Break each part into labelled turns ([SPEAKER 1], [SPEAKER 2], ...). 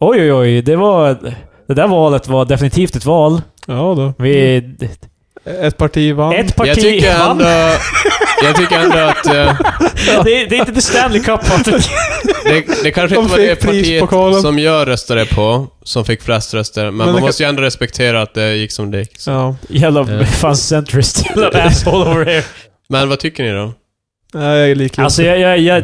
[SPEAKER 1] Oj, oj, oj. Det var... Det där valet var definitivt ett val.
[SPEAKER 2] Ja då.
[SPEAKER 1] Vi...
[SPEAKER 2] Ett parti vann.
[SPEAKER 1] Ett
[SPEAKER 3] Jag
[SPEAKER 1] parti
[SPEAKER 3] tycker
[SPEAKER 1] vann.
[SPEAKER 3] ändå... Jag tycker ändå att... eh,
[SPEAKER 1] Det, är- det är inte The Stanley Cup, Patrik.
[SPEAKER 3] Det, det kanske
[SPEAKER 2] De
[SPEAKER 3] inte var det
[SPEAKER 2] fick
[SPEAKER 3] partiet
[SPEAKER 2] prispokalen.
[SPEAKER 3] som jag röstade på, som fick flest röster. Men,
[SPEAKER 2] det
[SPEAKER 3] man
[SPEAKER 2] kan-
[SPEAKER 3] måste ju ändå respektera att det gick som det gick.
[SPEAKER 2] Ja.
[SPEAKER 1] Jävla
[SPEAKER 3] Eh.
[SPEAKER 1] fan centrist. Jävla asshole over here.
[SPEAKER 3] Men vad tycker ni då?
[SPEAKER 2] Nej, jag är likgiltig.
[SPEAKER 1] Alltså, jag, jag, jag,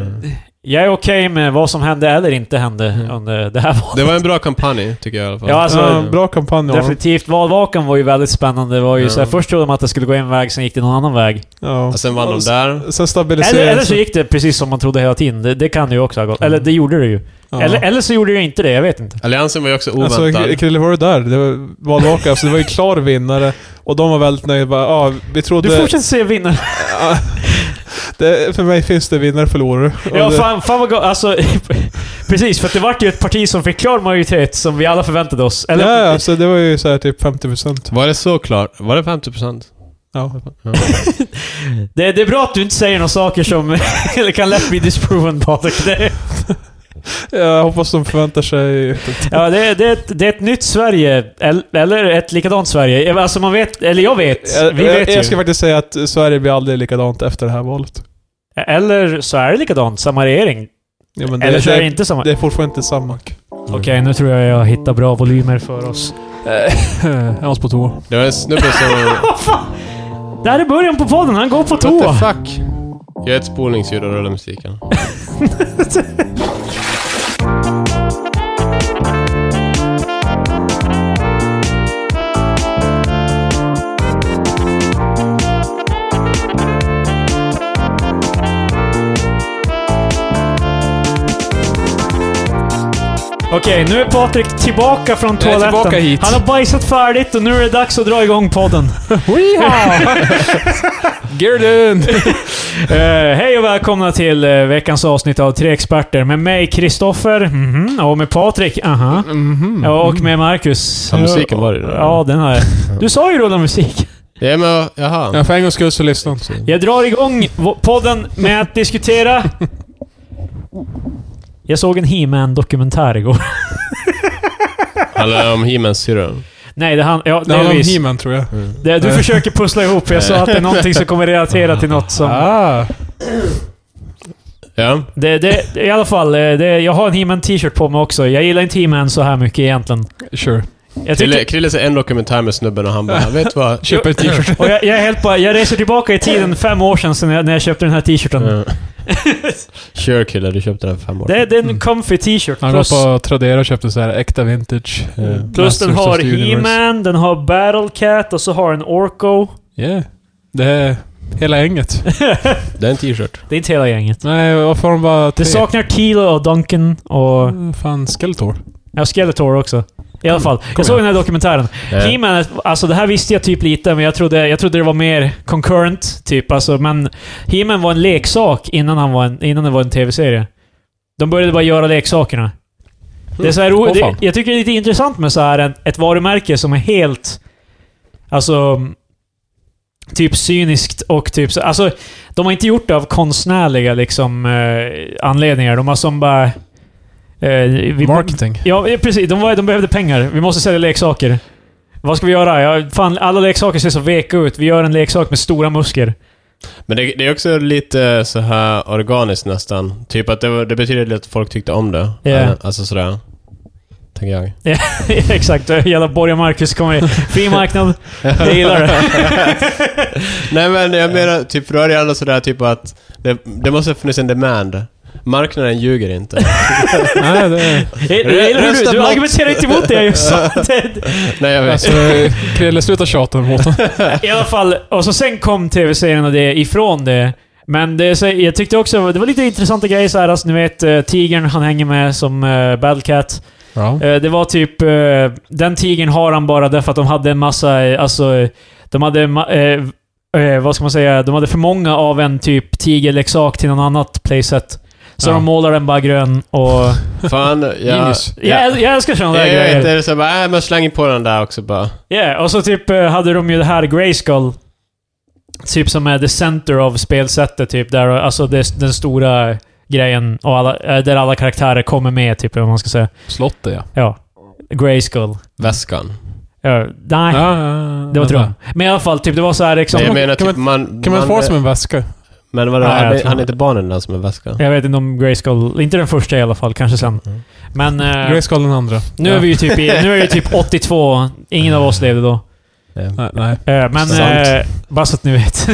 [SPEAKER 1] jag är okej med vad som hände eller inte hände under det här valet.
[SPEAKER 3] Det var en bra kampanj, tycker jag i alla fall.
[SPEAKER 1] Ja, alltså,
[SPEAKER 2] ja, bra kampanj av dem.
[SPEAKER 1] definitivt. Valvakan var ju väldigt spännande. Det var ju
[SPEAKER 3] Ja.
[SPEAKER 1] så här, först trodde man att det skulle gå en väg, sen gick det någon annan väg.
[SPEAKER 2] Ja.
[SPEAKER 3] Och sen vann de
[SPEAKER 2] Och
[SPEAKER 3] där.
[SPEAKER 2] Sen stabiliserades
[SPEAKER 1] Eller, eller så gick det precis som man trodde hela tiden. Det, det kan ju också ha gått. Eller det gjorde det ju.
[SPEAKER 2] ja.
[SPEAKER 1] Eller, eller så gjorde det inte det, jag vet inte.
[SPEAKER 3] Alliansen var ju också
[SPEAKER 2] Alltså,
[SPEAKER 3] oväntad.
[SPEAKER 2] Kr- Krille, var du där? Det var valvaka, alltså det var ju klar vinnare. Och de var väldigt nöjda. Bara, ja, vi trodde...
[SPEAKER 1] Du fortsätter se vinnare.
[SPEAKER 2] Ja. det, för mig finns det vinnare och förlorare. Och
[SPEAKER 1] Ja,
[SPEAKER 2] det,
[SPEAKER 1] fan, fan vad gott. Alltså, precis. För att det vart ju ett parti som fick klar majoritet, som vi alla förväntade oss. Eller,
[SPEAKER 2] ja, alltså, det var ju så här typ 50%.
[SPEAKER 3] Var det så klart? Var det 50%?
[SPEAKER 2] Ja.
[SPEAKER 3] Ja.
[SPEAKER 1] det, det är bra att du inte säger några saker som eller kan lätt bli disproven, Patrik. Det,
[SPEAKER 2] Jag hoppas de förväntar sig...
[SPEAKER 1] ja, det, det, är ett- det är ett nytt Sverige. el- Eller ett likadant Sverige. Alltså man vet, eller jag vet.
[SPEAKER 2] Jag,
[SPEAKER 1] Vi
[SPEAKER 2] jag,
[SPEAKER 1] vet
[SPEAKER 2] jag ska
[SPEAKER 1] ju.
[SPEAKER 2] faktiskt säga att Sverige blir aldrig likadant efter det här valet.
[SPEAKER 1] Eller så är det likadant, samma regering.
[SPEAKER 2] Ja, men det,
[SPEAKER 1] Eller så är det
[SPEAKER 2] det,
[SPEAKER 1] inte samma.
[SPEAKER 2] det är fortfarande inte samma.
[SPEAKER 1] Okej, nu tror jag jag hittar bra volymer för oss.
[SPEAKER 2] Eh. Jag måste på toa.
[SPEAKER 3] Det var en snubbe som...
[SPEAKER 1] Det här är början på podden, han går på toa.
[SPEAKER 3] What the fuck? Gör ett spolningsljud och rulla musiken.
[SPEAKER 1] Okej, nu är Patrik tillbaka från
[SPEAKER 2] är
[SPEAKER 1] toaletten.
[SPEAKER 2] tillbaka hit.
[SPEAKER 1] Han har bajsat färdigt och nu är det dags att dra igång podden.
[SPEAKER 2] Girden!
[SPEAKER 1] Eh, hej och välkomna till eh, veckans avsnitt av Tre Experter med mig, Kristoffer, mhm, och med Patrik, aha,
[SPEAKER 2] Mhm.
[SPEAKER 1] och med Marcus.
[SPEAKER 3] Ja, musiken var det där.
[SPEAKER 1] Ja, den har jag. Du sa ju rulla musik.
[SPEAKER 3] Ja, men jaha.
[SPEAKER 2] Ja, för en gångs skull så lyssna.
[SPEAKER 1] Jag drar igång v- podden med att diskutera... Jag såg en He-Man-dokumentär igår.
[SPEAKER 3] Handlar det om He-Mans syrra?
[SPEAKER 2] Mm.
[SPEAKER 1] Nej, det han... Ja,
[SPEAKER 2] Det handlar om
[SPEAKER 1] delvis.
[SPEAKER 2] He-Man, tror jag.
[SPEAKER 1] Det, du försöker pussla ihop, jag sa att det är någonting som kommer relatera till något som...
[SPEAKER 2] Ah.
[SPEAKER 3] Ja.
[SPEAKER 1] Det, det, I alla fall, eh, det, jag har en He-Man t-shirt på mig också. Jag gillar inte He-Man så här mycket egentligen.
[SPEAKER 2] Sure.
[SPEAKER 1] Jag
[SPEAKER 3] Krille,
[SPEAKER 1] tycker,
[SPEAKER 3] Krille ser en dokumentär med snubben och han bara, vet du vad?
[SPEAKER 2] Köp en t-shirt.
[SPEAKER 1] och jag, jag, är helt bara, jag reser tillbaka i tiden fem år sedan, sedan jag, när jag köpte den här t-shirten.
[SPEAKER 3] Ja. Sure Krille, du köpte den för fem år
[SPEAKER 1] Det, det är en comfy t-shirt.
[SPEAKER 2] Mm. Han går
[SPEAKER 1] Plus, Mm.
[SPEAKER 2] på Tradera och köpte så här äkta vintage. eh,
[SPEAKER 1] plus den
[SPEAKER 2] Masters of
[SPEAKER 1] har
[SPEAKER 2] the Universe.
[SPEAKER 1] He-Man, den har Battle Cat och så har den Orko.
[SPEAKER 2] Yeah. Det är hela gänget.
[SPEAKER 3] Det är en t-shirt.
[SPEAKER 1] Det är inte hela gänget.
[SPEAKER 2] Nej, varför har de bara
[SPEAKER 1] Det
[SPEAKER 2] tre?
[SPEAKER 1] saknar Kilo och Duncan och...
[SPEAKER 2] Mm, Fan, Skeletor.
[SPEAKER 1] Ja, Skeletor också. I alla fall. Jag såg den här dokumentären.
[SPEAKER 3] Eh,
[SPEAKER 2] Eh.
[SPEAKER 1] He-Man, alltså det här visste jag typ lite, men jag trodde, jag trodde det var mer concurrent, typ. Alltså, men He-Man var en leksak innan, han var en, innan det var en tv-serie. De började bara göra leksakerna. Det är så här ro-
[SPEAKER 2] Åh,
[SPEAKER 1] det,
[SPEAKER 2] fan.
[SPEAKER 1] jag tycker det är lite intressant med så här en, ett varumärke som är helt... Alltså... Typ cyniskt och typ så, Alltså, de har inte gjort det av konstnärliga liksom, eh, anledningar. De har som bara... Eh, vi,
[SPEAKER 2] Marketing.
[SPEAKER 1] Ja, eh, precis. De, var, de behövde pengar. Vi måste sälja leksaker. Vad ska vi göra? Ja, fan, alla leksaker ser så veka ut. Vi gör en leksak med stora muskler.
[SPEAKER 3] Men det, det är också lite eh, så här organiskt nästan. Typ att det, var- det betyder att folk tyckte om det.
[SPEAKER 1] Ja.
[SPEAKER 3] Eh, Alltså sådär. Tänker jag.
[SPEAKER 1] Exakt. Jävla Borja Marcus kommer in. Fri marknad. Eh, Jag gillar det.
[SPEAKER 3] Nej men jag menar, typ för då är det alla sådär typ att det, det måste ha funnits en demand. Marknaden ljuger inte.
[SPEAKER 2] Nej, det är...
[SPEAKER 1] Jag, jag gillar hur du, du argumenterar inte emot det jag just sa. Det-
[SPEAKER 3] Nej jag vet.
[SPEAKER 2] Alltså, Krille, sluta tjata mot honom.
[SPEAKER 1] I alla fall. Och så sen kom tv-serien och det ifrån det. Men det, är så, jag tyckte också det var lite intressanta grejer så här. Alltså, ni vet eh, tigern han hänger med som eh, Battlecat.
[SPEAKER 2] Ja.
[SPEAKER 1] Eh, Det var typ... eh, Den tigern har han bara därför att de hade en massa... eh, Alltså... eh, De hade... ma- eh, eh, Vad ska man säga? De hade för många av en typ tigerleksak till någon annat playset. Så
[SPEAKER 2] Ja.
[SPEAKER 1] de målar den bara grön och...
[SPEAKER 3] Fan, jag...
[SPEAKER 2] Genius.
[SPEAKER 3] Ja.
[SPEAKER 1] Jag, äl- jag älskar sådana där
[SPEAKER 3] Jag vet inte,
[SPEAKER 1] grejer.
[SPEAKER 3] det är så bara, nej men släng på den där också bara.
[SPEAKER 1] Yeah. Och så typ eh, hade de ju det här Grayskull. Typ som är the center of spelsättet, typ där. Alltså det, den stora grejen och alla, eh, där alla karaktärer kommer med, typ, om man ska säga.
[SPEAKER 2] Slottet ja.
[SPEAKER 1] Ja. Grayskull.
[SPEAKER 3] Väskan.
[SPEAKER 1] Ja, nej,
[SPEAKER 2] Ja, ja, ja.
[SPEAKER 1] det var tråkigt. Men i alla fall, typ, det var så här liksom...
[SPEAKER 3] Nej,
[SPEAKER 2] man-
[SPEAKER 3] jag menar
[SPEAKER 2] kan
[SPEAKER 3] typ man...
[SPEAKER 2] Kan man få det som en
[SPEAKER 1] eh,
[SPEAKER 2] väska?
[SPEAKER 3] Men vadå,
[SPEAKER 1] Nej, jag
[SPEAKER 3] han,
[SPEAKER 1] tror
[SPEAKER 3] han är
[SPEAKER 1] inte.
[SPEAKER 3] inte barnen den som är väskan?
[SPEAKER 1] Jag vet inte om Grayskull... Inte den första i alla fall, kanske sen.
[SPEAKER 3] Mm.
[SPEAKER 1] Men... eh,
[SPEAKER 2] Grayskull den andra.
[SPEAKER 1] nu är vi ju typ i, Nu är det typ 82. Ingen av oss levde då.
[SPEAKER 3] Ja.
[SPEAKER 2] Nej, nej.
[SPEAKER 1] Eh, men...
[SPEAKER 3] Sant.
[SPEAKER 1] eh, bara så att ni vet.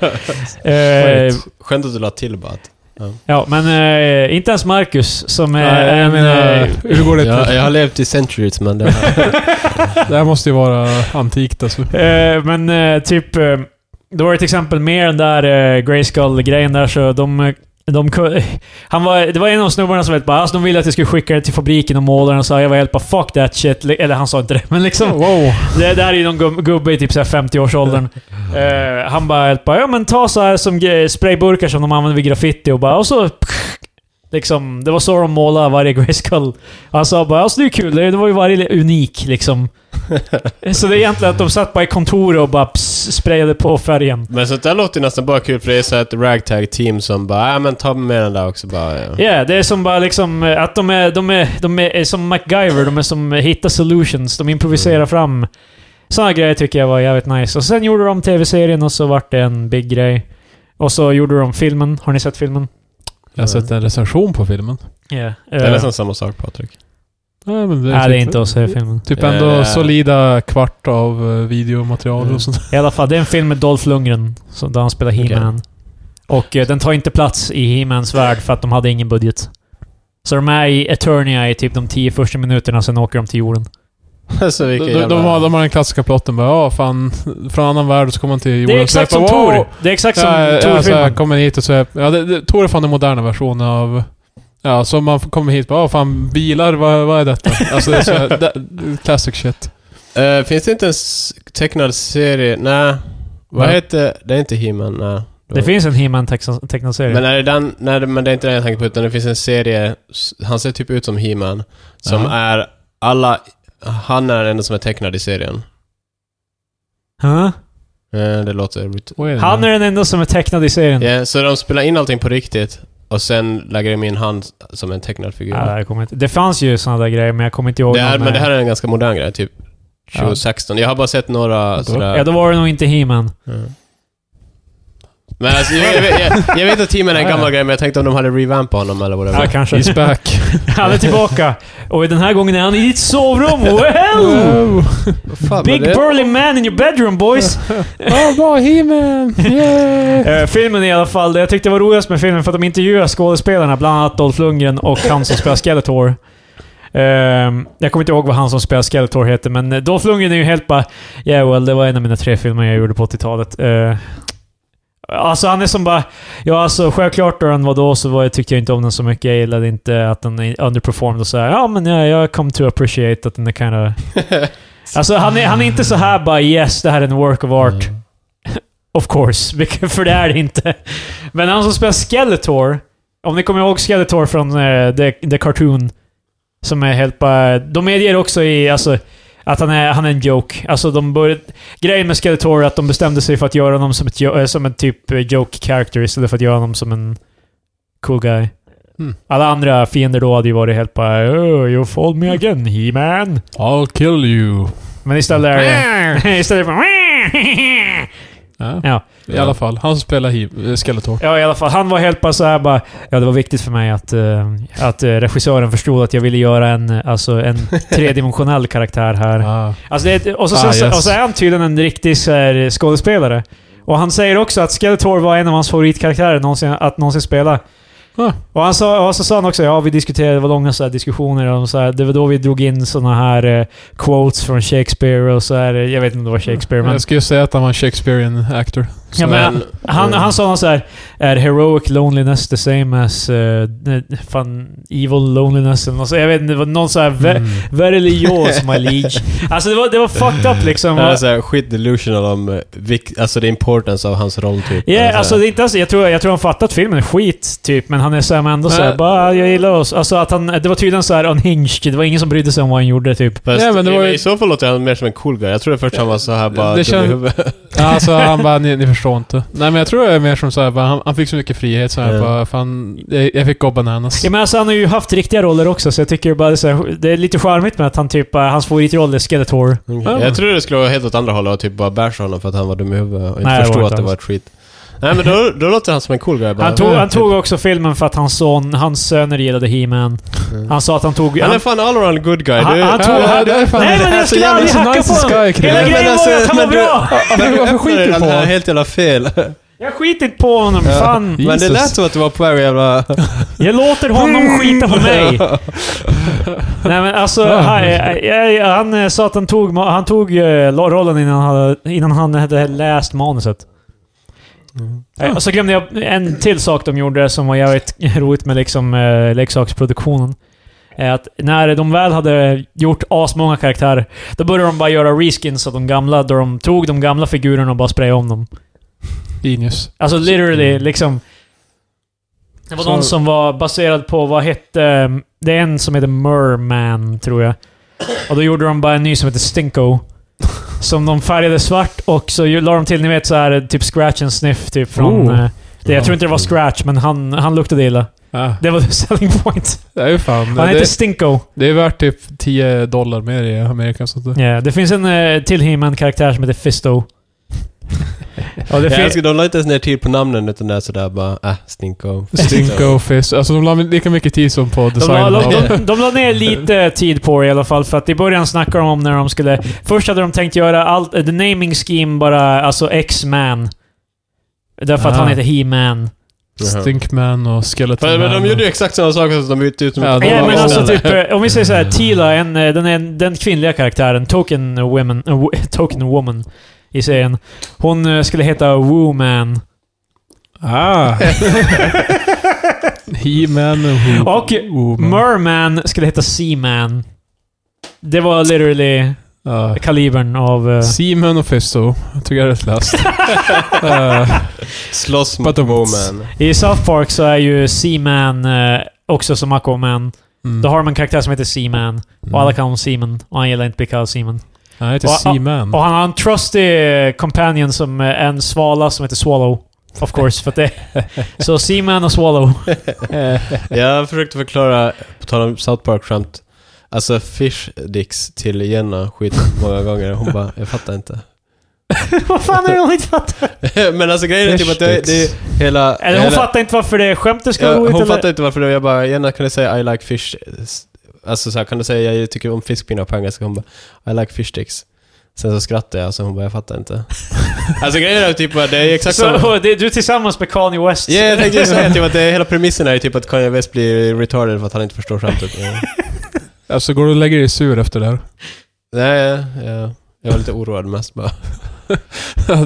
[SPEAKER 1] Eh,
[SPEAKER 3] Skönt att du la till bara att...
[SPEAKER 1] ja, men eh, inte ens Marcus som är...
[SPEAKER 2] nej jag
[SPEAKER 1] en,
[SPEAKER 2] menar,
[SPEAKER 1] eh,
[SPEAKER 2] hur går det
[SPEAKER 3] Jag, jag har levt i centuries men det här...
[SPEAKER 2] Det här måste ju vara antikt alltså.
[SPEAKER 1] Eh, men eh, typ... Eh, det var ju till exempel med den där eh, Grayskull-grejen där, så de... eh, De, ku- han var, det var en av snubbarna som vet bara alltså, de ville att jag skulle skicka det till fabriken och måla den och så här, jag var helt bara 'fuck that shit' Eller han sa inte det, men liksom...
[SPEAKER 2] Wow.
[SPEAKER 1] Det där är ju någon gub- gubbe i typ så här 50-årsåldern. Eh, han bara helt bara, ja men ta så här som gre- sprayburkar som de använder vid graffiti och bara, och så... Liksom, det var så de målade varje Grayskull. Han sa bara, alltså det är kul, det det var ju varje unik liksom. så det är egentligen att de satt bara i kontoret och bara pss, sprayade på färgen.
[SPEAKER 3] Men sånt där låter ju nästan bara kul för det är så här ett ragtag team som bara ja men ta med den där också bara. Ja.
[SPEAKER 1] Ja, det är som bara liksom eh, att de är, de är, de är, är som MacGyver, de är som eh, hittar solutions, de improviserar fram. Sådana grejer tycker jag var jävligt nice. Och sen gjorde de tv-serien och så vart det en big grej. Och så gjorde de filmen. Har ni sett filmen?
[SPEAKER 2] Jag har sett en recension på filmen.
[SPEAKER 1] Yeah.
[SPEAKER 3] Det är nästan samma sak Patrik.
[SPEAKER 2] Nej, men
[SPEAKER 1] nej, det är inte att se filmen.
[SPEAKER 2] Typ ändå
[SPEAKER 3] Eh.
[SPEAKER 2] solida kvart av eh, videomaterial
[SPEAKER 3] Mm.
[SPEAKER 2] och sånt.
[SPEAKER 1] I alla fall, det är en film med Dolph Lundgren, som, där han spelar He-Man. Och eh, den tar inte plats i He-Mans värld för att de hade ingen budget. Så de är i Eternia i typ de tio första minuterna, sen åker de till jorden.
[SPEAKER 3] så
[SPEAKER 2] De,
[SPEAKER 3] vilken
[SPEAKER 2] de, de, har, de har den klassiska plotten bara ja fan, från annan värld och så kommer man till
[SPEAKER 1] Det
[SPEAKER 2] jorden
[SPEAKER 1] är
[SPEAKER 2] och
[SPEAKER 1] exakt
[SPEAKER 2] så
[SPEAKER 1] som
[SPEAKER 2] bara, wow.
[SPEAKER 1] Tor! Det är exakt som
[SPEAKER 2] Ja, alltså,
[SPEAKER 1] Tor-filmen.
[SPEAKER 2] jag kommer hit och så är, ja, det, det, Tor är fan den moderna versionen av... Ja, så man kommer hit och bara "Åh, fan bilar, vad, vad är detta? Alltså det är så här, det, classic shit.
[SPEAKER 3] Eh, finns det inte en s- tecknad serie? Nej. Vad
[SPEAKER 2] Nej.
[SPEAKER 3] heter... Det är inte He-Man, nej.
[SPEAKER 1] Det finns en He-Man tex- tecknad serie.
[SPEAKER 3] Men är det den... Nej, men det är inte den jag tänker på utan det finns en serie, s- han ser typ ut som He-Man, som
[SPEAKER 2] Ja.
[SPEAKER 3] är alla... Han är den enda som är tecknad i serien.
[SPEAKER 1] Huh?
[SPEAKER 3] Eh, det låter... brut-
[SPEAKER 2] Vad det
[SPEAKER 1] Han
[SPEAKER 2] nu?
[SPEAKER 1] är den enda som är tecknad i serien.
[SPEAKER 3] Ja, så de spelar in allting på riktigt och sen lägger de in han som en tecknad figur.
[SPEAKER 1] Ah, jag kommer inte. Det fanns ju sådana där grejer, men jag kommer inte ihåg
[SPEAKER 3] det är,
[SPEAKER 1] någon
[SPEAKER 3] men det
[SPEAKER 1] med-
[SPEAKER 3] här är en ganska modern grej, typ
[SPEAKER 2] Ja.
[SPEAKER 3] 2016. Jag har bara sett några sådär...
[SPEAKER 1] Ja, då var det nog inte He-Man.
[SPEAKER 3] Mm. Men alltså, jag, jag, vet- jag, jag vet att teamen är en gammal grej, men jag tänkte om de hade revampat honom
[SPEAKER 1] Ja,
[SPEAKER 3] eller whatever.
[SPEAKER 1] kanske.
[SPEAKER 2] He's back.
[SPEAKER 1] Han är tillbaka. Och den här gången är han i ditt sovrum. Well!
[SPEAKER 3] Fan,
[SPEAKER 1] Big
[SPEAKER 3] men det-
[SPEAKER 1] burly man in your bedroom boys!
[SPEAKER 2] Åh, bra He-Man! Yay!
[SPEAKER 1] Eh, filmen i alla fall, det jag tyckte var roligast med filmen för att de intervjuar skådespelarna, bland annat Dolph Lundgren och han som spelar Skeletor. Ehm, jag kommer inte ihåg vad han som spelar Skeletor heter, men eh, Dolph Lundgren är ju helt bara Yeah well, det var en av mina tre filmer jag gjorde på 80-talet. Eh, alltså han är som bara... Ja alltså självklart då den var då så var, jag tyckte jag inte om den så mycket. Jag gillade inte att den underperformed och så här. Ja men jag, jag come to appreciate att den är kind of... alltså han är, han är inte så här bara yes, det här är en work of
[SPEAKER 3] Mm.
[SPEAKER 1] art. Of course, vilket- för det är det inte. Men han som spelar Skeletor, om ni kommer ihåg Skeletor från eh, the, the Cartoon, som är helt bara... De medger också i, alltså, att han är, han är en joke. Alltså, de började, grejen med Skeletor är att de bestämde sig för att göra honom som, ett, jo- eh, som en typ eh, joke character istället för att göra honom som en cool guy.
[SPEAKER 2] Mm.
[SPEAKER 1] Alla andra fiender då hade ju varit helt bara oh, “You fold me again, He-Man”.
[SPEAKER 2] I'll kill you.
[SPEAKER 1] Men istället är det... istället för...
[SPEAKER 2] Ja.
[SPEAKER 1] Ja.
[SPEAKER 2] I alla fall, han som spelar He- eh, Skeletor.
[SPEAKER 1] Ja, i alla fall. Han var helt bara så här bara... Ja, det var viktigt för mig att, eh, att eh, regissören förstod att jag ville göra en, eh, alltså, en tredimensionell karaktär här.
[SPEAKER 2] Ah.
[SPEAKER 1] Alltså, det, är- och, så,
[SPEAKER 2] Ah,
[SPEAKER 1] sen,
[SPEAKER 2] yes.
[SPEAKER 1] och så är han tydligen en riktig så här, eh, skådespelare. Och han säger också att Skeletor var en av hans favoritkaraktärer någonsin, att någonsin spela.
[SPEAKER 2] Ah.
[SPEAKER 1] Och, han sa, och så sa han också ja, vi diskuterade, det var långa så här, diskussioner om så här, Det var då vi drog in såna här eh, quotes från Shakespeare och så här. eh, Jag vet inte om det var Shakespeare, men...
[SPEAKER 2] Jag skulle säga att han var en Shakespearean actor.
[SPEAKER 1] Ja, men,
[SPEAKER 3] Men-
[SPEAKER 1] han, han sa något så här Är heroic loneliness the same as eh, ne- fan, evil loneliness? Eller något, så- jag vet inte, det var någon så här
[SPEAKER 2] Mm.
[SPEAKER 1] ve- Verily yours my liege. Alltså det var, det var fucked up liksom.
[SPEAKER 3] Han är såhär Alltså, skit delusional om eh, vilk, alltså the importance av hans roll typ.
[SPEAKER 1] Ja,
[SPEAKER 3] Eller så
[SPEAKER 1] alltså
[SPEAKER 3] här.
[SPEAKER 1] det är inte ens, jag tror, jag tror han fattat filmen är skit, typ. Men han är såhär, men ändå såhär,
[SPEAKER 2] Men-
[SPEAKER 1] bara jag gillar oss. Alltså att han, det var tydligen såhär unhinged. Det var ingen som brydde sig om vad han gjorde, typ.
[SPEAKER 3] Fast
[SPEAKER 2] Nej, men det var ju-
[SPEAKER 3] i, I så fall låter han mer som en cool guy. Jag trodde först han var så här bara
[SPEAKER 2] Det
[SPEAKER 3] dum i
[SPEAKER 2] känns-
[SPEAKER 3] huvudet.
[SPEAKER 2] Ja, alltså han bara, ni, ni förstår inte. Nej men jag tror det är mer som såhär, bara, han, han fick så mycket frihet så här,
[SPEAKER 3] Ja.
[SPEAKER 2] bara, fan, jag, jag fick gå bananas.
[SPEAKER 1] Ja, men alltså, han har ju haft riktiga roller också, så jag tycker bara det är, så här, det är lite charmigt med att han typ, eh, hans favoritroll är Skeletor.
[SPEAKER 2] Ja.
[SPEAKER 3] Jag trodde det skulle vara helt åt andra hållet och typ bara bärs honom för att han var dum i huvudet och inte
[SPEAKER 1] Nej, det var
[SPEAKER 3] förstod
[SPEAKER 1] inte
[SPEAKER 3] att det var ett skit. Nej men då, då låter han som en cool guy bara.
[SPEAKER 1] Han tog, han tog också filmen för att hans son, hans söner gillade He-Man. Han sa att han tog...
[SPEAKER 3] Han är fan allround good guy.
[SPEAKER 1] Han-
[SPEAKER 3] Du-
[SPEAKER 1] han tog-
[SPEAKER 3] Ja,
[SPEAKER 1] han-
[SPEAKER 3] du är fan-
[SPEAKER 1] nej men
[SPEAKER 3] det här är
[SPEAKER 1] jag
[SPEAKER 3] så
[SPEAKER 1] skulle
[SPEAKER 3] jävla-
[SPEAKER 1] aldrig
[SPEAKER 2] så
[SPEAKER 1] hacka
[SPEAKER 2] nice
[SPEAKER 1] på honom!
[SPEAKER 2] guy, Craig.
[SPEAKER 1] Hela
[SPEAKER 3] Nej, men
[SPEAKER 1] grejen var ju
[SPEAKER 3] alltså,
[SPEAKER 1] att han var
[SPEAKER 3] men du-
[SPEAKER 1] bra!
[SPEAKER 2] Varför, varför skiter du på
[SPEAKER 3] Han Alltså, är
[SPEAKER 2] honom?
[SPEAKER 3] helt jävla fel.
[SPEAKER 1] Jag skiter inte på honom,
[SPEAKER 3] Ja.
[SPEAKER 1] fan!
[SPEAKER 3] Men det
[SPEAKER 2] Jesus.
[SPEAKER 3] lät som att du var på väg att jävla...
[SPEAKER 1] Jag låter honom skita på mig! Nej men alltså,
[SPEAKER 2] Ja.
[SPEAKER 1] han, jag- jag- han eh, sa att han tog, ma- han tog eh, lo- rollen innan han, hade- innan han hade läst manuset. Eh, Och så glömde jag en till sak de gjorde som var jävligt roligt med liksom, eh, leksaksproduktionen. Eh, Att när de väl hade gjort asmånga karaktärer, då började de bara göra reskins av de gamla, då de tog de gamla figurerna och bara sprayade om dem.
[SPEAKER 2] Genius.
[SPEAKER 1] Alltså literally, liksom... Det var
[SPEAKER 2] Så-
[SPEAKER 1] någon som var baserad på, vad hette... mm, Det är en som heter Merman, tror jag. Och då gjorde de bara en ny som heter Stinko. Som de färgade svart och så ju- la de till, ni vet så här typ scratch and sniff typ från...
[SPEAKER 2] Oh.
[SPEAKER 1] eh, Det, jag tror inte det var scratch, men han, han luktade illa.
[SPEAKER 2] Ja,
[SPEAKER 1] Det var selling point.
[SPEAKER 2] det är ju fan.
[SPEAKER 1] Han heter
[SPEAKER 2] Det,
[SPEAKER 1] Stinko.
[SPEAKER 2] det är värt typ 10 dollar mer i Amerika sånt där.
[SPEAKER 1] Ja, det finns en eh, till he karaktär som heter Fisto. Och det
[SPEAKER 3] Jag
[SPEAKER 1] finns...
[SPEAKER 3] älskar, de la inte ens ner tid på namnen utan det är sådär bara, äh, stinko.
[SPEAKER 2] Stinko fish. Alltså de la lika mycket tid som på
[SPEAKER 1] De la,
[SPEAKER 2] designen av
[SPEAKER 1] de, de, de la ner lite tid på det i alla fall, för att i början snackade de om när de skulle... Först hade de tänkt göra allt... The naming scheme bara, alltså X-Man. Därför att
[SPEAKER 2] Ah.
[SPEAKER 1] han heter He-Man.
[SPEAKER 3] Jaha.
[SPEAKER 2] Stinkman och Skeleton
[SPEAKER 3] Men, men
[SPEAKER 2] Man
[SPEAKER 3] de gjorde
[SPEAKER 2] och-
[SPEAKER 3] ju exakt samma sak som de bytte ut som
[SPEAKER 2] Ja, de
[SPEAKER 1] Ja,
[SPEAKER 2] var
[SPEAKER 1] men
[SPEAKER 2] bra.
[SPEAKER 1] alltså typ, eh, om vi säger så här, Tila, en, eh, den, är en- den kvinnliga karaktären, Token Woman, eh, wo- token woman i serien. Hon eh, skulle heta Woo-Man.
[SPEAKER 2] Ah! He-Man och
[SPEAKER 1] Och Merman skulle heta Sea-Man. Det var literally
[SPEAKER 2] Ja.
[SPEAKER 1] kalibern av... eh,
[SPEAKER 2] Seaman och Fisto. Jag tycker jag är rätt läst. Eh,
[SPEAKER 3] Slåss
[SPEAKER 2] But
[SPEAKER 3] mot
[SPEAKER 2] the woods.
[SPEAKER 3] Woman.
[SPEAKER 1] I South Park så är ju Seaman eh, också som Aquaman.
[SPEAKER 2] mm.
[SPEAKER 1] Då har de en karaktär som heter Seaman. Och alla kallar honom Seaman. Och han gillar inte att bli kallad Seaman.
[SPEAKER 2] Nej, han heter
[SPEAKER 1] och-
[SPEAKER 2] Seaman.
[SPEAKER 1] Och han har en trusty eh, companion som eh, en svala som heter Swallow. Of course, för att det... Så Seaman och Swallow.
[SPEAKER 3] Jag försökte förklara, på tal om South Park-skämt, alltså fish dicks till Jenna skit många gånger. Hon bara, jag fattar inte.
[SPEAKER 1] Vad fan är det hon inte fattar?
[SPEAKER 3] men alltså grejen är typ att det, det är hela...
[SPEAKER 1] Eller hon
[SPEAKER 3] hela-
[SPEAKER 1] fattar inte varför det skämtet ska
[SPEAKER 3] Ja,
[SPEAKER 1] gå ut
[SPEAKER 3] hon
[SPEAKER 1] eller?
[SPEAKER 3] fattar inte varför det var. Jag bara, Jenna kan du säga I like fish... Alltså så här, kan du säga jag tycker om fiskpinnar på engelska? Hon bara, I like fish sticks. Sen så skrattade jag, så hon bara, jag fattar inte. alltså grejen är typ att det är exakt samma...
[SPEAKER 1] Så, det, du är tillsammans med Kanye West.
[SPEAKER 3] Ja, jag tänkte ju säga typ att det, hela premissen är ju typ att Kanye West blir retarded för att han inte förstår skämtet. Ja.
[SPEAKER 2] Alltså, går du och lägger dig sur efter det här?
[SPEAKER 3] Nej, ja, jag var lite oroad mest bara.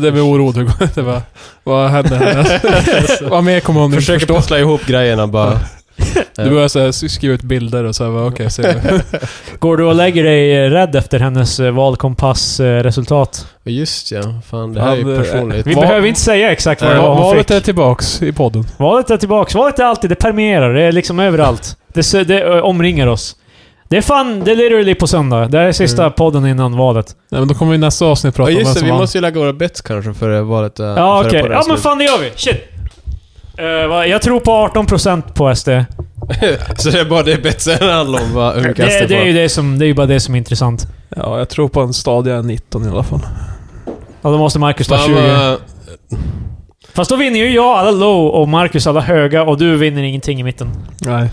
[SPEAKER 2] det blir oroligt. Det bara, vad hände här? vad mer kommer hon nu
[SPEAKER 3] Försöker
[SPEAKER 2] förstå?
[SPEAKER 3] pussla ihop grejerna bara.
[SPEAKER 2] Du börjar så här, skriva ut bilder och så här, bara, okej, ser du.
[SPEAKER 1] Går du och lägger dig eh, rädd efter hennes eh, valkompassresultat?
[SPEAKER 3] Och Just ja, fan det här är ju
[SPEAKER 2] Fan, eh,
[SPEAKER 3] personligt.
[SPEAKER 1] Vi
[SPEAKER 2] Val-
[SPEAKER 1] behöver inte säga exakt vad det
[SPEAKER 2] Va-
[SPEAKER 1] var hon
[SPEAKER 2] Valet
[SPEAKER 1] fick.
[SPEAKER 2] är tillbaks i podden.
[SPEAKER 1] Valet är tillbaks. Valet är alltid, det permerar. Det är liksom överallt. Det, sö- det ö, omringar oss. Det är fan, det är literally på söndag. Det här är sista
[SPEAKER 3] Mm.
[SPEAKER 1] podden innan valet.
[SPEAKER 2] Nej, men då kommer vi i nästa avsnitt
[SPEAKER 3] Ja
[SPEAKER 2] prata om
[SPEAKER 3] just
[SPEAKER 2] vem
[SPEAKER 3] det,
[SPEAKER 2] som
[SPEAKER 3] vi
[SPEAKER 2] vann.
[SPEAKER 3] måste ju lägga våra bets kanske före valet. eh,
[SPEAKER 1] ja,
[SPEAKER 3] före
[SPEAKER 1] okej.
[SPEAKER 3] podden är
[SPEAKER 1] Ja, men
[SPEAKER 3] slut.
[SPEAKER 1] fan det gör vi. Shit! Eh, vad- jag tror på 18% på SD.
[SPEAKER 3] Så det är bara det betsen handlar om, vad hur mycket
[SPEAKER 1] Det,
[SPEAKER 3] det,
[SPEAKER 1] det, är ju det, som, det är ju bara det som är intressant.
[SPEAKER 2] Ja, jag tror på en stadie 19 i alla fall.
[SPEAKER 1] Ja, då måste Marcus ta
[SPEAKER 3] Fan, eh.
[SPEAKER 1] 20.
[SPEAKER 3] vad-
[SPEAKER 1] Fast då vinner ju jag alla low och Marcus alla höga och du vinner ingenting i mitten.
[SPEAKER 2] Nej,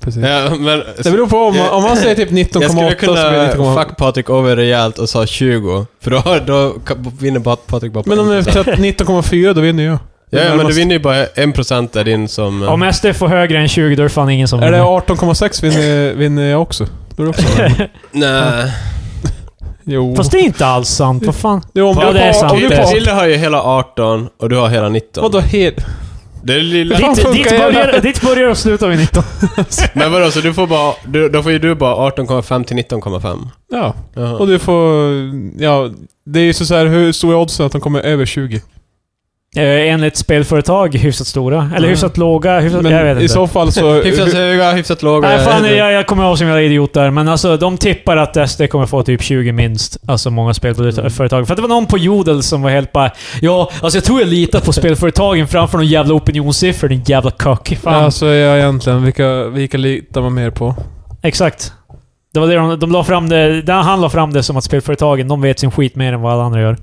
[SPEAKER 2] precis.
[SPEAKER 3] Ja, men...
[SPEAKER 2] Det beror på om,
[SPEAKER 3] Jag-
[SPEAKER 2] om man säger typ 19,8
[SPEAKER 3] Jag skulle
[SPEAKER 2] så blir det
[SPEAKER 3] kunna
[SPEAKER 2] 19,8.
[SPEAKER 3] fuck Patrik over rejält och sa 20. För då, då kan- vinner bara Patrik bara på
[SPEAKER 2] Men om jag
[SPEAKER 3] 1%.
[SPEAKER 2] satt 19,4 då vinner jag.
[SPEAKER 3] Ja, ja, men du
[SPEAKER 2] Närmast-
[SPEAKER 3] vinner ju bara 1% är din som... eh,
[SPEAKER 1] Om SD får högre än 20, då är det fan ingen som
[SPEAKER 2] Är det
[SPEAKER 1] vinner.
[SPEAKER 2] 18,6 vinner, vinner jag också. Då är det också en.
[SPEAKER 3] Nej.
[SPEAKER 2] Jo.
[SPEAKER 1] Fast det är inte alls sant. Vad fan?
[SPEAKER 2] jo om
[SPEAKER 1] Ja,
[SPEAKER 2] du
[SPEAKER 1] det är
[SPEAKER 2] på,
[SPEAKER 1] sant.
[SPEAKER 2] Om du
[SPEAKER 1] Det är
[SPEAKER 2] på,
[SPEAKER 1] sant.
[SPEAKER 3] Krille har ju hela 18 och du har hela 19.
[SPEAKER 2] vadå helt...
[SPEAKER 3] Det är lilla...
[SPEAKER 2] Hur fan
[SPEAKER 1] Ditt,
[SPEAKER 2] funkar
[SPEAKER 1] ditt,
[SPEAKER 2] jävla-
[SPEAKER 1] börjar, ditt börjar och slutar vid 19.
[SPEAKER 3] Men vadå, så du får bara... Du, då får ju du bara 18,5 till 19,5.
[SPEAKER 2] Ja.
[SPEAKER 3] Jaha.
[SPEAKER 2] Och du får... Ja. Det är ju så så här, hur stora är oddsen att de kommer över 20?
[SPEAKER 1] eh, enligt spelföretag hyfsat stora. Eller
[SPEAKER 2] Mm.
[SPEAKER 1] hyfsat låga, hyfsat...
[SPEAKER 2] Men
[SPEAKER 1] jag vet
[SPEAKER 2] i
[SPEAKER 1] inte.
[SPEAKER 2] så fall så...
[SPEAKER 3] Hyfsat höga, hyfsat låga.
[SPEAKER 1] Nej, fan, jag, jag kommer ihåg som jag är idiot där, men alltså de tippar att SD kommer få typ 20 minst. Alltså
[SPEAKER 2] Mm.
[SPEAKER 1] många spelföretag. För att det var någon på Jodel som var helt bara Ja, alltså jag tror jag litar på spelföretagen framför någon jävla opinionssiffror, din jävla kock. Fan.
[SPEAKER 2] Alltså ja, egentligen, vilka, vilka litar man mer på?
[SPEAKER 1] Exakt. Det var det de, de la fram det, där han la fram det som att spelföretagen, de vet sin skit mer än vad alla andra gör.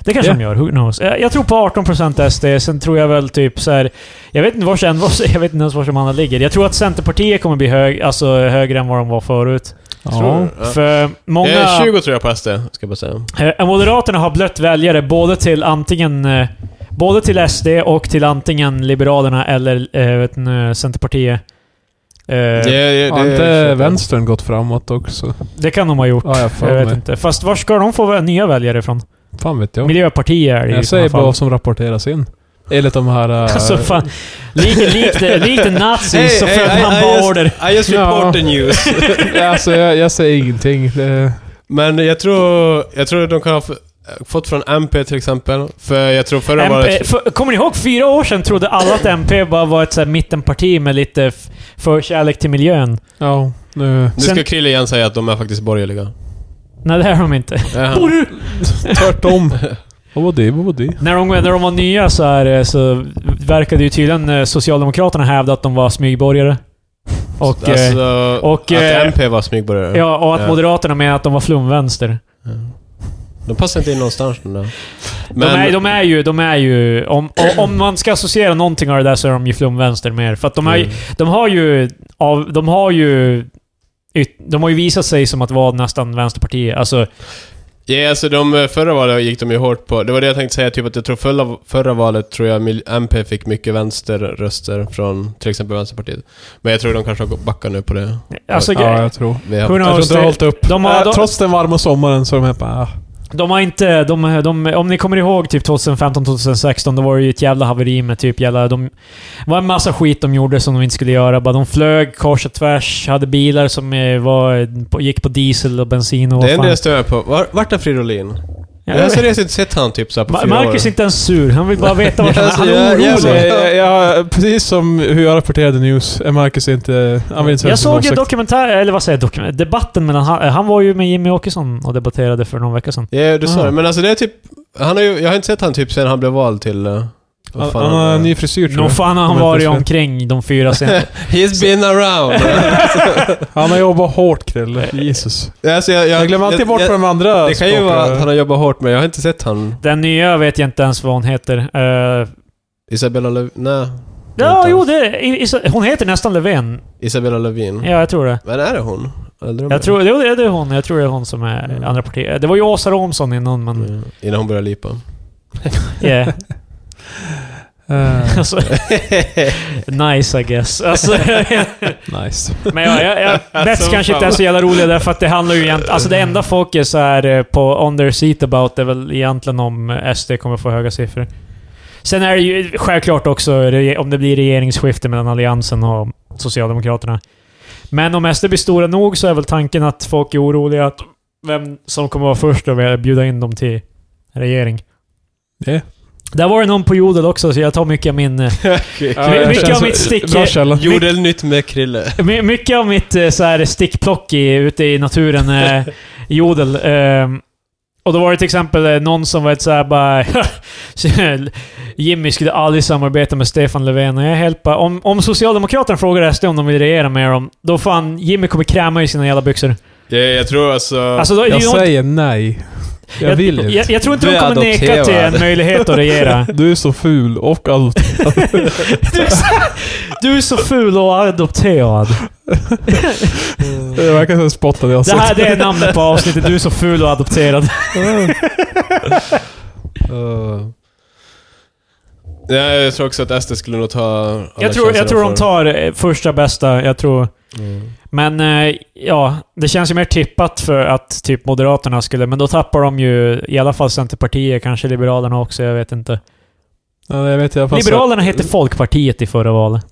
[SPEAKER 1] Det kanske
[SPEAKER 2] Ja.
[SPEAKER 1] de gör, who knows? Jag, jag tror på 18% SD, sen tror jag väl typ så här. Jag vet inte vars en, jag vet inte ens vars de andra ligger. Jag tror att Centerpartiet kommer bli hög, alltså högre än vad de var förut.
[SPEAKER 2] Ja.
[SPEAKER 1] För många...
[SPEAKER 3] Eh, 20 tror jag på SD, ska jag bara säga.
[SPEAKER 1] Eh, Moderaterna har blött väljare både till antingen eh, både till SD och till antingen Liberalerna eller eh, vet ni, Centerpartiet. Eh, det...
[SPEAKER 2] Har inte vänstern gått framåt också?
[SPEAKER 1] kan de ha gjort.
[SPEAKER 2] Ja, jag
[SPEAKER 1] jag
[SPEAKER 2] för
[SPEAKER 1] vet
[SPEAKER 2] mig.
[SPEAKER 1] inte. Fast var ska de få vä- nya väljare ifrån?
[SPEAKER 2] Fan vet jag.
[SPEAKER 1] Miljöpartiet är det ju i
[SPEAKER 2] Jag
[SPEAKER 1] sådana
[SPEAKER 2] säger bara
[SPEAKER 1] fall.
[SPEAKER 2] vad som rapporteras in. Enligt de här... eh,
[SPEAKER 1] Alltså fan. Likt lik, lik en nazi så följde han bara order.
[SPEAKER 3] I just report the news.
[SPEAKER 2] alltså jag, jag säger ingenting. Det,
[SPEAKER 3] Men jag tror, jag tror de kan ha f- fått från MP till exempel. För jag tror förra
[SPEAKER 1] MP,
[SPEAKER 3] valet...
[SPEAKER 1] för, kommer ni ihåg? Fyra år sedan trodde alla att MP bara var ett så här mittenparti med lite f- förkärlek till miljön.
[SPEAKER 2] ja, nu...
[SPEAKER 3] Nu
[SPEAKER 1] sen-
[SPEAKER 3] ska Krille igen säga att de är faktiskt borgerliga.
[SPEAKER 1] Nej, det är de inte.
[SPEAKER 3] Ja.
[SPEAKER 2] Tvärtom. Vad var det? Vad var det?
[SPEAKER 1] När de, när de var nya så, här, eh, så verkade ju tydligen eh, Socialdemokraterna hävda att de var smygborgare. Och, eh,
[SPEAKER 3] alltså,
[SPEAKER 1] och,
[SPEAKER 3] att
[SPEAKER 1] eh,
[SPEAKER 3] MP var smygborgare.
[SPEAKER 1] ja, och att
[SPEAKER 3] ja.
[SPEAKER 1] Moderaterna menar att de var flumvänster.
[SPEAKER 3] De passar inte in någonstans de där.
[SPEAKER 1] De är, de är ju... De är ju om, o- om man ska associera någonting av det där så är de ju flumvänster mer. För att de, är,
[SPEAKER 2] Mm.
[SPEAKER 1] ju- de har ju... Av, de har ju... yt- De har ju visat sig som att vara nästan Vänsterpartiet. Alltså,
[SPEAKER 3] Ja, alltså de förra valet gick de ju hårt på. Det var det jag tänkte säga, typ att jag tror förra, förra valet tror jag mil- MP fick mycket vänsterröster från till exempel Vänsterpartiet. Men jag tror de kanske har backar nu på det.
[SPEAKER 1] alltså
[SPEAKER 2] Ja, jag tror.
[SPEAKER 3] Vi har-
[SPEAKER 1] Hur
[SPEAKER 2] Jag tror inte det har hållit upp.
[SPEAKER 1] de har,
[SPEAKER 2] Eh,
[SPEAKER 1] de,
[SPEAKER 2] Trots den varma sommaren så är de här bara... ah.
[SPEAKER 1] De har inte... De, de, om ni kommer ihåg typ 2015-2016, då var det ju ett jävla haveri med typ jävla... De, det var en massa skit de gjorde som de inte skulle göra. Bara de flög kors och tvärs, hade bilar som eh, var, på, gick på diesel och bensin och
[SPEAKER 3] det är
[SPEAKER 1] vad
[SPEAKER 3] en del jag
[SPEAKER 1] fan.
[SPEAKER 3] stör mig på. Var, vart är Fridolin?
[SPEAKER 1] Ja,
[SPEAKER 3] jag har seriöst inte sett han typ så här på
[SPEAKER 1] Ma-
[SPEAKER 3] fyra
[SPEAKER 1] Marcus är
[SPEAKER 3] år.
[SPEAKER 1] inte ens sur. Han vill bara veta vad som
[SPEAKER 3] Alltså,
[SPEAKER 1] Han är
[SPEAKER 3] jag- jag-
[SPEAKER 2] Alltså,
[SPEAKER 1] orolig.
[SPEAKER 3] jag-
[SPEAKER 2] jag, jag, precis som hur jag rapporterade news, är Marcus inte... Han vill inte säga
[SPEAKER 1] Jag
[SPEAKER 2] som
[SPEAKER 1] såg ju
[SPEAKER 2] åsikt.
[SPEAKER 1] dokumentär... Eller vad säger jag? Dokumentär, debatten mellan... Han, han var ju med Jimmy Åkesson och debatterade för någon vecka sedan.
[SPEAKER 3] Ja, du sa
[SPEAKER 2] Ah.
[SPEAKER 3] det. Men alltså det är typ... Han har ju, jag har inte sett han typ sen han blev vald till... eh, vad
[SPEAKER 2] Han,
[SPEAKER 3] fan
[SPEAKER 2] han har
[SPEAKER 3] var.
[SPEAKER 2] en ny frisyr tror
[SPEAKER 1] Nog
[SPEAKER 2] jag.
[SPEAKER 1] fan har han
[SPEAKER 2] Men
[SPEAKER 1] varit
[SPEAKER 2] precis.
[SPEAKER 1] omkring de fyra senaste...
[SPEAKER 3] He's been around!
[SPEAKER 2] Han har jobbat hårt Krille. Jesus.
[SPEAKER 3] alltså, jag, jag,
[SPEAKER 2] Jag glömmer alltid
[SPEAKER 3] jag-
[SPEAKER 2] bort
[SPEAKER 3] jag-
[SPEAKER 2] de andra
[SPEAKER 3] Det kan ju
[SPEAKER 2] språken.
[SPEAKER 3] vara att han har jobbat hårt med. Jag har inte sett han.
[SPEAKER 1] Den nya vet jag inte ens vad hon heter. Eh,
[SPEAKER 3] Isabella Löv... Nej.
[SPEAKER 1] Ja,
[SPEAKER 3] Inte
[SPEAKER 1] jo
[SPEAKER 3] alls.
[SPEAKER 1] det... i- i- Hon heter nästan Löfven.
[SPEAKER 3] Isabella Lövin.
[SPEAKER 2] Mm.
[SPEAKER 1] Ja, jag tror det.
[SPEAKER 3] Men är det hon? Eller är det
[SPEAKER 1] Jag tror, jo, det är hon. Jag tror det är hon som är
[SPEAKER 3] Mm.
[SPEAKER 1] andra partiet. Det var ju Åsa Romson innan, men...
[SPEAKER 3] Mm. Innan hon börjar lipa.
[SPEAKER 1] Yeah.
[SPEAKER 2] Eh,
[SPEAKER 1] Alltså, nice, I guess. Alltså,
[SPEAKER 2] nice.
[SPEAKER 1] men jag, jag, jag Bets
[SPEAKER 3] Alltså,
[SPEAKER 1] kanske
[SPEAKER 3] fan.
[SPEAKER 1] inte är så jävla roliga därför att det handlar ju egentligen... Alltså det enda folk är så här eh, på on their seat about är väl egentligen om eh, SD kommer få höga siffror. Sen är det ju självklart också re- om det blir regeringsskifte mellan Alliansen och Socialdemokraterna. Men om SD blir stora nog så är väl tanken att folk är oroliga att vem som kommer vara först och vill bjuda in dem till regering.
[SPEAKER 2] Yeah.
[SPEAKER 1] Där var det någon på Jodel också, så jag tar mycket av min... eh,
[SPEAKER 2] Ja,
[SPEAKER 1] My-
[SPEAKER 2] det
[SPEAKER 1] mycket
[SPEAKER 2] känns
[SPEAKER 1] av mitt stick-
[SPEAKER 2] Bra källa.
[SPEAKER 3] Jodelnytt med Krille.
[SPEAKER 1] My- Mycket av mitt eh, så här, stickplock i, ute i naturen, eh, jodel. ehm, och då var det till exempel eh, någon som var ett så här bara... så här, Jimmy skulle aldrig samarbeta med Stefan Löfven. Och jag är helt bara, om, om Socialdemokraterna frågar SD om de vill regera med dem, då fan Jimmy kommer kräma i sina jävla byxor.
[SPEAKER 3] Ja, jag tror alltså...
[SPEAKER 1] Alltså, då, är det
[SPEAKER 2] Jag
[SPEAKER 1] ju någon-
[SPEAKER 2] säger nej. Jag vill inte.
[SPEAKER 1] jag, jag tror inte
[SPEAKER 3] Du
[SPEAKER 1] de
[SPEAKER 3] är
[SPEAKER 1] kommer neka till en
[SPEAKER 3] adopterad.
[SPEAKER 1] möjlighet att regera.
[SPEAKER 2] Du är så ful och allt.
[SPEAKER 1] Du är så ful och adopterad.
[SPEAKER 2] Det verkar som en spott hade jag
[SPEAKER 1] Det här
[SPEAKER 2] sett.
[SPEAKER 1] det är namnet på avsnittet. Du är så ful och adopterad.
[SPEAKER 3] Eh. Ja, jag tror också att SD skulle nog ta... alla
[SPEAKER 1] Jag tror,
[SPEAKER 3] chanser
[SPEAKER 1] jag tror de
[SPEAKER 3] får.
[SPEAKER 1] tar eh, första bästa. Jag tror...
[SPEAKER 3] Mm.
[SPEAKER 1] Men eh, ja, det känns ju mer tippat för att typ Moderaterna skulle... Men då tappar de ju i alla fall Centerpartiet, kanske Liberalerna också, jag vet inte.
[SPEAKER 2] Ja, jag vet, jag fast-
[SPEAKER 1] Liberalerna hette Folkpartiet i förra valet.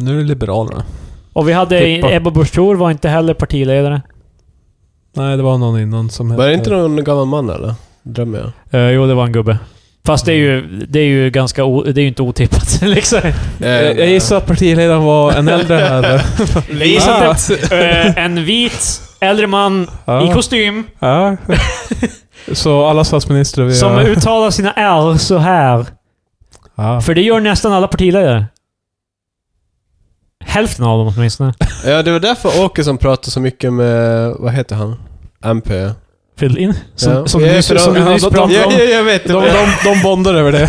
[SPEAKER 2] Nu är det Liberalerna.
[SPEAKER 1] Och vi hade...
[SPEAKER 2] Tippa.
[SPEAKER 1] Ebba Busch Thor var inte heller partiledare.
[SPEAKER 2] Nej, det var någon innan som
[SPEAKER 3] Var det inte någon gammal man eller? Drömmer jag.
[SPEAKER 1] Eh, jo, det var en gubbe. Fast det är ju, det är ju ganska o, Det är ju inte otippat liksom.
[SPEAKER 3] Eh,
[SPEAKER 2] Jag, jag gissar att partiledaren var en äldre Ah. herre.
[SPEAKER 1] Jag gissar att eh, en vit äldre man i
[SPEAKER 2] Ja.
[SPEAKER 1] kostym
[SPEAKER 2] Ja. Ah. Så alla statsministrar vi
[SPEAKER 1] som
[SPEAKER 2] har-
[SPEAKER 1] uttalar sina R så här.
[SPEAKER 2] ja.
[SPEAKER 1] För det gör nästan alla partiledare. Hälften av dem åtminstone.
[SPEAKER 3] Ja, det var därför Åkesson pratade så mycket med, vad heter han? MP.
[SPEAKER 1] Fyll in. Som,
[SPEAKER 3] Ja.
[SPEAKER 1] som
[SPEAKER 3] Ja,
[SPEAKER 1] du nyss,
[SPEAKER 3] för de-
[SPEAKER 1] som du
[SPEAKER 2] ja,
[SPEAKER 1] nyss
[SPEAKER 2] de- de-
[SPEAKER 1] pratade
[SPEAKER 3] Ja,
[SPEAKER 1] om.
[SPEAKER 3] ja, jag vet.
[SPEAKER 2] De, de, de bondar över det.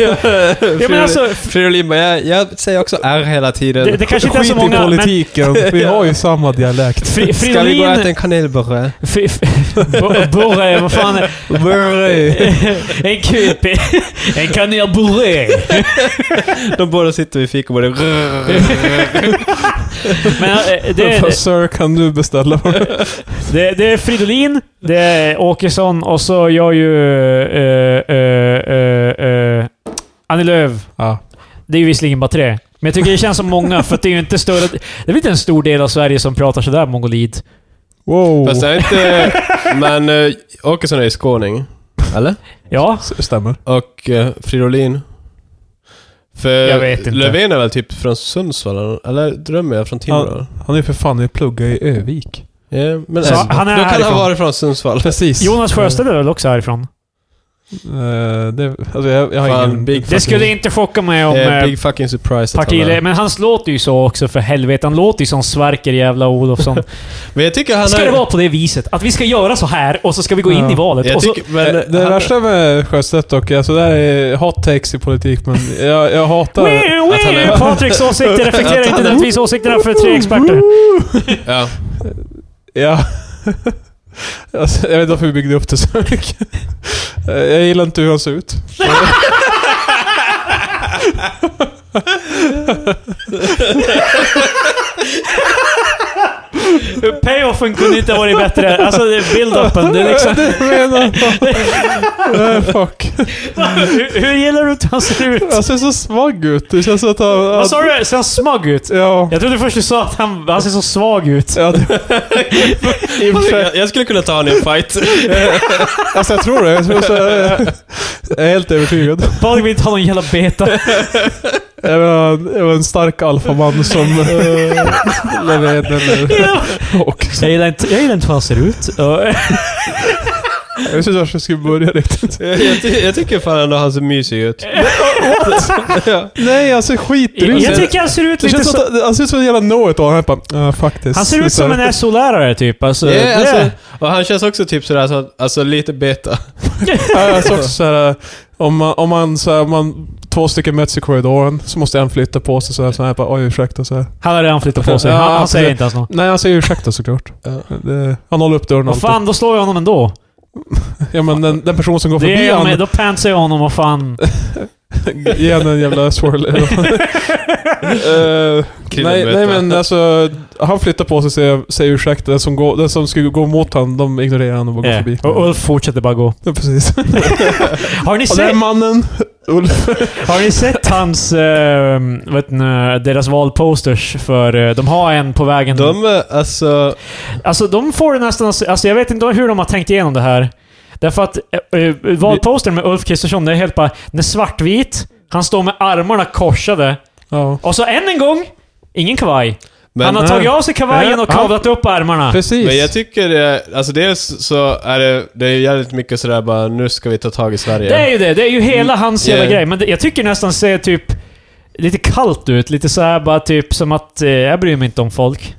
[SPEAKER 1] Ja, men alltså,
[SPEAKER 3] Fridolin bara, jag, jag säger också R hela tiden.
[SPEAKER 1] det, det kanske inte är så
[SPEAKER 2] Skit i
[SPEAKER 1] många, men
[SPEAKER 2] politiken. Vi har ju samma dialekt.
[SPEAKER 1] Fri-
[SPEAKER 3] Ska vi gå och äta
[SPEAKER 1] Fridolin...
[SPEAKER 3] en kanelburre?
[SPEAKER 1] Fri- bu- Burre, vad fan är En kupi. En kanelburre.
[SPEAKER 3] De båda sitter vid fikabordet.
[SPEAKER 1] Men eh, det,
[SPEAKER 2] Det, Sir, kan du beställa?
[SPEAKER 1] det, det är Fridolin, det är Åkesson och så gör ju eh, eh, eh, eh, Annie Lööf.
[SPEAKER 2] ja.
[SPEAKER 1] Det är ju visserligen bara tre. Men jag tycker det känns som många, för att det är ju inte större... Det är väl inte en stor del av Sverige som pratar sådär mongolid?
[SPEAKER 2] Wow.
[SPEAKER 3] Fast det är inte... Men eh, Åkesson är ju skåning. Eller?
[SPEAKER 1] Ja.
[SPEAKER 2] S- Stämmer.
[SPEAKER 3] Och eh, Fridolin. För
[SPEAKER 1] Jag vet inte.
[SPEAKER 3] Löfven är väl typ från Sundsvall? Eller drömmer jag? Från Timrå?
[SPEAKER 2] Han är ju för fan jag pluggar i Övik.
[SPEAKER 3] Ja. men
[SPEAKER 1] Så
[SPEAKER 3] eh,
[SPEAKER 1] han är
[SPEAKER 3] då kan
[SPEAKER 1] härifrån.
[SPEAKER 3] han vara från Sundsvall.
[SPEAKER 2] Precis.
[SPEAKER 1] Jonas Sjöstedt är väl också härifrån?
[SPEAKER 2] Eh, det, alltså jag, jag har
[SPEAKER 3] Fan,
[SPEAKER 2] ingen...
[SPEAKER 3] big
[SPEAKER 1] Det skulle inte chocka mig om...
[SPEAKER 3] Eh,
[SPEAKER 1] eh,
[SPEAKER 3] big fucking surprise att han
[SPEAKER 1] partiledare.
[SPEAKER 3] är.
[SPEAKER 1] Men hans låter ju så också för helvete. Han låter ju som Sverker jävla Olofsson.
[SPEAKER 3] Men jag tycker han
[SPEAKER 1] Ska
[SPEAKER 3] är...
[SPEAKER 1] det vara på det viset? Att vi ska göra så här och så ska vi gå in
[SPEAKER 2] Ja.
[SPEAKER 1] i valet?
[SPEAKER 3] Jag
[SPEAKER 1] Och så, Eh,
[SPEAKER 3] tycker, men,
[SPEAKER 2] det Eh, det
[SPEAKER 3] han,
[SPEAKER 2] värsta med Sjöstedt dock, alltså det här är hot takes i politik, men jag, jag hatar...
[SPEAKER 1] Wee,
[SPEAKER 3] att han
[SPEAKER 1] wee,
[SPEAKER 3] är-
[SPEAKER 1] Patriks åsikter reflekterar
[SPEAKER 3] Att han
[SPEAKER 1] inte
[SPEAKER 3] är-
[SPEAKER 1] nödvändigtvis åsikterna för tre experter.
[SPEAKER 3] Ja.
[SPEAKER 2] Ja. Alltså, jag vet inte varför vi byggde upp det så mycket. Eh, Jag gillar inte hur han ser ut.
[SPEAKER 1] Payoffen kunde inte ha varit bättre. Alltså, det är build-upen. Det är liksom,
[SPEAKER 2] Det menar jag. Eh, Fuck.
[SPEAKER 1] hur, hur gillar du hur han ser ut?
[SPEAKER 2] Han ser så svag ut. Det känns som att han...
[SPEAKER 1] Vad sa du? Ser han smug ut?
[SPEAKER 2] Ja.
[SPEAKER 1] Jag trodde först du sa att han, han ser så svag ut.
[SPEAKER 2] Ja, det, i och för sig.
[SPEAKER 3] Jag, jag skulle kunna ta honom i en fight.
[SPEAKER 2] Alltså jag tror det. Jag, tror så, jag är helt övertygad.
[SPEAKER 1] Bara vi inte har någon jävla beta.
[SPEAKER 2] Jag var, jag var en stark alfaman som... eh, Löfven eller... Och,
[SPEAKER 1] Jag gillar inte, jag gillar inte hur han ser ut. Och-
[SPEAKER 2] jag vet inte varför jag skulle börja riktigt.
[SPEAKER 3] jag, ty, jag tycker fan ändå han ser mysig ut. ja.
[SPEAKER 2] Nej, han ser skitrusig
[SPEAKER 1] Jag
[SPEAKER 2] ut.
[SPEAKER 1] tycker han ser ut
[SPEAKER 2] Det
[SPEAKER 1] lite
[SPEAKER 2] känns
[SPEAKER 1] så...
[SPEAKER 2] som att han ser ut som en jävla know-it all. Han är bara, ja, faktiskt.
[SPEAKER 1] Han ser ut som en SO-lärare typ. Alltså,
[SPEAKER 3] Ja,
[SPEAKER 1] det-
[SPEAKER 3] alltså, och han känns också typ sådär, så, alltså lite beta.
[SPEAKER 2] Ja, jag ser också så här, eh, om man, om man, så här, om man två stycken möts i korridoren så måste en flytta på sig så här, så här bara, oj ursäkta så här.
[SPEAKER 1] Han har redan flyttat på sig.
[SPEAKER 2] Ja,
[SPEAKER 1] Han, han
[SPEAKER 2] absolut.
[SPEAKER 1] säger inte ens något.
[SPEAKER 2] Nej, han säger ursäkta såklart.
[SPEAKER 3] Ja.
[SPEAKER 2] Det, han håller upp dörren
[SPEAKER 1] Vad fan, då slår jag honom ändå.
[SPEAKER 2] Ja men den, den person som går
[SPEAKER 1] Det
[SPEAKER 2] förbi
[SPEAKER 1] är jag med,
[SPEAKER 2] han,
[SPEAKER 1] då pantsar jag honom och fan...
[SPEAKER 2] ge henne en jävla swirl. Eh, nej,
[SPEAKER 3] Killen
[SPEAKER 2] nej
[SPEAKER 3] vet
[SPEAKER 2] men
[SPEAKER 3] det.
[SPEAKER 2] alltså, han flyttar på sig och säger, säger ursäkta. Den som, går, den som skulle gå mot honom, de ignorerar honom och bara går
[SPEAKER 1] Yeah.
[SPEAKER 2] förbi.
[SPEAKER 1] Och Ulf fortsätter bara gå.
[SPEAKER 2] Ja, precis.
[SPEAKER 1] Har ni
[SPEAKER 2] Och den
[SPEAKER 1] sett,
[SPEAKER 2] mannen, Ulf.
[SPEAKER 1] har ni sett hans... eh, vet ni, deras valposters? För eh, de har en på vägen.
[SPEAKER 3] De, eh, alltså...
[SPEAKER 1] Alltså de får det nästan... Alltså jag vet inte hur de har tänkt igenom det här. Därför att eh, eh, valpostern med Ulf Kristersson, det är helt bara... Den är svartvit. Han står med armarna korsade.
[SPEAKER 2] Ja,
[SPEAKER 1] Och så än en gång, ingen kavaj.
[SPEAKER 3] Men,
[SPEAKER 1] han har tagit av sig kavajen
[SPEAKER 2] Ja,
[SPEAKER 1] och kavlat upp ärmarna.
[SPEAKER 2] precis.
[SPEAKER 3] men jag tycker, eh, alltså dels så är det, det är ju jävligt mycket sådär bara, nu ska vi ta tag i Sverige.
[SPEAKER 1] Det är ju det. Det är ju hela hans jävla
[SPEAKER 3] Yeah.
[SPEAKER 1] grej. Men det, jag tycker nästan ser typ lite kallt ut. Lite så här bara typ som att eh, jag bryr mig inte om folk.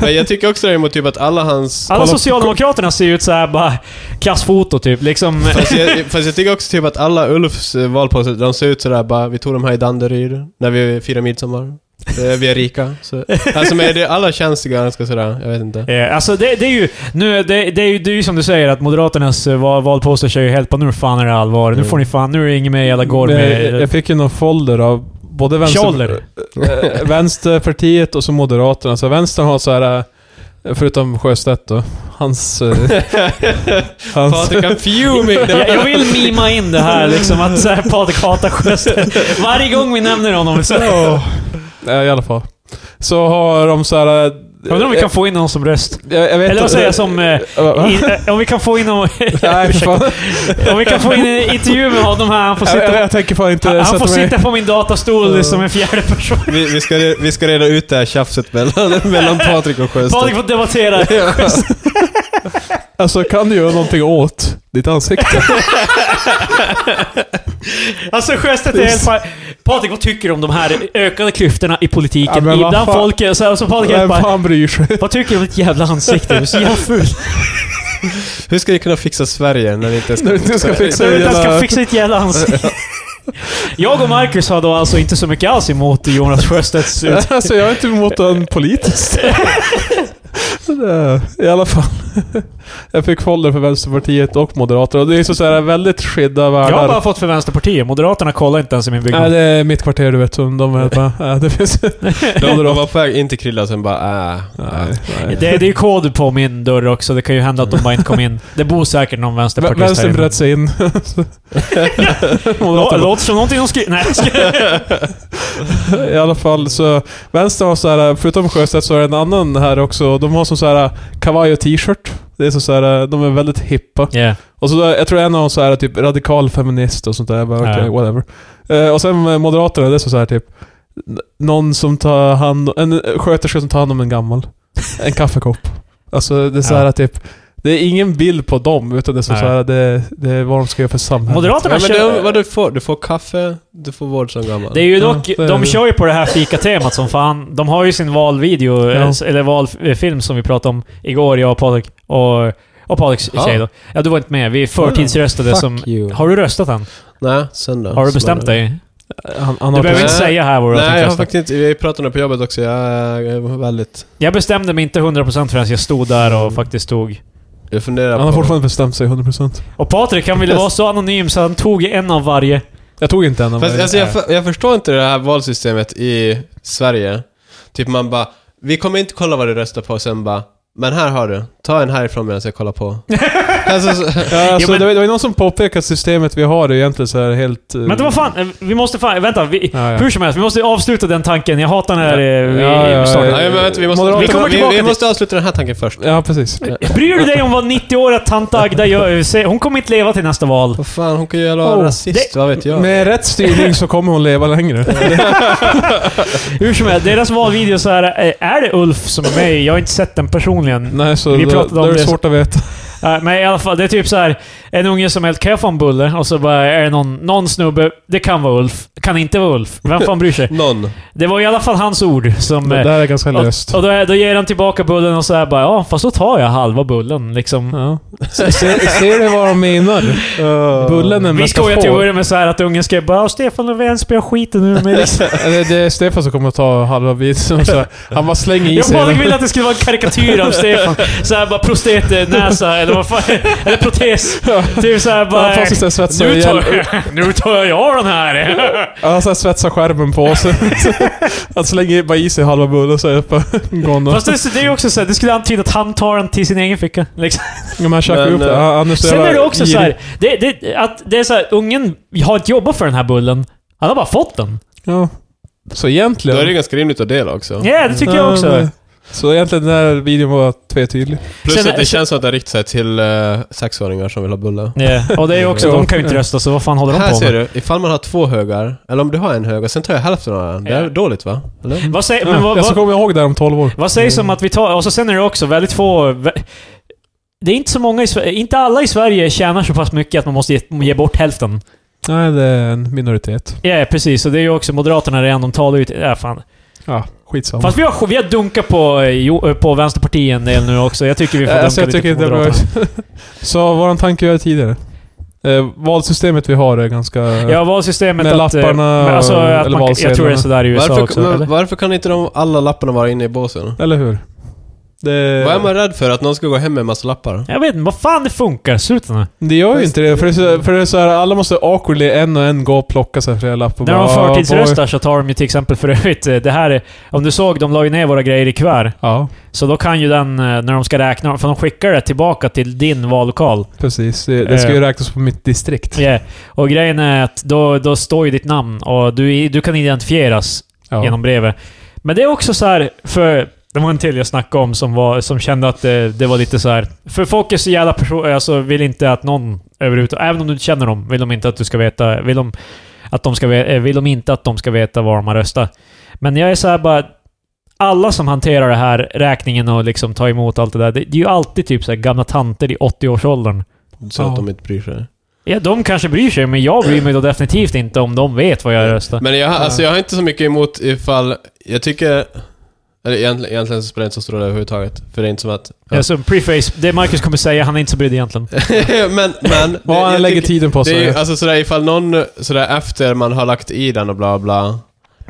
[SPEAKER 3] Men jag tycker också däremot typ att alla hans...
[SPEAKER 1] Alla
[SPEAKER 2] Kolla-
[SPEAKER 1] Socialdemokraterna ser ju ut så här bara kassfoto typ. Liksom...
[SPEAKER 3] Fast jag, fast jag tycker också typ att alla Ulfs eh, valposter, de ser ut sådär bara, vi tog de här i Danderyd när vi firar midsommar. Eh, Vi är rika. Så. Alltså men det, alla känns ju ganska sådär, jag vet inte.
[SPEAKER 1] Eh, alltså det, det är ju... Nu, är det, det, är ju, det är ju som du säger att Moderaternas eh, val, valposter kör ju helt på nu fan är det allvar. Nu får ni fan... Nu är det inget mer jävla gård
[SPEAKER 2] Mm. Men eh, jag,
[SPEAKER 1] med... eh,
[SPEAKER 2] jag fick ju någon folder av både vänster,
[SPEAKER 1] Tjoller.
[SPEAKER 2] eh, Vänsterpartiet och så Moderaterna. Så vänstern har så här eh, förutom Sjöstedt då, hans... eh, hans
[SPEAKER 3] Patrik är fuming!
[SPEAKER 1] Jag, jag vill mima in det här liksom att så här, Patrik hatar Sjöstedt. Varje gång vi nämner honom så...
[SPEAKER 2] Ja, I alla fall. Så har de så här eh,
[SPEAKER 1] Jag undrar om vi kan få in någon som röst.
[SPEAKER 2] Jag, jag vet
[SPEAKER 1] Eller vad
[SPEAKER 2] inte.
[SPEAKER 1] säger jag som... eh,
[SPEAKER 2] Va- va?
[SPEAKER 1] i- eh, om vi kan få in någon...
[SPEAKER 2] Nej, för
[SPEAKER 1] Ursäkta.
[SPEAKER 2] fan.
[SPEAKER 1] om vi kan få in en intervju med honom här. Han får
[SPEAKER 2] Jag, jag,
[SPEAKER 1] sitta,
[SPEAKER 2] jag tänker fan inte
[SPEAKER 1] han, han
[SPEAKER 2] sätta
[SPEAKER 1] får
[SPEAKER 2] mig-
[SPEAKER 1] sitta på min datastol
[SPEAKER 3] Ja.
[SPEAKER 1] som en fjärde person.
[SPEAKER 3] Vi, vi, ska, re- vi ska reda ut det här tjafset mellan, mellan Patrik och Sjöstedt.
[SPEAKER 1] Patrik får debattera.
[SPEAKER 2] Alltså, kan du göra någonting åt ditt ansikte?
[SPEAKER 1] Alltså Sjöstedt är helt pa- Patrik, vad tycker du om de här ökade klyftorna i
[SPEAKER 2] Ja,
[SPEAKER 1] politiken?
[SPEAKER 2] men vad
[SPEAKER 1] Ibland
[SPEAKER 2] fan-
[SPEAKER 1] folket... Så, alltså Patrik är
[SPEAKER 2] Vem
[SPEAKER 1] helt bara...
[SPEAKER 2] fan bryr sig?
[SPEAKER 1] Vad tycker du om ditt jävla ansikte? Du är så jävla ful.
[SPEAKER 3] Hur ska ni kunna fixa Sverige när ni inte
[SPEAKER 2] När du inte ska fixa
[SPEAKER 1] Så
[SPEAKER 2] det
[SPEAKER 1] jag ska
[SPEAKER 2] jävla-
[SPEAKER 1] fixa ditt jävla ansikte. Jag och Marcus har då alltså inte så mycket alls emot Jonas Sjöstedts ut.
[SPEAKER 2] Alltså, jag är inte emot den politiskt. Så där, I alla fall. Jag fick folder för Vänsterpartiet och Moderaterna. Och det är så så här väldigt skilda
[SPEAKER 1] Jag har
[SPEAKER 2] världar.
[SPEAKER 1] bara fått för Vänsterpartiet. Moderaterna kollar inte ens i min
[SPEAKER 2] Nej,
[SPEAKER 1] byggnad.
[SPEAKER 2] det är mitt kvarter du vet, som de är bara, ja, det finns...
[SPEAKER 3] De, de var på väg in till Krilla sen bara äh,
[SPEAKER 2] Nej, nej.
[SPEAKER 1] Det, det är ju kod på min dörr också. Det kan ju hända att de bara inte kom in. Det bor säkert någon
[SPEAKER 2] Vä-
[SPEAKER 1] vänsterpartist här
[SPEAKER 2] Vänstern
[SPEAKER 1] inne.
[SPEAKER 2] bröt sig in.
[SPEAKER 1] Lå-
[SPEAKER 2] Moderaterna.
[SPEAKER 1] Låter som någonting de skriver... Nej, jag ska-
[SPEAKER 2] I alla fall så, vänstern har så här, förutom Sjöstedt så är det en annan här också. De har som så här kavaj och t-shirt. Det är så, så här, de är väldigt hippa.
[SPEAKER 1] yeah.
[SPEAKER 2] Och så, jag tror en av dem så här typ radikal feminist och sånt där. Jag bara,
[SPEAKER 1] Ja.
[SPEAKER 2] okej, whatever. Eh, och sen eh, Moderaterna, det är så, så här typ, n- någon som tar hand en sköterska som tar hand om en gammal. En kaffekopp. Alltså det är så
[SPEAKER 1] Ja.
[SPEAKER 2] här typ, det är ingen bild på dem, utan det är så,
[SPEAKER 1] Nej.
[SPEAKER 2] så här, det, det är vad de ska göra för samhället.
[SPEAKER 1] Moderaterna
[SPEAKER 3] Ja, men
[SPEAKER 1] kör...
[SPEAKER 3] det, vad du, får, du får kaffe, du får vård som gammal.
[SPEAKER 1] Det är ju dock,
[SPEAKER 2] Ja, det är
[SPEAKER 1] de
[SPEAKER 2] det.
[SPEAKER 1] kör ju på det här fikatemat som fan. De har ju sin valvideo,
[SPEAKER 2] Ja.
[SPEAKER 1] eh, eller valfilm som vi pratade om igår, jag och Patrik. Och, och Patriks
[SPEAKER 3] Ja.
[SPEAKER 1] tjej då. Ja, du var inte med. Vi förtidsröstade
[SPEAKER 3] Fuck
[SPEAKER 1] som...
[SPEAKER 3] you.
[SPEAKER 1] Har du röstat än?
[SPEAKER 3] Nej, söndag.
[SPEAKER 1] Har du bestämt dig?
[SPEAKER 2] Han, han
[SPEAKER 1] Du
[SPEAKER 2] har
[SPEAKER 1] behöver
[SPEAKER 3] Nej.
[SPEAKER 1] inte säga här vad du har
[SPEAKER 3] Nej, jag har
[SPEAKER 1] tänkt rösta.
[SPEAKER 3] faktiskt inte... Vi pratade om det på jobbet också. Jag är väldigt...
[SPEAKER 1] Jag bestämde mig inte 100% förrän jag stod där
[SPEAKER 2] Mm.
[SPEAKER 1] och faktiskt tog...
[SPEAKER 3] Jag funderar
[SPEAKER 2] Han
[SPEAKER 3] på...
[SPEAKER 2] har fortfarande bestämt sig 100%.
[SPEAKER 1] Och Patrik, han ville vara så anonym så han tog en av varje.
[SPEAKER 2] Jag tog inte en av
[SPEAKER 3] Fast,
[SPEAKER 2] varje.
[SPEAKER 3] alltså, jag, för- jag förstår inte det här valsystemet i Sverige. Typ man bara... Vi kommer inte kolla vad du röstar på, sen bara... Men här har du. Ta en härifrån medan jag kollar på. alltså, så,
[SPEAKER 2] Ja, alltså,
[SPEAKER 1] Jo, men-
[SPEAKER 2] det, var, det var ju någon som påpekade att systemet vi har är egentligen så här helt... eh,
[SPEAKER 1] Men det var fan... eh, Vi måste fan... Vänta, vi,
[SPEAKER 2] Ja, ja.
[SPEAKER 1] hur som helst. Vi måste avsluta den tanken. Jag hatar när eh, vi
[SPEAKER 2] Ja, ja, ja.
[SPEAKER 1] startar.
[SPEAKER 3] nej, men vänta, vi måste...
[SPEAKER 2] Moderaterna-
[SPEAKER 1] Vi kommer
[SPEAKER 3] vi,
[SPEAKER 1] tillbaka
[SPEAKER 3] vi
[SPEAKER 1] till-
[SPEAKER 3] måste avsluta den här tanken först.
[SPEAKER 2] Ja, precis.
[SPEAKER 1] Bryr du dig om vad 90-åriga tant Agda gör? Se, Hon kommer inte leva till nästa val.
[SPEAKER 3] Vad fan, hon kan ju vara
[SPEAKER 2] Oh,
[SPEAKER 3] rasist, vad vet jag?
[SPEAKER 2] Med rätt styrning så kommer hon leva längre.
[SPEAKER 1] Hur som helst, deras valvideo så här, eh, är det Ulf som är med i? Jag har inte sett den personligen.
[SPEAKER 2] Nej, så
[SPEAKER 1] Vi
[SPEAKER 2] då,
[SPEAKER 1] pratade om
[SPEAKER 2] då är
[SPEAKER 1] det.
[SPEAKER 2] det svårt att veta.
[SPEAKER 1] Eh, Men i alla fall, det är typ så här en unge som helt kan jag få en bulle? Och så bara är det någon, någon snubbe, det kan vara Ulf, kan inte vara Ulf. Vem fan bryr sig?
[SPEAKER 3] Någon.
[SPEAKER 1] Det var i alla fall hans ord som...
[SPEAKER 2] Det
[SPEAKER 1] eh,
[SPEAKER 2] där är ganska
[SPEAKER 1] och,
[SPEAKER 2] löst.
[SPEAKER 1] och då, då ger han tillbaka bullen och så här bara ja, fast då tar jag halva bullen liksom.
[SPEAKER 2] Ja. Se- Ser du vad de menar? Bullen är
[SPEAKER 1] Oh. Vi
[SPEAKER 2] mest
[SPEAKER 1] skojar till att börja med så här att ungen ska bara "Ja, Stefan Löfven spöar skiten nu med liksom.
[SPEAKER 2] Det det är Stefan som kommer att ta halva biten. så här. Han bara slänger i
[SPEAKER 1] Jag
[SPEAKER 2] sig
[SPEAKER 1] bara
[SPEAKER 2] den.
[SPEAKER 1] ville att det skulle vara en karikatyr av Stefan. Såhär bara prostetnäsa eller vad fan. Eller protes. Typ såhär bara...
[SPEAKER 2] Han får sig svetsa
[SPEAKER 1] Nu
[SPEAKER 2] ihjäl.
[SPEAKER 1] tar, nu tar jag den här!
[SPEAKER 2] Han så här svetsa skärmen på sig. Han slänger bara i sig halva bullen och så är det bara... Gone.
[SPEAKER 1] Fast det, det är ju också såhär, det skulle antyda att han tar den till sin egen ficka. Liksom.
[SPEAKER 2] Men han käkar
[SPEAKER 3] Men, eh,
[SPEAKER 2] upp det. Han, han är så
[SPEAKER 1] Sen
[SPEAKER 2] jävla
[SPEAKER 1] är det också
[SPEAKER 2] girig.
[SPEAKER 1] såhär, det, det, att det är såhär, ungen har inte jobbat för den här bullen. Han har bara fått den.
[SPEAKER 2] Ja. Så
[SPEAKER 3] Då
[SPEAKER 2] egentligen...
[SPEAKER 3] är det ganska rimligt att dela också.
[SPEAKER 1] Ja, det tycker jag
[SPEAKER 2] Ja,
[SPEAKER 1] också. Eh,
[SPEAKER 2] men- Så egentligen den här videon var tvetydlig.
[SPEAKER 3] Plus
[SPEAKER 1] Sen-
[SPEAKER 3] att det känns som att det riktar sig till eh, sexåringar som vill ha bullar.
[SPEAKER 1] Ja, och det är ju också,
[SPEAKER 2] Ja.
[SPEAKER 1] de kan ju inte rösta, så vad fan håller de
[SPEAKER 3] Här
[SPEAKER 1] på
[SPEAKER 3] ser
[SPEAKER 1] med?
[SPEAKER 3] du, ifall man har två högar, eller om du har en hög och sen tar jag hälften av den. Det är
[SPEAKER 1] Ja.
[SPEAKER 3] dåligt va? Eller?
[SPEAKER 1] Vad säger,
[SPEAKER 2] ja,
[SPEAKER 1] men vad,
[SPEAKER 2] jag
[SPEAKER 1] vad,
[SPEAKER 2] ska komma ihåg det här om 12 år.
[SPEAKER 1] Vad sägs om att vi tar... Och så sen är det också väldigt få... vä- Det är inte så många i Sverige... Inte alla i Sverige tjänar så pass mycket att man måste ge, ge bort hälften.
[SPEAKER 2] Nej, det är en minoritet.
[SPEAKER 1] Ja, precis. Och det är ju också Moderaterna redan. De talar ut... Ja, fan.
[SPEAKER 2] Ja, skitsamma.
[SPEAKER 1] Fast vi har, vi har dunkat på, eh, jo- eh, på Vänsterpartiet en del nu också. Jag tycker vi får
[SPEAKER 2] Eh,
[SPEAKER 1] dunka
[SPEAKER 2] alltså, jag
[SPEAKER 1] lite
[SPEAKER 2] tycker
[SPEAKER 1] på
[SPEAKER 2] det var-
[SPEAKER 1] Moderaterna.
[SPEAKER 2] Så vår tanke var tidigare. Eh, valsystemet vi har är ganska...
[SPEAKER 1] Ja, valsystemet
[SPEAKER 2] Med
[SPEAKER 1] att... eh,
[SPEAKER 2] lapparna
[SPEAKER 1] men alltså,
[SPEAKER 2] och-
[SPEAKER 1] att
[SPEAKER 2] eller
[SPEAKER 1] man, jag tror det är
[SPEAKER 2] valsedlarna.
[SPEAKER 1] sådär i USA
[SPEAKER 3] Varför,
[SPEAKER 1] också.
[SPEAKER 3] men
[SPEAKER 1] eller?
[SPEAKER 3] varför kan inte de alla lapparna vara inne i båsen?
[SPEAKER 2] Eller hur? Det,
[SPEAKER 3] Vad är man rädd för? Att någon ska gå hem med en massa lappar?
[SPEAKER 1] Jag vet inte, vad fan det funkar. Sluta nu.
[SPEAKER 2] det gör ju inte det. För det är, så, för det är så här, alla måste awkwardly en och en gå och plocka sig flera lappar.
[SPEAKER 1] När de
[SPEAKER 2] Bara, ah, boy.
[SPEAKER 1] förtidsröstar så tar de ju till exempel för övrigt eh, det här... är- Om du såg, de la ju ner våra grejer i kuvert.
[SPEAKER 2] Ja,
[SPEAKER 1] Så då kan ju den, eh, när de ska räkna, för de skickar det tillbaka till din vallokal.
[SPEAKER 2] precis. Det, det ska ju
[SPEAKER 1] Eh.
[SPEAKER 2] räknas på mitt distrikt.
[SPEAKER 1] Yeah. Och grejen är att då, då står ju ditt namn och du, är- du kan identifieras
[SPEAKER 2] Ja.
[SPEAKER 1] genom brevet. Men det är också så här för Det var en till jag snackade om som, var, som kände att det, det var lite så här. För folk är så jävla person, alltså vill inte att någon överhuvudtaget... Även om du inte känner dem, vill de inte att du ska veta... Vill de, att de ska, ve- eh, vill de inte att de ska veta var de har röstat. Men jag är så här bara... Alla som hanterar det här, räkningen och liksom tar emot allt det där, det, det är ju alltid typ så här gamla tanter i 80-årsåldern.
[SPEAKER 3] Så
[SPEAKER 2] Ja.
[SPEAKER 3] att de inte bryr sig.
[SPEAKER 1] Ja, de kanske bryr sig, men jag bryr mig då definitivt inte om de vet vad jag röstar.
[SPEAKER 3] Men jag, alltså, jag har inte så mycket emot ifall... Jag tycker... Eller egentligen, egentligen så spelar det inte så stor roll överhuvudtaget. För det är inte som att... ja.
[SPEAKER 1] Alltså, preface. Det Marcus kommer säga, han är inte så brydd egentligen.
[SPEAKER 3] men, men...
[SPEAKER 2] Vad
[SPEAKER 3] jag
[SPEAKER 2] han lägger
[SPEAKER 3] tycker-
[SPEAKER 2] tiden på
[SPEAKER 3] Det är ju,
[SPEAKER 2] sig.
[SPEAKER 3] alltså sådär ifall någon, sådär efter man har lagt i den och bla bla.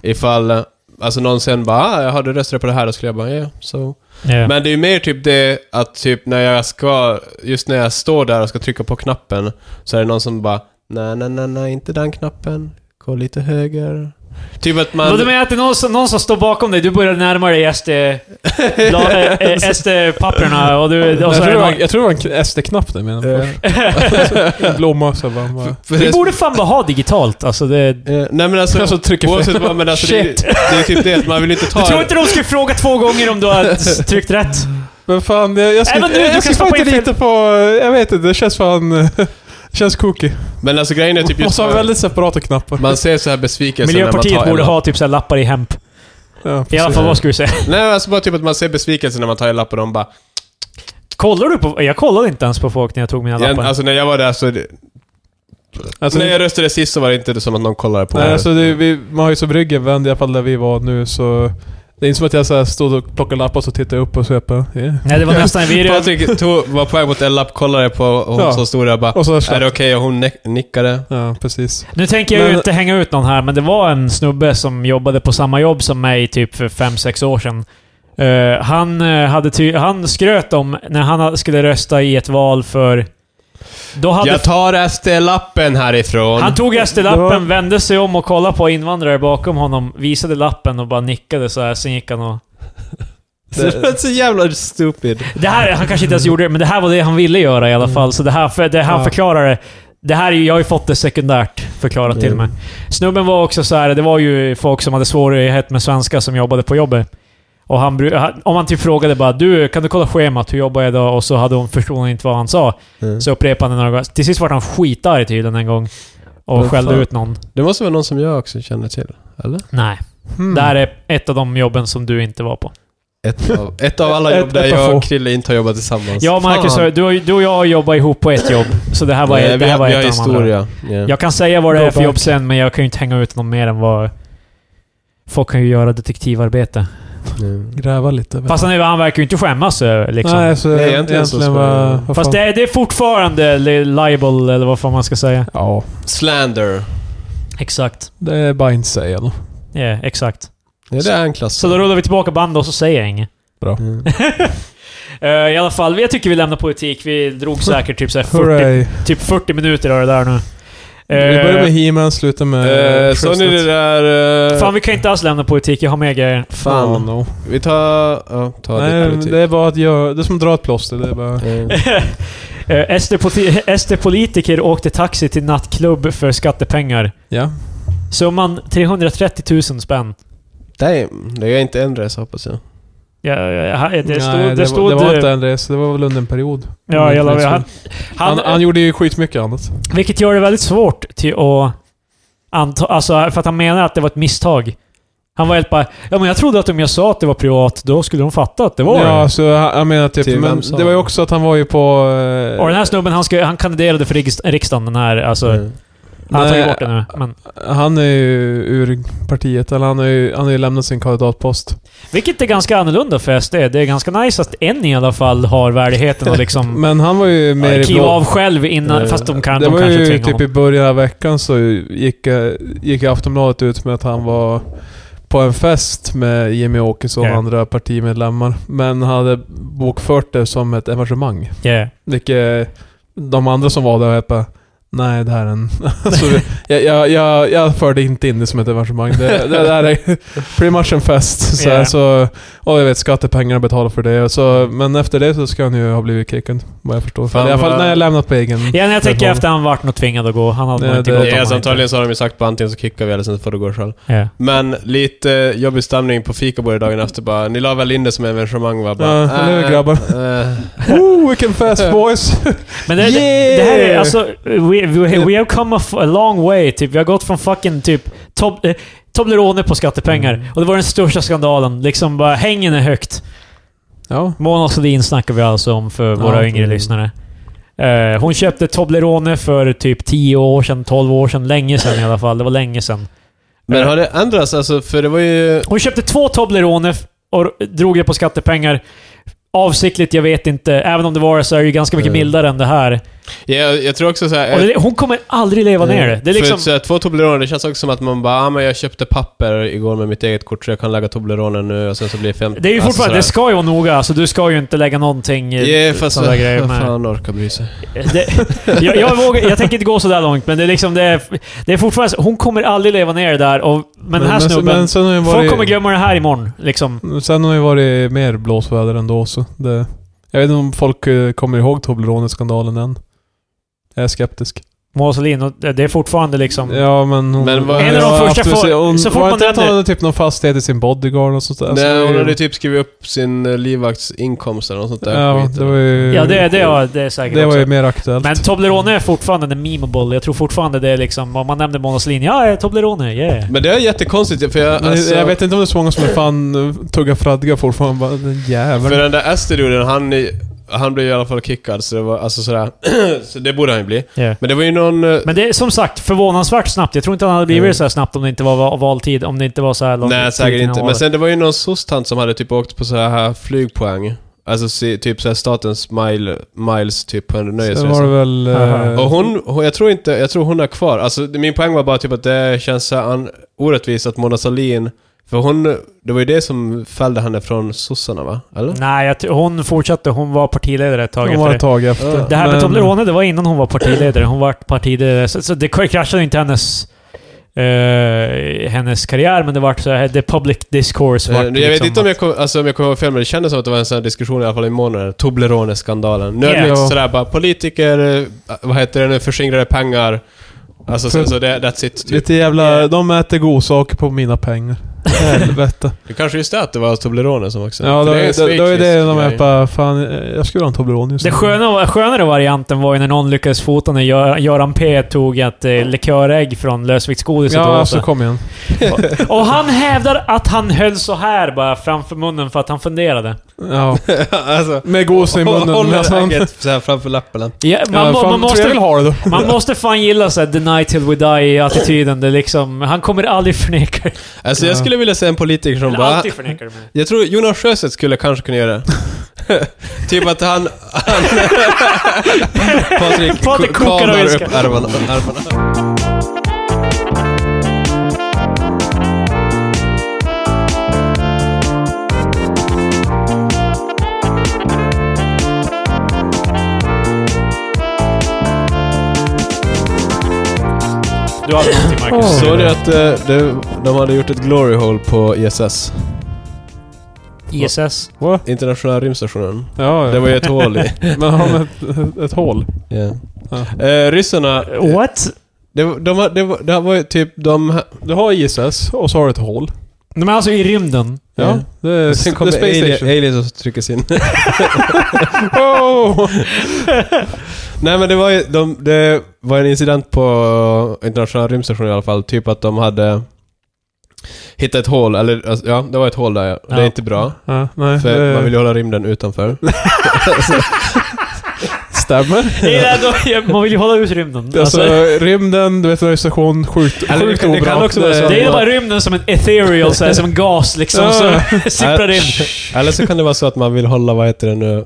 [SPEAKER 3] Ifall, alltså någon sen bara ah, har du röstat på det här?” Då skulle jag bara ja, så.
[SPEAKER 1] Ja.
[SPEAKER 3] Men det är ju mer typ det att typ när jag ska, just när jag står där och ska trycka på knappen, så är det någon som bara “Nej, nej, nej, nej, inte den knappen. Gå lite höger.” Typ att man...
[SPEAKER 1] Vadå, Du menar att det är någon som, någon som står bakom dig, du börjar närma dig SD... bla- eh, eh, SD-papperna och du... Och
[SPEAKER 2] jag,
[SPEAKER 1] så är
[SPEAKER 2] tror
[SPEAKER 1] det
[SPEAKER 2] det var,
[SPEAKER 1] någon,
[SPEAKER 2] jag tror det var en SD-knapp du menade
[SPEAKER 3] Eh.
[SPEAKER 2] först. En blåmössa bara. bara.
[SPEAKER 3] för
[SPEAKER 1] vi
[SPEAKER 3] det-
[SPEAKER 1] borde fan bara ha digitalt, alltså det... Du
[SPEAKER 3] Eh, Nej men alltså,
[SPEAKER 2] Alltså, trycker fel.
[SPEAKER 3] oavsett vad, men alltså det, är ju-
[SPEAKER 1] Shit.
[SPEAKER 3] det är ju typ det att man vill inte ta...
[SPEAKER 1] tror inte de skulle fråga två gånger om du har tryckt rätt?
[SPEAKER 2] Men fan, jag, jag ska,
[SPEAKER 1] Även nu, du
[SPEAKER 2] jag
[SPEAKER 1] kan
[SPEAKER 2] ska
[SPEAKER 1] stoppa
[SPEAKER 2] fan
[SPEAKER 1] in fel-
[SPEAKER 2] inte lita på... Jag vet inte, det känns fan... Det känns kooky.
[SPEAKER 3] Men alltså grejen är typ just...
[SPEAKER 2] Måste ha väldigt separata knappar.
[SPEAKER 3] Man ser så här besvikelse när man tar
[SPEAKER 1] Miljöpartiet borde
[SPEAKER 3] en-
[SPEAKER 1] ha typ så här lappar i hemp.
[SPEAKER 2] ja,
[SPEAKER 1] I alla fall, vad ska vi säga?
[SPEAKER 3] Nej, alltså bara typ att man ser besvikelse när man tar en lapp och de bara...
[SPEAKER 1] Kollar du på... Jag kollade inte ens på folk när jag tog mina
[SPEAKER 3] Jag,
[SPEAKER 1] lappar.
[SPEAKER 3] alltså när jag var där så... det-
[SPEAKER 2] alltså,
[SPEAKER 3] när jag röstade sist så var det inte som att någon kollade på
[SPEAKER 2] nej,
[SPEAKER 3] mig.
[SPEAKER 2] alltså det, vi, man har ju som ryggen vänd i alla fall där vi var nu så... Det är inte som att jag så här stod och plockade lappar och så tittade jag upp och så jag bara, yeah.
[SPEAKER 1] Nej, det var nästan en video.
[SPEAKER 3] Patrik tog, var på väg mot en lapp, kollade på hon
[SPEAKER 2] Ja.
[SPEAKER 3] som stod där och bara...
[SPEAKER 2] Och så
[SPEAKER 3] Är det okej? Och hon ne- nickade.
[SPEAKER 2] Ja, precis.
[SPEAKER 1] Nu tänker jag ju
[SPEAKER 2] Men-
[SPEAKER 1] inte hänga ut någon här, men det var en snubbe som jobbade på samma jobb som mig typ för fem sex år sedan. Eh, han, eh, hade ty- han skröt om när han ha- skulle rösta i ett val för... Då hade
[SPEAKER 3] Jag tar SD-lappen härifrån.
[SPEAKER 1] han tog
[SPEAKER 2] Det var-
[SPEAKER 1] SD-lappen, vände sig om och kollade på invandrare bakom honom, visade lappen och bara nickade så här. Sen gick han och...
[SPEAKER 3] Det var så jävla stupid.
[SPEAKER 1] Det här, han kanske inte ens gjorde det, men det här var det han ville göra i alla fall. Så det här, för, det han
[SPEAKER 2] Ja.
[SPEAKER 1] förklarade... Det här, är ju- jag har ju fått det sekundärt förklarat till mig. Snubben var också så här, det var ju folk som hade svårighet med svenska som jobbade på jobbet. Och han, bru- han- om han typ frågade bara du, kan du kolla schemat, hur jobbar jag idag? Och så hade hon förstod hon inte vad han sa.
[SPEAKER 3] Mm.
[SPEAKER 1] Så upprepade han några gånger. Till sist var han skitarg tydligen en gång. Och
[SPEAKER 3] Vad
[SPEAKER 1] skällde
[SPEAKER 3] fan?
[SPEAKER 1] ut någon.
[SPEAKER 3] Det måste vara någon som jag också känner till. Eller?
[SPEAKER 1] Nej.
[SPEAKER 2] Hmm.
[SPEAKER 3] Mm.
[SPEAKER 1] Det här är ett av de jobben som du inte var på.
[SPEAKER 3] Ett av, ett av alla
[SPEAKER 2] Ett-
[SPEAKER 3] jobb där
[SPEAKER 2] ett av
[SPEAKER 3] jag
[SPEAKER 2] få.
[SPEAKER 3] och Krille inte har jobbat tillsammans.
[SPEAKER 1] Ja, Marcus,
[SPEAKER 3] Fan.
[SPEAKER 1] har- du, har ju- du och jag har jobbat ihop på ett jobb. Så det här var,
[SPEAKER 3] Nej,
[SPEAKER 1] det
[SPEAKER 3] vi
[SPEAKER 1] här
[SPEAKER 3] har,
[SPEAKER 1] var
[SPEAKER 3] vi
[SPEAKER 1] ett
[SPEAKER 3] har
[SPEAKER 1] av de andra.
[SPEAKER 3] historia. Yeah.
[SPEAKER 1] Jag kan säga vad det är för
[SPEAKER 2] Go
[SPEAKER 1] jobb
[SPEAKER 2] back.
[SPEAKER 1] sen, men jag kan ju inte hänga ut någon mer än vad... Folk kan ju göra detektivarbete.
[SPEAKER 3] Mm.
[SPEAKER 2] Gräva lite.
[SPEAKER 1] Fast han, är- han verkar ju inte skämmas eh, liksom.
[SPEAKER 2] Nej, så
[SPEAKER 3] Nej,
[SPEAKER 2] egentligen,
[SPEAKER 3] egentligen så ska
[SPEAKER 2] vad,
[SPEAKER 3] det-
[SPEAKER 2] vad
[SPEAKER 1] Fast
[SPEAKER 2] fan.
[SPEAKER 1] det är, det är fortfarande li- libel, eller vad fan man ska säga.
[SPEAKER 2] Ja,
[SPEAKER 3] Slander.
[SPEAKER 1] Exakt.
[SPEAKER 2] det är bara inte säga då.
[SPEAKER 1] Ja, exakt.
[SPEAKER 3] Ja, det är en klass.
[SPEAKER 1] Så då rullar vi tillbaka bandet och så säger jag inget.
[SPEAKER 2] Bra.
[SPEAKER 3] Mm.
[SPEAKER 1] Eh, I alla fall, jag tycker vi lämnar politik. Vi drog säkert typ, så här 40,
[SPEAKER 2] Hurray.
[SPEAKER 1] typ 40 minuter av det där nu.
[SPEAKER 2] Vi
[SPEAKER 1] Eh,
[SPEAKER 2] börjar med He-Man, slutar med...
[SPEAKER 3] Eh, så nu det där... eh,
[SPEAKER 1] Fan, vi kan inte alls lämna politik. Jag har mer grejer.
[SPEAKER 2] Fan.
[SPEAKER 3] fan. Vi tar... Ja, ta
[SPEAKER 2] Nej,
[SPEAKER 3] det
[SPEAKER 2] men
[SPEAKER 3] politik.
[SPEAKER 2] det är bara att göra... Det är som att dra ett plåster. Det är bara...
[SPEAKER 3] Eh,
[SPEAKER 1] Eh, SD-politi- SD-politiker åkte taxi till nattklubb för skattepengar.
[SPEAKER 2] Ja.
[SPEAKER 1] Summan 330 000 spänn.
[SPEAKER 3] Damn, det är inte en resa hoppas jag.
[SPEAKER 1] Ja, ja, ja, det stod...
[SPEAKER 2] Nej,
[SPEAKER 1] det,
[SPEAKER 2] det,
[SPEAKER 1] stod,
[SPEAKER 2] var, det var inte en resa. Det var väl under en period.
[SPEAKER 1] Ja, jag lovar. Han,
[SPEAKER 2] Han,
[SPEAKER 1] han,
[SPEAKER 2] han, gjorde ju skitmycket annat.
[SPEAKER 1] vilket gör det väldigt svårt till att anta... Alltså, för att han menar att det var ett misstag. Han var helt bara... Ja, men jag trodde att om jag sa att det var privat, då skulle de fatta att det var
[SPEAKER 2] Ja,
[SPEAKER 1] det.
[SPEAKER 2] så han, jag menar
[SPEAKER 3] Till
[SPEAKER 2] typ... Men
[SPEAKER 3] vem sa
[SPEAKER 2] det var ju
[SPEAKER 3] han?
[SPEAKER 2] också att han var ju på... eh,
[SPEAKER 1] Och den här snubben, han, ska, han kandiderade för riks- riksdagen, den här... Alltså,
[SPEAKER 3] Mm.
[SPEAKER 1] han har tagit
[SPEAKER 2] Nej.
[SPEAKER 1] bort det nu. Men,
[SPEAKER 2] Han är ju ur partiet. Eller han har ju, han har ju lämnat sin kandidatpost.
[SPEAKER 1] vilket är ganska annorlunda för SD. Det är ganska nice att en i alla fall har värdigheten och liksom...
[SPEAKER 2] Men han var ju mer i
[SPEAKER 1] Kliva
[SPEAKER 2] blå-
[SPEAKER 1] av själv innan,
[SPEAKER 3] Eh,
[SPEAKER 1] fast de, kan,
[SPEAKER 2] det
[SPEAKER 1] de
[SPEAKER 2] var
[SPEAKER 1] kanske
[SPEAKER 2] ju
[SPEAKER 1] tvingar
[SPEAKER 2] typ i
[SPEAKER 1] honom.
[SPEAKER 2] början av veckan så gick, eh, gick Aftonbladet ut med att han var på en fest med Jimmy Åkesson och
[SPEAKER 1] Ja.
[SPEAKER 2] andra partimedlemmar. Men hade bokfört det som ett evenemang. eh,
[SPEAKER 1] Yeah.
[SPEAKER 2] Vilket de andra som var där var bara Nej, det här är en... Alltså, jag, jag, jag, jag förde inte in det som ett evenemang. Det, det, det här är pretty much en fest. Så,
[SPEAKER 1] Ja.
[SPEAKER 2] här, så, och jag vet, skattepengarna betalar för det. och Så, men efter det så ska han ju ha blivit kickad, vad jag förstår.
[SPEAKER 3] Fan,
[SPEAKER 2] I alla fall
[SPEAKER 3] vad-
[SPEAKER 2] när jag lämnat på egen...
[SPEAKER 1] Ja, när jag tänker
[SPEAKER 2] Jaha.
[SPEAKER 1] efter han vart nog tvingad att gå. Han hade nog
[SPEAKER 2] Ja,
[SPEAKER 1] inte
[SPEAKER 2] det-
[SPEAKER 1] gått
[SPEAKER 2] Ja,
[SPEAKER 1] om
[SPEAKER 3] Yes,
[SPEAKER 1] han
[SPEAKER 3] antagligen Eh, så har de ju sagt på antingen så kickar vi eller sen får du gå själv.
[SPEAKER 1] inte... Ja.
[SPEAKER 3] Men lite eh, jobbig stämning på fikabordet dagen efter bara. Ni la väl in det som evenemang va? Bara,
[SPEAKER 2] Ja, eller hur,
[SPEAKER 3] "Äh,
[SPEAKER 2] grabbar?"
[SPEAKER 3] äh."
[SPEAKER 2] Ooh, vilken fest boys!
[SPEAKER 1] Men det, det,
[SPEAKER 2] Yeah!
[SPEAKER 1] det här är alltså... We, we, we have come a, f- a long way, typ. Vi har gått från fucking typ... Tob, eh, Toblerone på
[SPEAKER 2] Mm.
[SPEAKER 1] skattepengar. Och det var den största skandalen. Liksom bara hängen är högt.
[SPEAKER 2] ja.
[SPEAKER 1] Mona Sahlin snackar vi alltså om för våra
[SPEAKER 2] Ja.
[SPEAKER 1] yngre lyssnare. Eh, hon köpte Toblerone för typ 10 år sedan, 12 år sedan. Länge sedan i alla fall. Det var länge sedan.
[SPEAKER 2] Eh.
[SPEAKER 3] Men har det ändrats alltså? För det var ju...
[SPEAKER 1] Hon köpte två Toblerone f- och drog det på skattepengar. Avsiktligt, jag vet inte. Även om det var så är det ju ganska
[SPEAKER 2] Eh.
[SPEAKER 1] mycket
[SPEAKER 3] Mm.
[SPEAKER 1] mildare än det här.
[SPEAKER 3] Jag, jag tror också såhär...
[SPEAKER 1] Och det, hon kommer aldrig
[SPEAKER 2] Eh.
[SPEAKER 1] leva ner det. Det är liksom...
[SPEAKER 3] För så här, två Toblerone, det känns också som att man bara ah, men jag köpte papper igår med mitt eget kort så jag kan lägga Toblerone nu och sen så blir det fem...
[SPEAKER 1] Det är ju
[SPEAKER 3] Alltså,
[SPEAKER 1] fortfarande... Det
[SPEAKER 3] så
[SPEAKER 1] ska ju vara noga. Alltså, du ska ju inte lägga någonting...
[SPEAKER 3] här,
[SPEAKER 1] eh,
[SPEAKER 3] Yeah, fast
[SPEAKER 1] sådana grejer
[SPEAKER 3] vem
[SPEAKER 1] med.
[SPEAKER 3] fan orkar bry sig?
[SPEAKER 1] Det, jag, jag, vågar, jag tänker inte gå så där långt, men det är liksom... Det är, det är fortfarande... Hon kommer aldrig leva ner det där. Och, men den här snubben...
[SPEAKER 2] men sen har ju
[SPEAKER 1] folk
[SPEAKER 2] varit,
[SPEAKER 1] kommer glömma det här imorgon. Liksom.
[SPEAKER 2] Sen har ju varit mer blåsväder ändå, så det... Jag vet inte om folk eh, kommer ihåg Toblerone-skandalen än. Jag är skeptisk.
[SPEAKER 1] Mona Sahlin, och det det är fortfarande liksom...
[SPEAKER 2] Ja, men hon...
[SPEAKER 3] Mm. Men vad-
[SPEAKER 2] hon
[SPEAKER 3] En av de
[SPEAKER 2] har
[SPEAKER 1] första
[SPEAKER 2] haft-
[SPEAKER 1] for-
[SPEAKER 2] hon,
[SPEAKER 1] så fort
[SPEAKER 2] var
[SPEAKER 1] man
[SPEAKER 2] inte att hon
[SPEAKER 1] nämner-
[SPEAKER 2] hade typ någon fastighet i sin bodyguard och sånt där? Så Alltså, det
[SPEAKER 3] Nej,
[SPEAKER 2] är
[SPEAKER 3] hon
[SPEAKER 2] ju-
[SPEAKER 3] hade typ skrivit upp sin eh, livvakts inkomst eller något sånt där
[SPEAKER 2] Ja,
[SPEAKER 3] skit.
[SPEAKER 2] det var ju...
[SPEAKER 1] Ja, det, det, var- det är säkert
[SPEAKER 2] det var
[SPEAKER 1] också.
[SPEAKER 2] ju mer aktuellt.
[SPEAKER 1] Men Toblerone är fortfarande en memeable. Jag tror fortfarande det är liksom... Om man nämner Mona Sahlin, ja, jag är Toblerone, yeah.
[SPEAKER 3] Men det är jättekonstigt för jag...
[SPEAKER 2] Men
[SPEAKER 3] Alltså,
[SPEAKER 2] jag vet inte om det är så många som är fan eh, tugga fradga fortfarande. Bara, den
[SPEAKER 3] För
[SPEAKER 2] jäveln.
[SPEAKER 3] den där Ester-duden, han, i- han blev i alla fall kickad så det var alltså sådär... så det borde han ju bli.
[SPEAKER 1] yeah.
[SPEAKER 3] Men det var ju någon... eh,
[SPEAKER 1] Men det är som sagt förvånansvärt snabbt. Jag tror inte han hade blivit
[SPEAKER 3] Mm.
[SPEAKER 1] så här snabbt om det inte var va- valtid. Om det inte var så här lång
[SPEAKER 3] Nej,
[SPEAKER 1] tid
[SPEAKER 3] säkert
[SPEAKER 1] innan
[SPEAKER 3] inte. Men
[SPEAKER 1] valet.
[SPEAKER 3] sen det var ju någon sostant som hade typ åkt på så här flygpoäng. Alltså se- typ så här statens mile, miles typ på en
[SPEAKER 2] Sen var det
[SPEAKER 3] nöjesresa.
[SPEAKER 2] väl... eh,
[SPEAKER 1] Aha.
[SPEAKER 3] Och hon, hon, jag tror inte, jag tror hon är kvar. Alltså det- min poäng var bara typ att det känns så här an- orättvist att Mona Sahlin, för hon, det var ju det som fällde henne från sossarna va? Eller?
[SPEAKER 1] Nej, jag, ty- hon fortsatte. Hon var partiledare ett tag
[SPEAKER 2] hon
[SPEAKER 1] efter
[SPEAKER 2] var
[SPEAKER 1] det.
[SPEAKER 2] ett tag efter.
[SPEAKER 3] Ja.
[SPEAKER 1] Det här med
[SPEAKER 2] Men-
[SPEAKER 1] Toblerone, det var innan hon var partiledare. Hon var partiledare. Så, så det kraschade inte hennes... eh, hennes karriär, men det vart så här, the public discourse
[SPEAKER 3] Eh,
[SPEAKER 1] vart liksom
[SPEAKER 3] Jag
[SPEAKER 2] liksom,
[SPEAKER 3] vet inte om jag, kom, alltså, om jag kommer ihåg fel, men det kändes som att det var en sån här diskussion i alla fall i månaden. Toblerone-skandalen. Nu är det
[SPEAKER 1] Ja.
[SPEAKER 3] lite sådär bara, politiker, eh, vad heter det nu, förskingrade pengar. Alltså sen så, det, that's it. Typ.
[SPEAKER 2] Lite jävla... De äter godsaker på mina pengar. Helvete.
[SPEAKER 3] Det kanske just det att det var Toblerone som också...
[SPEAKER 2] Ja,
[SPEAKER 3] Typ. För
[SPEAKER 2] det var
[SPEAKER 3] är en
[SPEAKER 2] ju det, det, var ju det de
[SPEAKER 3] schweizisk
[SPEAKER 2] är
[SPEAKER 3] grej.
[SPEAKER 2] bara, fan, eh, jag skulle vilja ha en Toblerone just
[SPEAKER 1] Det
[SPEAKER 2] nu.
[SPEAKER 1] sköna, skönare varianten var ju när någon lyckades fota när Gö- Göran P tog ett eh, likörägg från lösviktsgodiset och
[SPEAKER 2] Ja,
[SPEAKER 1] åt
[SPEAKER 2] alltså
[SPEAKER 1] det.
[SPEAKER 2] kom igen.
[SPEAKER 1] Och han hävdar att han höll så här bara framför munnen för att han funderade.
[SPEAKER 2] Ja.
[SPEAKER 3] alltså,
[SPEAKER 2] Med gos i munnen.
[SPEAKER 3] håller
[SPEAKER 2] Alltså, han-
[SPEAKER 3] ägget såhär framför läpparna.
[SPEAKER 1] Ja, man,
[SPEAKER 2] Ja,
[SPEAKER 1] må-
[SPEAKER 2] fan,
[SPEAKER 1] man,
[SPEAKER 2] tror jag vill
[SPEAKER 1] måste,
[SPEAKER 2] ha det då.
[SPEAKER 1] man måste fan gilla såhär “the night till we die”-attityden. Det är liksom, han kommer aldrig förneka det.
[SPEAKER 3] Alltså
[SPEAKER 2] Ja.
[SPEAKER 3] jag skulle vilja se en politiker som
[SPEAKER 1] Eller
[SPEAKER 3] bara...
[SPEAKER 1] alltid förnekar det. men-
[SPEAKER 3] Jag tror Jonas Sjöstedt skulle kanske kunna göra det. typ att han... han Patrik,
[SPEAKER 1] Patrik kokar och
[SPEAKER 3] kramar
[SPEAKER 1] viskar.
[SPEAKER 3] upp armarna. armarna.
[SPEAKER 1] Du har alltid Marcus.
[SPEAKER 2] Åh.
[SPEAKER 3] Såg du att eh, det, de hade gjort ett glory hole på E ISS?
[SPEAKER 1] ISS.
[SPEAKER 2] Va?
[SPEAKER 3] Internationella rymdstationen.
[SPEAKER 2] Ja, ja.
[SPEAKER 3] Det var ju ett hål i.
[SPEAKER 2] Men har de ett, ett hål?
[SPEAKER 3] Yeah.
[SPEAKER 2] Ja.
[SPEAKER 3] Eh, ryssarna...
[SPEAKER 1] What?
[SPEAKER 3] Det, var- de, har- det, var- det här var ju typ de...
[SPEAKER 2] Du har ISS och så har du ett hål.
[SPEAKER 1] De är alltså i rymden.
[SPEAKER 2] Ja,
[SPEAKER 3] Ja.
[SPEAKER 2] det är,
[SPEAKER 3] Sen
[SPEAKER 2] det är
[SPEAKER 3] kommer
[SPEAKER 2] Space
[SPEAKER 3] alien-
[SPEAKER 2] Station.
[SPEAKER 3] aliens och trycker sig in.
[SPEAKER 2] Oh!
[SPEAKER 3] Nej men det var ju, de, det var en incident på internationella rymdstationen i alla fall, typ att de hade hittat ett hål, eller alltså, ja, det var ett hål där ja. Det
[SPEAKER 1] Ja.
[SPEAKER 3] är inte bra,
[SPEAKER 2] Ja, Eh. nej,
[SPEAKER 3] för
[SPEAKER 2] det
[SPEAKER 3] man vill ju hålla rymden utanför.
[SPEAKER 2] stämmer.
[SPEAKER 1] Det är där då- ja, Man vill ju hålla ut rymden.
[SPEAKER 2] Alltså,
[SPEAKER 1] Alltså,
[SPEAKER 2] rymden, du vet radiostation, sjukt,
[SPEAKER 3] Eller det
[SPEAKER 2] sjukt
[SPEAKER 3] kan- det
[SPEAKER 2] obra.
[SPEAKER 3] kan också vara så.
[SPEAKER 1] det är ju bara rymden som en ethereal, så här, som en gas liksom, som sipprar in.
[SPEAKER 3] Eller så kan det vara så att man vill hålla, vad heter det nu?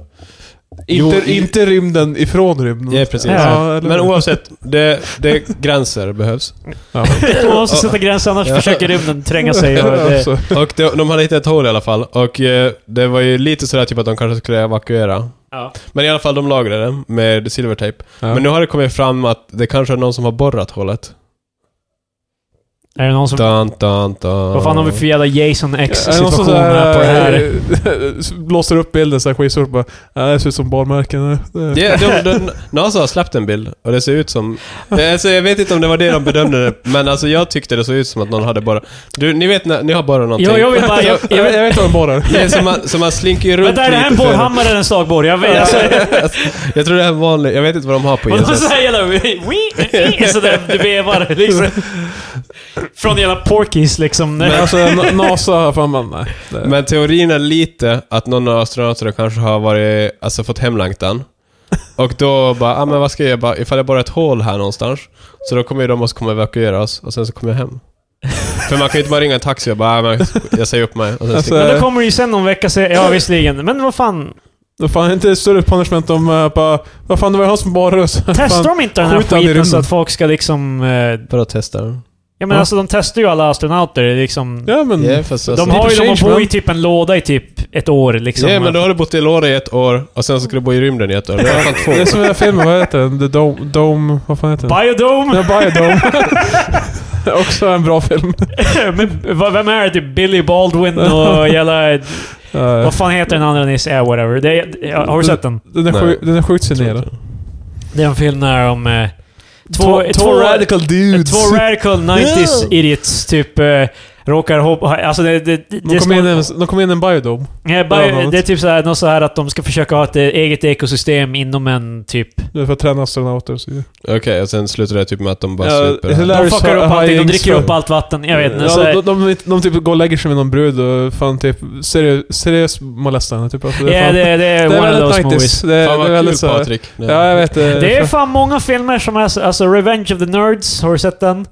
[SPEAKER 2] inte,
[SPEAKER 3] Jo, i-
[SPEAKER 2] inte rymden ifrån rymden.
[SPEAKER 3] Ja, precis.
[SPEAKER 2] Mm. Ja, eller-
[SPEAKER 3] Men oavsett, det, det gränser behövs.
[SPEAKER 2] Ja.
[SPEAKER 1] Man måste sätta gränser, annars försöker rymden tränga sig. Och det,
[SPEAKER 2] Alltså,
[SPEAKER 3] Och de, de hade hittat ett hål i alla fall, och eh, det var ju lite sådär typ att de kanske skulle evakuera.
[SPEAKER 1] Ja.
[SPEAKER 3] Men i alla fall, de lagrade den med silvertejp.
[SPEAKER 2] Ja.
[SPEAKER 3] Men nu har det kommit fram att det kanske är någon som har borrat hålet.
[SPEAKER 1] Är det någon som...
[SPEAKER 3] Dun, dun, dun.
[SPEAKER 1] Vad fan har vi för jävla Jason
[SPEAKER 2] Är det någon
[SPEAKER 1] X-situation
[SPEAKER 2] som så
[SPEAKER 1] här på det här?
[SPEAKER 2] här blåser upp bilden så här skitsort bara "Ja, Det ser ut som barmärken. Det-
[SPEAKER 3] Ja, de, de, NASA har släppt en bild och det ser ut som... Eh, Alltså, jag vet inte om det var det de bedömde det, men alltså, jag tyckte det såg ut som att någon hade bara... Du, ni vet när ni har bara någonting.
[SPEAKER 1] Ja, jag vill bara... Jag,
[SPEAKER 2] Jag
[SPEAKER 1] jag,
[SPEAKER 2] vet, jag vet inte vad de borrar.
[SPEAKER 3] Det är som man, som man slinker ju eh, runt
[SPEAKER 1] vänta, är det här en
[SPEAKER 3] lite för-
[SPEAKER 1] borrhammare eller en slagborr? Jag vet, alltså,
[SPEAKER 3] Jag tror det här är en vanlig... Jag vet inte vad de har på E
[SPEAKER 1] och då
[SPEAKER 3] ISS.
[SPEAKER 1] såhär jävla... wee, Sådär, det vevar liksom. Från jävla Porkies liksom.
[SPEAKER 2] Men alltså Na- NASA har fan man, nej. Det-
[SPEAKER 3] Men teorin är lite att någon av astronauterna kanske har varit, alltså fått hemlängtan. Och då bara, ah, men vad ska jag göra? Bara, Ifall jag borrar ett hål här någonstans, så då kommer ju de att komma och evakuera oss och sen så kommer jag hem. För man kan ju inte bara ringa en taxi och bara, ah, men jag säger upp mig. Och sen
[SPEAKER 2] Alltså,
[SPEAKER 3] sticker
[SPEAKER 1] Men då kommer det ju sen någon vecka säga, ja visserligen, men vad fan.
[SPEAKER 2] Det fan är inte ett större punishment om eh, bara... Vad fan, det var ju han som barrade oss.
[SPEAKER 1] Testar
[SPEAKER 2] Fan.
[SPEAKER 1] de inte den här
[SPEAKER 2] skjut han i
[SPEAKER 1] skiten så
[SPEAKER 2] rymden.
[SPEAKER 1] att folk ska liksom... Eh,
[SPEAKER 3] jag bara testar
[SPEAKER 2] Mm.
[SPEAKER 3] den.
[SPEAKER 1] ja men
[SPEAKER 2] Ja.
[SPEAKER 1] alltså de testar ju alla astronauter liksom.
[SPEAKER 2] Ja men...
[SPEAKER 3] Ja, fast alltså,
[SPEAKER 1] De har ju, de
[SPEAKER 2] Change,
[SPEAKER 1] bor
[SPEAKER 2] man.
[SPEAKER 1] i typ en låda i typ ett år liksom.
[SPEAKER 3] Ja, men då har du bott i låda i ett år och sen så ska du bo i rymden i ett år. Det är fan två.
[SPEAKER 2] Det är som den här filmen, vad heter den? The Dome... Dome vad fan heter den?
[SPEAKER 1] Biodome?
[SPEAKER 2] Ja, Biodome. Också en bra film.
[SPEAKER 1] men, vad- vem är det? Typ Billy Baldwin och jävla...
[SPEAKER 2] Eh,
[SPEAKER 1] vad fan heter den andra nyss? Yeah, whatever. Det, är- ja, har du sett den?
[SPEAKER 2] Den är,
[SPEAKER 3] Nej.
[SPEAKER 2] sjuk, den är sjukt signerad.
[SPEAKER 1] Det är en film där om... Eh, två, två,
[SPEAKER 2] dudes.
[SPEAKER 1] Två radical 90s idiots typ eh, råkar hoppa... Alltså det... det, det,
[SPEAKER 2] De
[SPEAKER 1] det
[SPEAKER 2] kom, in i en, de kom in i en biodome.
[SPEAKER 1] Ja,
[SPEAKER 2] Bland
[SPEAKER 1] bara,
[SPEAKER 2] annat.
[SPEAKER 1] det är typ så här, något så här att de ska försöka ha ett eh, eget ekosystem inom en typ...
[SPEAKER 2] Det är för att träna astronauter och så vidare.
[SPEAKER 3] Okej, och sen slutar det typ med att de bara
[SPEAKER 2] Ja,
[SPEAKER 3] super.
[SPEAKER 2] hur lär-
[SPEAKER 3] här.
[SPEAKER 1] De
[SPEAKER 2] Larry
[SPEAKER 1] fuckar upp allting, de
[SPEAKER 2] Hines
[SPEAKER 1] dricker upp
[SPEAKER 2] för-
[SPEAKER 1] allt vatten. Jag vet inte.
[SPEAKER 2] Ja,
[SPEAKER 1] Så,
[SPEAKER 2] de, de, de, de typ går och lägger sig med någon brud och fan typ seriös, seriös molestar henne. Typ. Alltså, det, är
[SPEAKER 1] ja,
[SPEAKER 2] fan,
[SPEAKER 1] det, det är
[SPEAKER 2] det är
[SPEAKER 1] one of those
[SPEAKER 2] väldigt 90s.
[SPEAKER 1] movies.
[SPEAKER 2] Det, är-
[SPEAKER 3] Fan
[SPEAKER 2] det är
[SPEAKER 3] vad kul
[SPEAKER 2] väldigt så här-
[SPEAKER 3] Patrik. Nej.
[SPEAKER 2] Ja, jag vet.
[SPEAKER 1] Det är fan många filmer som är... så- Alltså Revenge of the Nerds, har du sett den?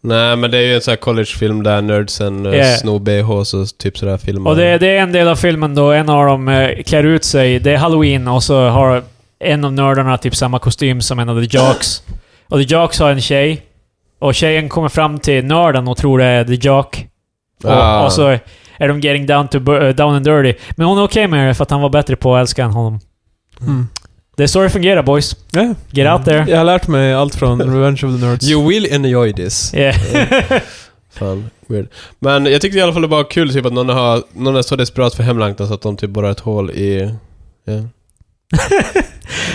[SPEAKER 3] Nej, men det är ju en sån här collegefilm där nerdsen eh,
[SPEAKER 1] Yeah.
[SPEAKER 3] snor bh så typ sådär filmar.
[SPEAKER 1] Och det,
[SPEAKER 2] Mm.
[SPEAKER 1] det är en del av filmen då en av dem eh, klär ut sig. Det är halloween och så har en av nördarna typ samma kostym som en av the jocks. Och the jocks har en tjej. Och tjejen kommer fram till nörden och tror det är the jock. Och,
[SPEAKER 3] Ah.
[SPEAKER 1] och
[SPEAKER 2] alltså-
[SPEAKER 1] så är de getting down, to, bur- eh, down and dirty. Men hon är okej med det för att han var bättre på att älska än honom.
[SPEAKER 2] Mm.
[SPEAKER 1] Det är så det fungerar boys.
[SPEAKER 2] Ja,
[SPEAKER 1] Get out there. Mm.
[SPEAKER 2] jag har lärt mig allt från Revenge of the Nerds.
[SPEAKER 3] You will enjoy this.
[SPEAKER 2] Mm.
[SPEAKER 1] Yeah.
[SPEAKER 3] Fan, weird. Men jag tyckte i alla fall det var kul typ att någon, har, någon är så desperat för hemlängtan så att de typ borrar ett hål i... Ja.
[SPEAKER 2] Men,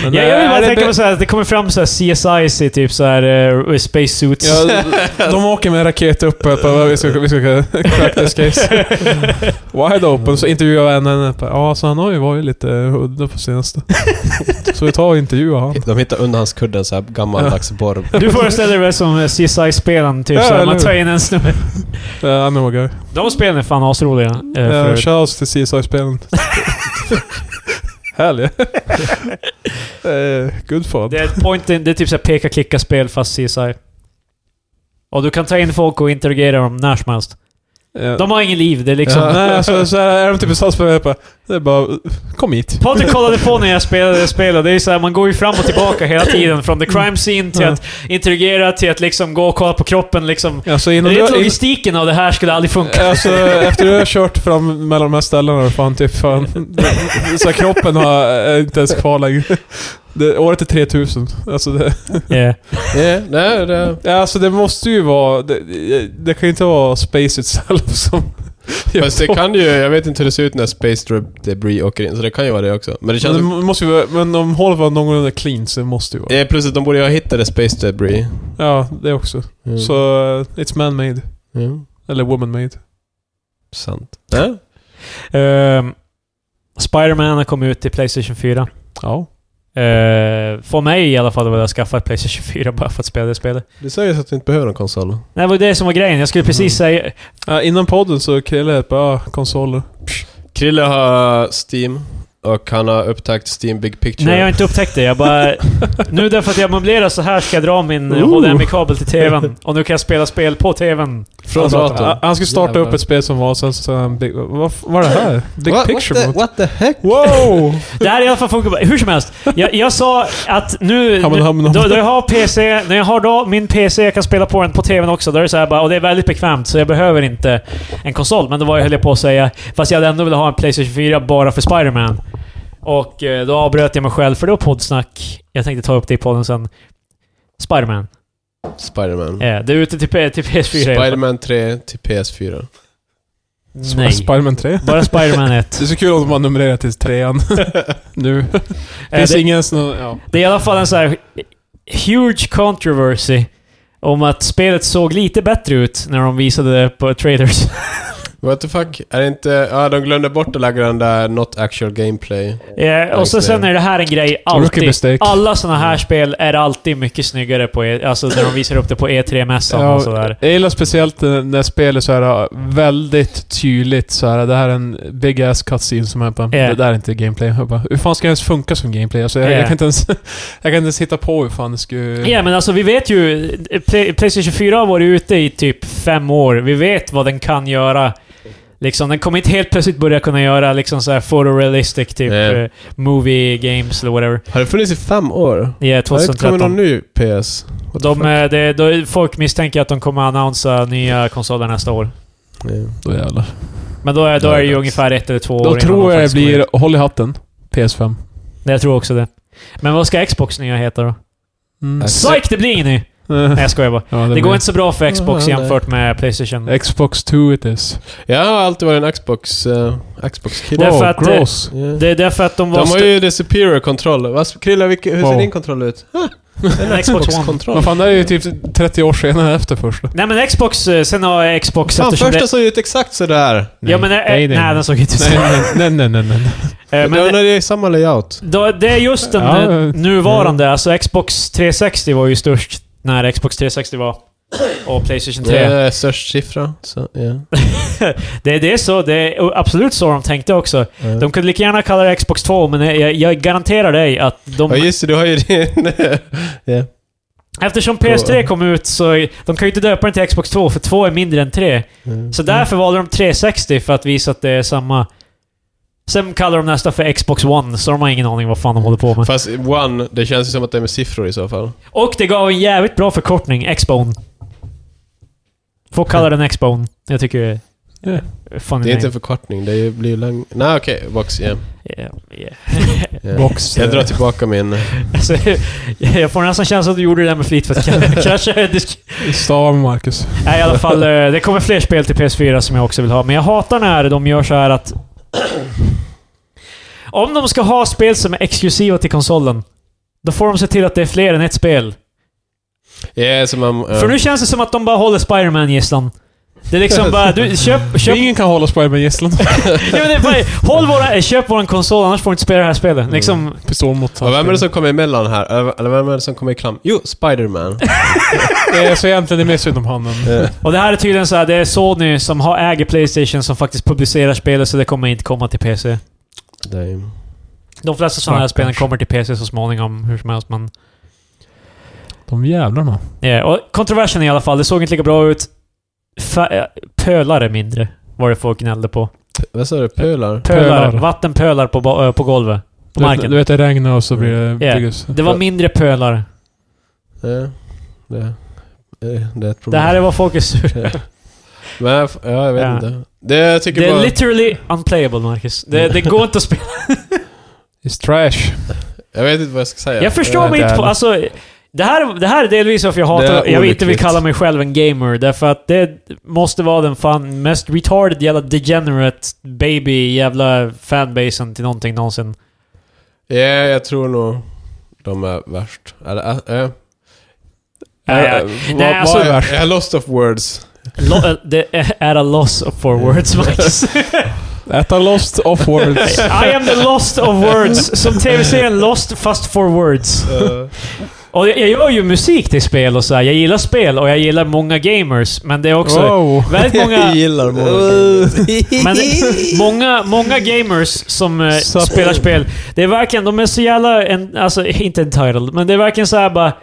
[SPEAKER 1] Ja, jag vill
[SPEAKER 2] eh,
[SPEAKER 1] bara
[SPEAKER 2] är det
[SPEAKER 1] tänka
[SPEAKER 2] be-
[SPEAKER 1] på såhär, att det kommer fram såhär CSIs i typ såhär uh, space suits.
[SPEAKER 2] Ja, de- de åker med en raket upp och bara, vi ska, vi ska crack this case. Wide open, så intervjuar jag en henne. Ja, så han har ju varit lite udda på senaste. Så vi tar och intervjuar han.
[SPEAKER 3] De hittar under hans kudden så här gammaldags borr.
[SPEAKER 1] Du föreställer dig väl som eh, CSI-spelen, typ
[SPEAKER 2] Ja,
[SPEAKER 1] såhär,
[SPEAKER 2] eller
[SPEAKER 1] man
[SPEAKER 2] hur?
[SPEAKER 1] tar in en snubbe.
[SPEAKER 2] Uh, I know a guy.
[SPEAKER 1] De spelen är fan asroliga. eh, för
[SPEAKER 2] Uh,
[SPEAKER 1] övrigt.
[SPEAKER 2] Shoutouts till CSI-spelen. Härliga. Eh, good fun.
[SPEAKER 1] det är ett point in, det är typ såhär peka-klicka-spel fast CSI. Och du kan ta in folk och interagera dem när som helst.
[SPEAKER 2] Ja.
[SPEAKER 1] De har ingen liv, det är liksom...
[SPEAKER 2] Ja, nej, alltså, så här, är de typ i Salzburg, bara, det är bara, kom hit.
[SPEAKER 1] Patrik kollade på när jag spelade det spelet. Det är ju såhär, man går ju fram och tillbaka hela tiden. Från the crime scene till
[SPEAKER 2] Ja.
[SPEAKER 1] att interagera, till att liksom gå och kolla på kroppen liksom.
[SPEAKER 2] Alltså, innan du,
[SPEAKER 1] Rent
[SPEAKER 2] in,
[SPEAKER 1] logistiken av det här skulle aldrig funka.
[SPEAKER 2] alltså, efter du har kört fram mellan de här ställena, fan, typ, fan, så här, kroppen har, är inte ens kvar längre. Det, året är 3000. Alltså det,
[SPEAKER 1] Yeah.
[SPEAKER 3] Ja, nej, det...
[SPEAKER 2] ja, alltså det måste ju vara... Det, det kan ju inte vara space itself som...
[SPEAKER 3] Fast det kan ju... Jag vet inte hur det ser ut när Space Debris åker in, så det kan ju vara det också. Men det
[SPEAKER 2] Men,
[SPEAKER 3] känns...
[SPEAKER 2] det måste ju vara, men om hålet var någorlunda clean så det måste ju vara.
[SPEAKER 3] Eh, Plus att de borde ju ha hittat det Space Debris.
[SPEAKER 2] Ja, det också.
[SPEAKER 3] Mm.
[SPEAKER 2] Så eh, it's man-made.
[SPEAKER 3] Mm.
[SPEAKER 2] Eller woman-made.
[SPEAKER 3] Sant. Ja.
[SPEAKER 1] Ehm, Spider-Man har kommit ut till Playstation 4.
[SPEAKER 2] Ja.
[SPEAKER 1] Eh, för mig i alla fall var det att skaffa ett Playstation 4 bara för att spela det spelet.
[SPEAKER 3] Du säger så att du inte behöver en konsol.
[SPEAKER 1] Nej, det var det som var grejen. Jag skulle precis säga...
[SPEAKER 2] Ja, innan podden så krillade jag bara ah, konsoler.
[SPEAKER 3] Krille har Steam och han har upptäckt Steam Big Picture.
[SPEAKER 1] Nej, jag har inte upptäckt det. Jag bara... nu därför att jag möblerar så här ska jag dra min eh,
[SPEAKER 2] Ooh.
[SPEAKER 1] HDMI-kabel till TVn. Och nu kan jag spela spel på TVn. Alltså,
[SPEAKER 3] Från
[SPEAKER 2] han,
[SPEAKER 3] datorn.
[SPEAKER 2] han- han skulle starta
[SPEAKER 3] Jävlar.
[SPEAKER 2] upp ett spel som var sen så sa han big, vad f- vad är det här? Big
[SPEAKER 3] What-
[SPEAKER 2] picture
[SPEAKER 3] what the,
[SPEAKER 2] mode.
[SPEAKER 3] what the heck?
[SPEAKER 2] Wow!
[SPEAKER 1] Det här i alla fall funkar bara- Hur som helst. Jag, jag sa att nu...
[SPEAKER 2] Hamon, hamon,
[SPEAKER 1] Då,
[SPEAKER 2] hamon.
[SPEAKER 1] då jag har PC, när jag har då min PC, jag kan spela på den på TVn också. Då är det så här bara, och det är väldigt bekvämt så jag behöver inte en konsol. Men det var jag höll jag på att säga. Fast jag hade ändå velat ha en Playstation 4 bara för Spider-Man. Och eh, då avbröt jag mig själv, för det var poddsnack. Jag tänkte ta upp det i podden sen. Spiderman.
[SPEAKER 3] Spiderman.
[SPEAKER 1] Eh, det är ute till, P- till PS4. i alla fall.
[SPEAKER 3] Spiderman 3 till PS4.
[SPEAKER 1] Nej.
[SPEAKER 2] Spiderman 3.
[SPEAKER 1] Bara Spiderman 1.
[SPEAKER 2] Det är så kul om man numrerar till trean nu.
[SPEAKER 1] Eh,
[SPEAKER 2] Finns
[SPEAKER 1] det,
[SPEAKER 2] ingen sån... Ja.
[SPEAKER 1] det är i alla fall en så här huge controversy om att spelet såg lite bättre ut när de visade det på trailers.
[SPEAKER 3] What the fuck? Är det inte... Ja, de glömde bort att lägga den där Not Actual Gameplay.
[SPEAKER 1] Eh, och så,
[SPEAKER 3] Verkligen.
[SPEAKER 1] sen är det här en grej
[SPEAKER 2] Rookie
[SPEAKER 1] alltid.
[SPEAKER 2] mistake.
[SPEAKER 1] Alla såna här spel är alltid mycket snyggare på e- alltså när de visar upp det på E3-mässan och sådär.
[SPEAKER 2] jag gillar speciellt när när spel är så här väldigt tydligt så här. Det här är en big ass cutscene som jag bara,
[SPEAKER 1] Ja.
[SPEAKER 2] Det där är inte gameplay. Jag bara, hur fan ska det ens funka som gameplay? Alltså, jag,
[SPEAKER 1] Ja.
[SPEAKER 2] jag, kan inte ens, jag kan inte ens hitta på hur fan det skulle...
[SPEAKER 1] Ja, men alltså vi vet ju... eh, Play, Playstation 4 har varit ute i typ fem år. Vi vet vad den kan göra. Liksom, den kommer inte helt plötsligt börja kunna göra liksom så här photorealistic typ
[SPEAKER 3] Nej.
[SPEAKER 1] eh, movie games eller whatever.
[SPEAKER 3] Har det funnits i fem år?
[SPEAKER 1] Ja,
[SPEAKER 3] Har det inte kommit
[SPEAKER 1] 2013.
[SPEAKER 3] någon ny PS? What the
[SPEAKER 1] De,
[SPEAKER 3] fuck?
[SPEAKER 1] eh, det, då, folk misstänker att de kommer annonsa nya konsoler nästa år.
[SPEAKER 3] Nej.
[SPEAKER 2] Då jävlar.
[SPEAKER 1] Men då är, då
[SPEAKER 3] Ja,
[SPEAKER 1] är det
[SPEAKER 3] det
[SPEAKER 1] ju
[SPEAKER 3] är
[SPEAKER 1] ungefär ett eller två år
[SPEAKER 2] Då
[SPEAKER 1] innan de
[SPEAKER 2] tror jag det
[SPEAKER 1] faktiskt kommer
[SPEAKER 2] blir
[SPEAKER 1] ut.
[SPEAKER 2] Håll i hatten. PS5.
[SPEAKER 1] Nej, Jag tror också det. Men vad ska Xbox nya heta då?
[SPEAKER 2] Mm.
[SPEAKER 3] Nej.
[SPEAKER 1] Psych, det blir ingen ny! Nej, jag skojar bara.
[SPEAKER 2] Ja, det
[SPEAKER 1] Det
[SPEAKER 2] blir-
[SPEAKER 1] går inte så bra för Xbox
[SPEAKER 3] Ja, nej.
[SPEAKER 1] jämfört med Playstation.
[SPEAKER 2] Xbox 2 it is.
[SPEAKER 3] Jag har alltid varit en Xbox... eh, Xbox-kid.
[SPEAKER 1] Därför
[SPEAKER 2] Wow,
[SPEAKER 1] att eh, det-
[SPEAKER 2] gross.
[SPEAKER 3] Yeah.
[SPEAKER 1] Det är därför att de var...
[SPEAKER 3] De har
[SPEAKER 1] st-
[SPEAKER 3] ju the superior controller. Vad, Krilla, vilken- hur ser
[SPEAKER 2] Wow.
[SPEAKER 3] din kontroll ut? Huh,
[SPEAKER 1] En Xbox One.
[SPEAKER 3] kontroll.
[SPEAKER 2] Men fan, det är ju typ 30 år senare efter första.
[SPEAKER 1] Nej men Xbox, eh, sen har Xbox
[SPEAKER 3] Fan,
[SPEAKER 1] eftersom
[SPEAKER 3] första
[SPEAKER 1] det...
[SPEAKER 3] såg ju ut exakt sådär.
[SPEAKER 1] Ja men eh, nej, den såg inte ut så. Eh,
[SPEAKER 2] Nej, nej, nej, nej, nej.
[SPEAKER 1] Men
[SPEAKER 3] Men
[SPEAKER 1] det-
[SPEAKER 3] det är samma layout.
[SPEAKER 1] då- det är just den
[SPEAKER 2] Ja,
[SPEAKER 1] eh,
[SPEAKER 2] eh,
[SPEAKER 1] nuvarande, alltså Xbox 360 var ju störst när Xbox 360 var. Och Playstation 3.
[SPEAKER 3] Det är störst siffra. Så, ja.
[SPEAKER 1] Det, det är så, det är absolut så de tänkte också. De kunde lika gärna kalla det Xbox 2, men jag, jag garanterar dig att de...
[SPEAKER 3] Ja just det, du har ju din... Ja.
[SPEAKER 1] Eftersom PS3 kom ut så... De kan ju inte döpa den till Xbox 2, för 2 är mindre än 3. Så
[SPEAKER 3] Mm.
[SPEAKER 1] därför valde de 360 för att visa att det är samma... Sen kallar de nästa för Xbox One, så de har ingen aning vad fan de håller på med.
[SPEAKER 3] Fast One, det känns ju som att det är med siffror i så fall.
[SPEAKER 1] Och det gav en jävligt bra förkortning, Xbone. Får kalla den Xbone. Jag tycker det
[SPEAKER 2] Ja.
[SPEAKER 1] är... Funny
[SPEAKER 3] Det är inte en
[SPEAKER 1] name.
[SPEAKER 3] förkortning, det är ju- blir ju läng... Nej okej, box, ja.
[SPEAKER 1] Yeah, yeah.
[SPEAKER 3] ja.
[SPEAKER 2] Box.
[SPEAKER 3] Jag drar tillbaka min...
[SPEAKER 1] Alltså, jag får nästan känslan att du gjorde det där med flit för att k- kanske... disk-
[SPEAKER 2] Stava med Marcus.
[SPEAKER 1] Nej, i alla fall. eh, Det kommer fler spel till PS4 som jag också vill ha, men jag hatar när de gör så här att... Om de ska ha spel som är exklusiva till konsolen, då får de se till att det är fler än ett spel.
[SPEAKER 3] Ja, som man... ja.
[SPEAKER 1] För nu känns det som att de bara håller Spider-Man gisslan. Det är liksom bara, du, köp... köp
[SPEAKER 2] Ingen kan hålla Spiderman gisslan.
[SPEAKER 1] ja, men det är bara, håll våra, eh, köp våran konsol, annars får du inte spela det här spelet. Liksom,
[SPEAKER 2] Pistol mot
[SPEAKER 3] Och vem är det som kommer emellan här? Eller- Eller vem är det som kommer i klam? Jo, Spiderman.
[SPEAKER 2] är Så egentligen är det mest utom handen.
[SPEAKER 3] Ja.
[SPEAKER 1] och det här är tydligen så här, det är Sony som har, äger Playstation som faktiskt publicerar spelet, så det kommer inte komma till PC.
[SPEAKER 3] Damn.
[SPEAKER 1] De flesta sådana här
[SPEAKER 2] Stackars.
[SPEAKER 1] spelen kommer till PC så småningom, hur som helst, men...
[SPEAKER 2] De jävlarna.
[SPEAKER 1] Ja, och kontroversen i alla fall, det såg inte lika bra ut. Fa- eh, pölare mindre, var det folk gnällde på.
[SPEAKER 3] Vad sa du? Pölar?
[SPEAKER 1] Pölar,
[SPEAKER 2] Pölar.
[SPEAKER 1] Vattenpölar på, ba- eh, på golvet. På
[SPEAKER 2] Du vet,
[SPEAKER 1] marken.
[SPEAKER 2] du vet det regnar och så blir det...
[SPEAKER 1] Ja.
[SPEAKER 2] bygges.
[SPEAKER 1] det var mindre pölar.
[SPEAKER 3] Ja. Det, det, det är ett
[SPEAKER 1] Det
[SPEAKER 3] problem.
[SPEAKER 1] här är vad folk är sur
[SPEAKER 3] Men, jag f- ja, jag vet
[SPEAKER 1] Ja.
[SPEAKER 3] inte. Det jag tycker
[SPEAKER 1] Det
[SPEAKER 3] bara... Mm.
[SPEAKER 1] är literally unplayable, Marcus. Det, det går inte att spela.
[SPEAKER 2] It's trash.
[SPEAKER 3] Jag vet inte vad jag ska säga.
[SPEAKER 1] Jag förstår
[SPEAKER 2] det
[SPEAKER 1] mig inte
[SPEAKER 2] är
[SPEAKER 1] på...
[SPEAKER 2] det.
[SPEAKER 1] Alltså, det här, det här är delvis varför jag
[SPEAKER 3] Det är
[SPEAKER 1] hatar... Jag inte vill
[SPEAKER 3] olyckligt.
[SPEAKER 1] kalla mig själv en gamer, därför att det måste vara den fan mest retarded jävla degenerate baby jävla fanbasen till någonting någonsin.
[SPEAKER 3] Ja, jag tror nog de är värst. Eller, äh, äh.
[SPEAKER 1] Ja, ja.
[SPEAKER 3] Äh, vad-
[SPEAKER 1] Nej,
[SPEAKER 3] vad
[SPEAKER 1] alltså-
[SPEAKER 3] är värst? Jag har lost of words.
[SPEAKER 1] Lo- eh, det är- är a loss of for words, Max.
[SPEAKER 2] Äta lost off words.
[SPEAKER 1] I am the lost of words. Som tv-serien Lost, fast for words.
[SPEAKER 3] Eh,
[SPEAKER 1] Och jag, jag gör ju musik till spel och så här. Jag gillar spel och jag gillar många gamers, men det är också
[SPEAKER 2] Wow.
[SPEAKER 1] väldigt många...
[SPEAKER 3] jag gillar
[SPEAKER 1] Men det, många, många gamers som eh,
[SPEAKER 2] Så-
[SPEAKER 1] spelar spel, det är verkligen, de är så jävla, en, alltså inte entitled, men det är verkligen så här bara...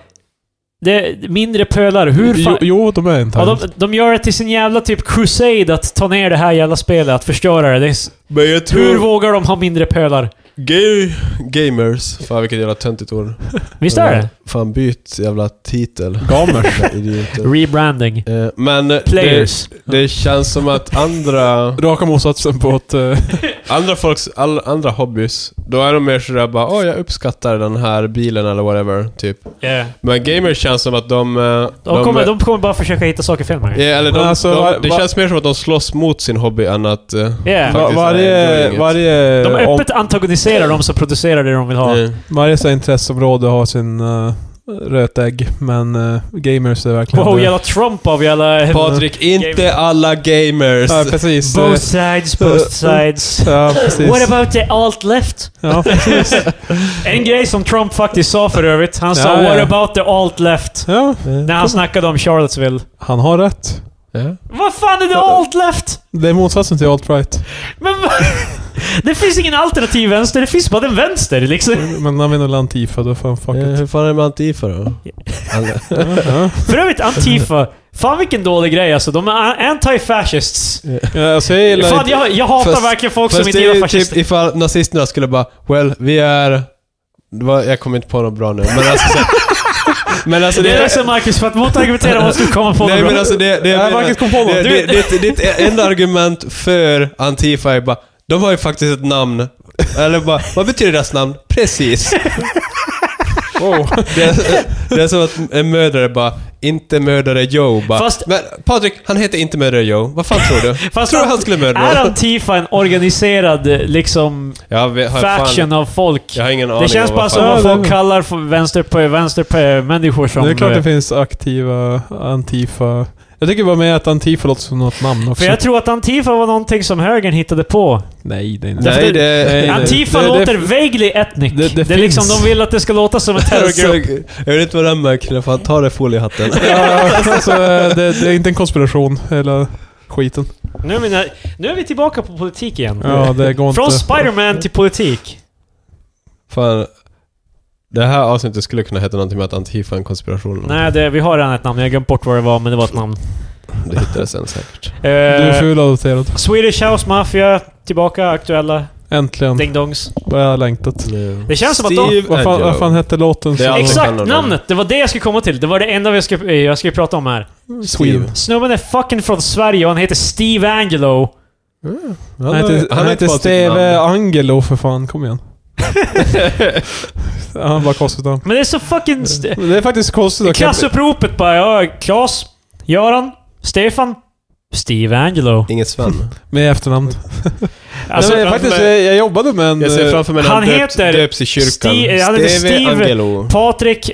[SPEAKER 1] Det är mindre pölar. Hur
[SPEAKER 2] Jo,
[SPEAKER 1] fan...
[SPEAKER 2] jo, de är inte
[SPEAKER 1] Ja,
[SPEAKER 2] här.
[SPEAKER 1] de, de gör det till sin jävla typ crusade att ta ner det här jävla spelet, att förstöra det. det är, s-
[SPEAKER 3] Men jag
[SPEAKER 1] Hur
[SPEAKER 3] tror...
[SPEAKER 1] vågar de ha mindre pölar?
[SPEAKER 3] Gay gamers. Fan vilket jävla töntigt ord. Äh,
[SPEAKER 1] Visst är det?
[SPEAKER 3] Fan byt jävla titel.
[SPEAKER 2] Gamers.
[SPEAKER 3] Jävla idioter.
[SPEAKER 1] Rebranding.
[SPEAKER 3] Eh, Men eh, det,
[SPEAKER 1] Players.
[SPEAKER 3] det känns som att andra...
[SPEAKER 2] Raka motsatsen på ett... eh,
[SPEAKER 3] Andra folks, all, andra hobbys, då är de mer sådär bara åh jag uppskattar den här bilen eller whatever, typ.
[SPEAKER 1] Yeah.
[SPEAKER 3] Men gamers känns som att de... eh,
[SPEAKER 1] De, kommer, de kommer bara försöka hitta saker fel med
[SPEAKER 3] Ja, eller de,
[SPEAKER 2] Men alltså,
[SPEAKER 3] de,
[SPEAKER 2] va-
[SPEAKER 3] det
[SPEAKER 2] va-
[SPEAKER 3] känns mer som att de slåss mot sin hobby än att... eh,
[SPEAKER 1] Yeah.
[SPEAKER 2] Va-
[SPEAKER 3] faktiskt enjoy
[SPEAKER 2] varje,
[SPEAKER 3] it.
[SPEAKER 2] varje,
[SPEAKER 1] De
[SPEAKER 2] om,
[SPEAKER 1] öppet antagoniserar de som producerar det de vill ha.
[SPEAKER 3] eh,
[SPEAKER 2] varje så här intresseområde har sin uh, rötägg, men eh, gamers är verkligen...
[SPEAKER 1] Wow,
[SPEAKER 2] det.
[SPEAKER 1] jävla Trump av jävla...
[SPEAKER 3] Patrik, inte
[SPEAKER 1] Gamers.
[SPEAKER 3] alla gamers!
[SPEAKER 2] Ja, precis.
[SPEAKER 1] Both sides, both sides.
[SPEAKER 2] Ja, precis.
[SPEAKER 1] What about the alt left?
[SPEAKER 2] Ja, precis.
[SPEAKER 1] En grej som Trump faktiskt sa för övrigt. Han sa
[SPEAKER 2] Ja, ja.
[SPEAKER 1] “What about the alt left?”
[SPEAKER 2] Ja,
[SPEAKER 1] när han snackade om Charlottesville.
[SPEAKER 2] han har rätt.
[SPEAKER 3] Ja.
[SPEAKER 1] Vad fan är det alt left?
[SPEAKER 2] Det är motsatsen till alt-right.
[SPEAKER 1] Men va- Det finns ingen alternativ vänster, det finns bara den vänster liksom.
[SPEAKER 2] Men använder Lantifa, då får han fuck
[SPEAKER 3] Eh,
[SPEAKER 2] it.
[SPEAKER 3] Hur fan är man antifa då? Alla-
[SPEAKER 2] Ja,
[SPEAKER 1] För övrigt, Antifa. Fan vilken dålig grej alltså. De är anti-fascists.
[SPEAKER 2] ja. Alltså, jag gillar
[SPEAKER 1] Fan,
[SPEAKER 2] inte-
[SPEAKER 1] jag, jag hatar
[SPEAKER 3] Fast-
[SPEAKER 1] verkligen folk som
[SPEAKER 3] Fast
[SPEAKER 1] inte
[SPEAKER 3] det
[SPEAKER 1] gillar
[SPEAKER 3] är ju typ
[SPEAKER 1] fascister.
[SPEAKER 3] ifall nazisterna skulle bara “Well, vi är...” det var, Jag kommer inte på något bra nu, men alltså... Så, men alltså
[SPEAKER 1] det är liksom Marcus, för att motargumentera måste du komma på
[SPEAKER 3] Nej
[SPEAKER 1] något
[SPEAKER 3] men
[SPEAKER 1] bra.
[SPEAKER 3] alltså det... det,
[SPEAKER 2] Jag har
[SPEAKER 3] menar-
[SPEAKER 2] faktiskt kom på något.
[SPEAKER 3] det,
[SPEAKER 1] Du-
[SPEAKER 3] det, ditt, ditt enda argument för Antifa är bara “De har ju faktiskt ett namn”. Eller bara “Vad betyder deras namn?” Precis.
[SPEAKER 2] Wow.
[SPEAKER 3] Det är, det är som att en mördare bara “Inte mördare Joe” bara
[SPEAKER 1] Fast-
[SPEAKER 3] “Men Patrik, han heter inte mördare Joe. Vad fan tror du?”
[SPEAKER 1] Fast
[SPEAKER 3] Tror du
[SPEAKER 1] han-
[SPEAKER 3] han skulle
[SPEAKER 1] Är
[SPEAKER 3] mörda någon?
[SPEAKER 1] Antifa en organiserad eh, liksom
[SPEAKER 3] Jag har- har fan-
[SPEAKER 1] faction av folk?
[SPEAKER 3] Jag har ingen aning
[SPEAKER 1] Det känns
[SPEAKER 3] om vad
[SPEAKER 1] bara
[SPEAKER 3] fan-
[SPEAKER 1] som att
[SPEAKER 2] Ja,
[SPEAKER 1] folk
[SPEAKER 2] det-
[SPEAKER 1] kallar för vänster på vänster på människor som... eh,
[SPEAKER 2] Det är klart det finns aktiva Antifa. Jag tycker bara med att Antifa låter som något namn också.
[SPEAKER 1] för jag tror att Antifa var någonting som högern hittade på.
[SPEAKER 2] Nej, det är inte
[SPEAKER 3] Nej, det...
[SPEAKER 2] Nej, nej.
[SPEAKER 1] Antifa
[SPEAKER 2] Det- det-
[SPEAKER 1] låter vaguely ethnic. Det,
[SPEAKER 2] Det- det
[SPEAKER 1] är liksom,
[SPEAKER 2] finns.
[SPEAKER 1] de vill att det ska låta som en terrorgrupp.
[SPEAKER 3] Alltså, jag vet inte vad den märker, för fan ta det foliehatten.
[SPEAKER 2] Ja, alltså, det, det är inte en konspiration, hela skiten.
[SPEAKER 1] Nu är, vi, nä- nu är vi tillbaka på politik igen.
[SPEAKER 2] Ja, det går
[SPEAKER 1] Från
[SPEAKER 2] inte.
[SPEAKER 1] Spiderman till politik.
[SPEAKER 3] Fan, det här avsnittet skulle kunna heta någonting med att Antifa är en konspiration.
[SPEAKER 1] Nej, det, vi har redan ett namn. Jag har glömt bort vad det var, men det var ett namn.
[SPEAKER 3] Det hittades sen säkert.
[SPEAKER 1] Eh,
[SPEAKER 2] Du är ful och adopterad.
[SPEAKER 1] Swedish House Mafia, tillbaka, aktuella.
[SPEAKER 2] Äntligen.
[SPEAKER 1] Ding-dongs.
[SPEAKER 2] Vad jag har längtat.
[SPEAKER 1] Det känns som att de- alltså
[SPEAKER 3] Steve
[SPEAKER 2] Vad fan, vad fan
[SPEAKER 3] Angelo.
[SPEAKER 2] hette låten?
[SPEAKER 3] Det är alla som
[SPEAKER 1] Exakt,
[SPEAKER 3] kan dem.
[SPEAKER 1] namnet! Det var det jag skulle komma till. Det var det enda jag skulle, eh, jag skulle prata om här.
[SPEAKER 2] Sweden.
[SPEAKER 1] Snubben är fucking från Sverige och han heter Steve Angelo.
[SPEAKER 2] Han heter, han
[SPEAKER 3] har
[SPEAKER 2] heter
[SPEAKER 3] inte fått sitt
[SPEAKER 2] Steve
[SPEAKER 3] namn.
[SPEAKER 2] Angelo för fan, kom igen. han har bara konstigt namn.
[SPEAKER 1] Men det är så
[SPEAKER 3] Mm.
[SPEAKER 1] fucking... St-
[SPEAKER 2] Det är faktiskt konstigt att
[SPEAKER 1] klassuppropet bara. Ja, Klas, Göran, Stefan, Steve Angelo.
[SPEAKER 3] Inget Sven.
[SPEAKER 2] med efternamn.
[SPEAKER 1] Alltså,
[SPEAKER 2] Nej, men
[SPEAKER 3] framför
[SPEAKER 2] faktiskt,
[SPEAKER 3] mig-
[SPEAKER 2] jag jobbade med en... eh,
[SPEAKER 3] Jag ser framför mig när
[SPEAKER 1] Han
[SPEAKER 3] han, döps,
[SPEAKER 1] heter
[SPEAKER 3] döps i kyrkan.
[SPEAKER 1] Steve- eh, han heter Steve-
[SPEAKER 3] Angelo.
[SPEAKER 1] Patrik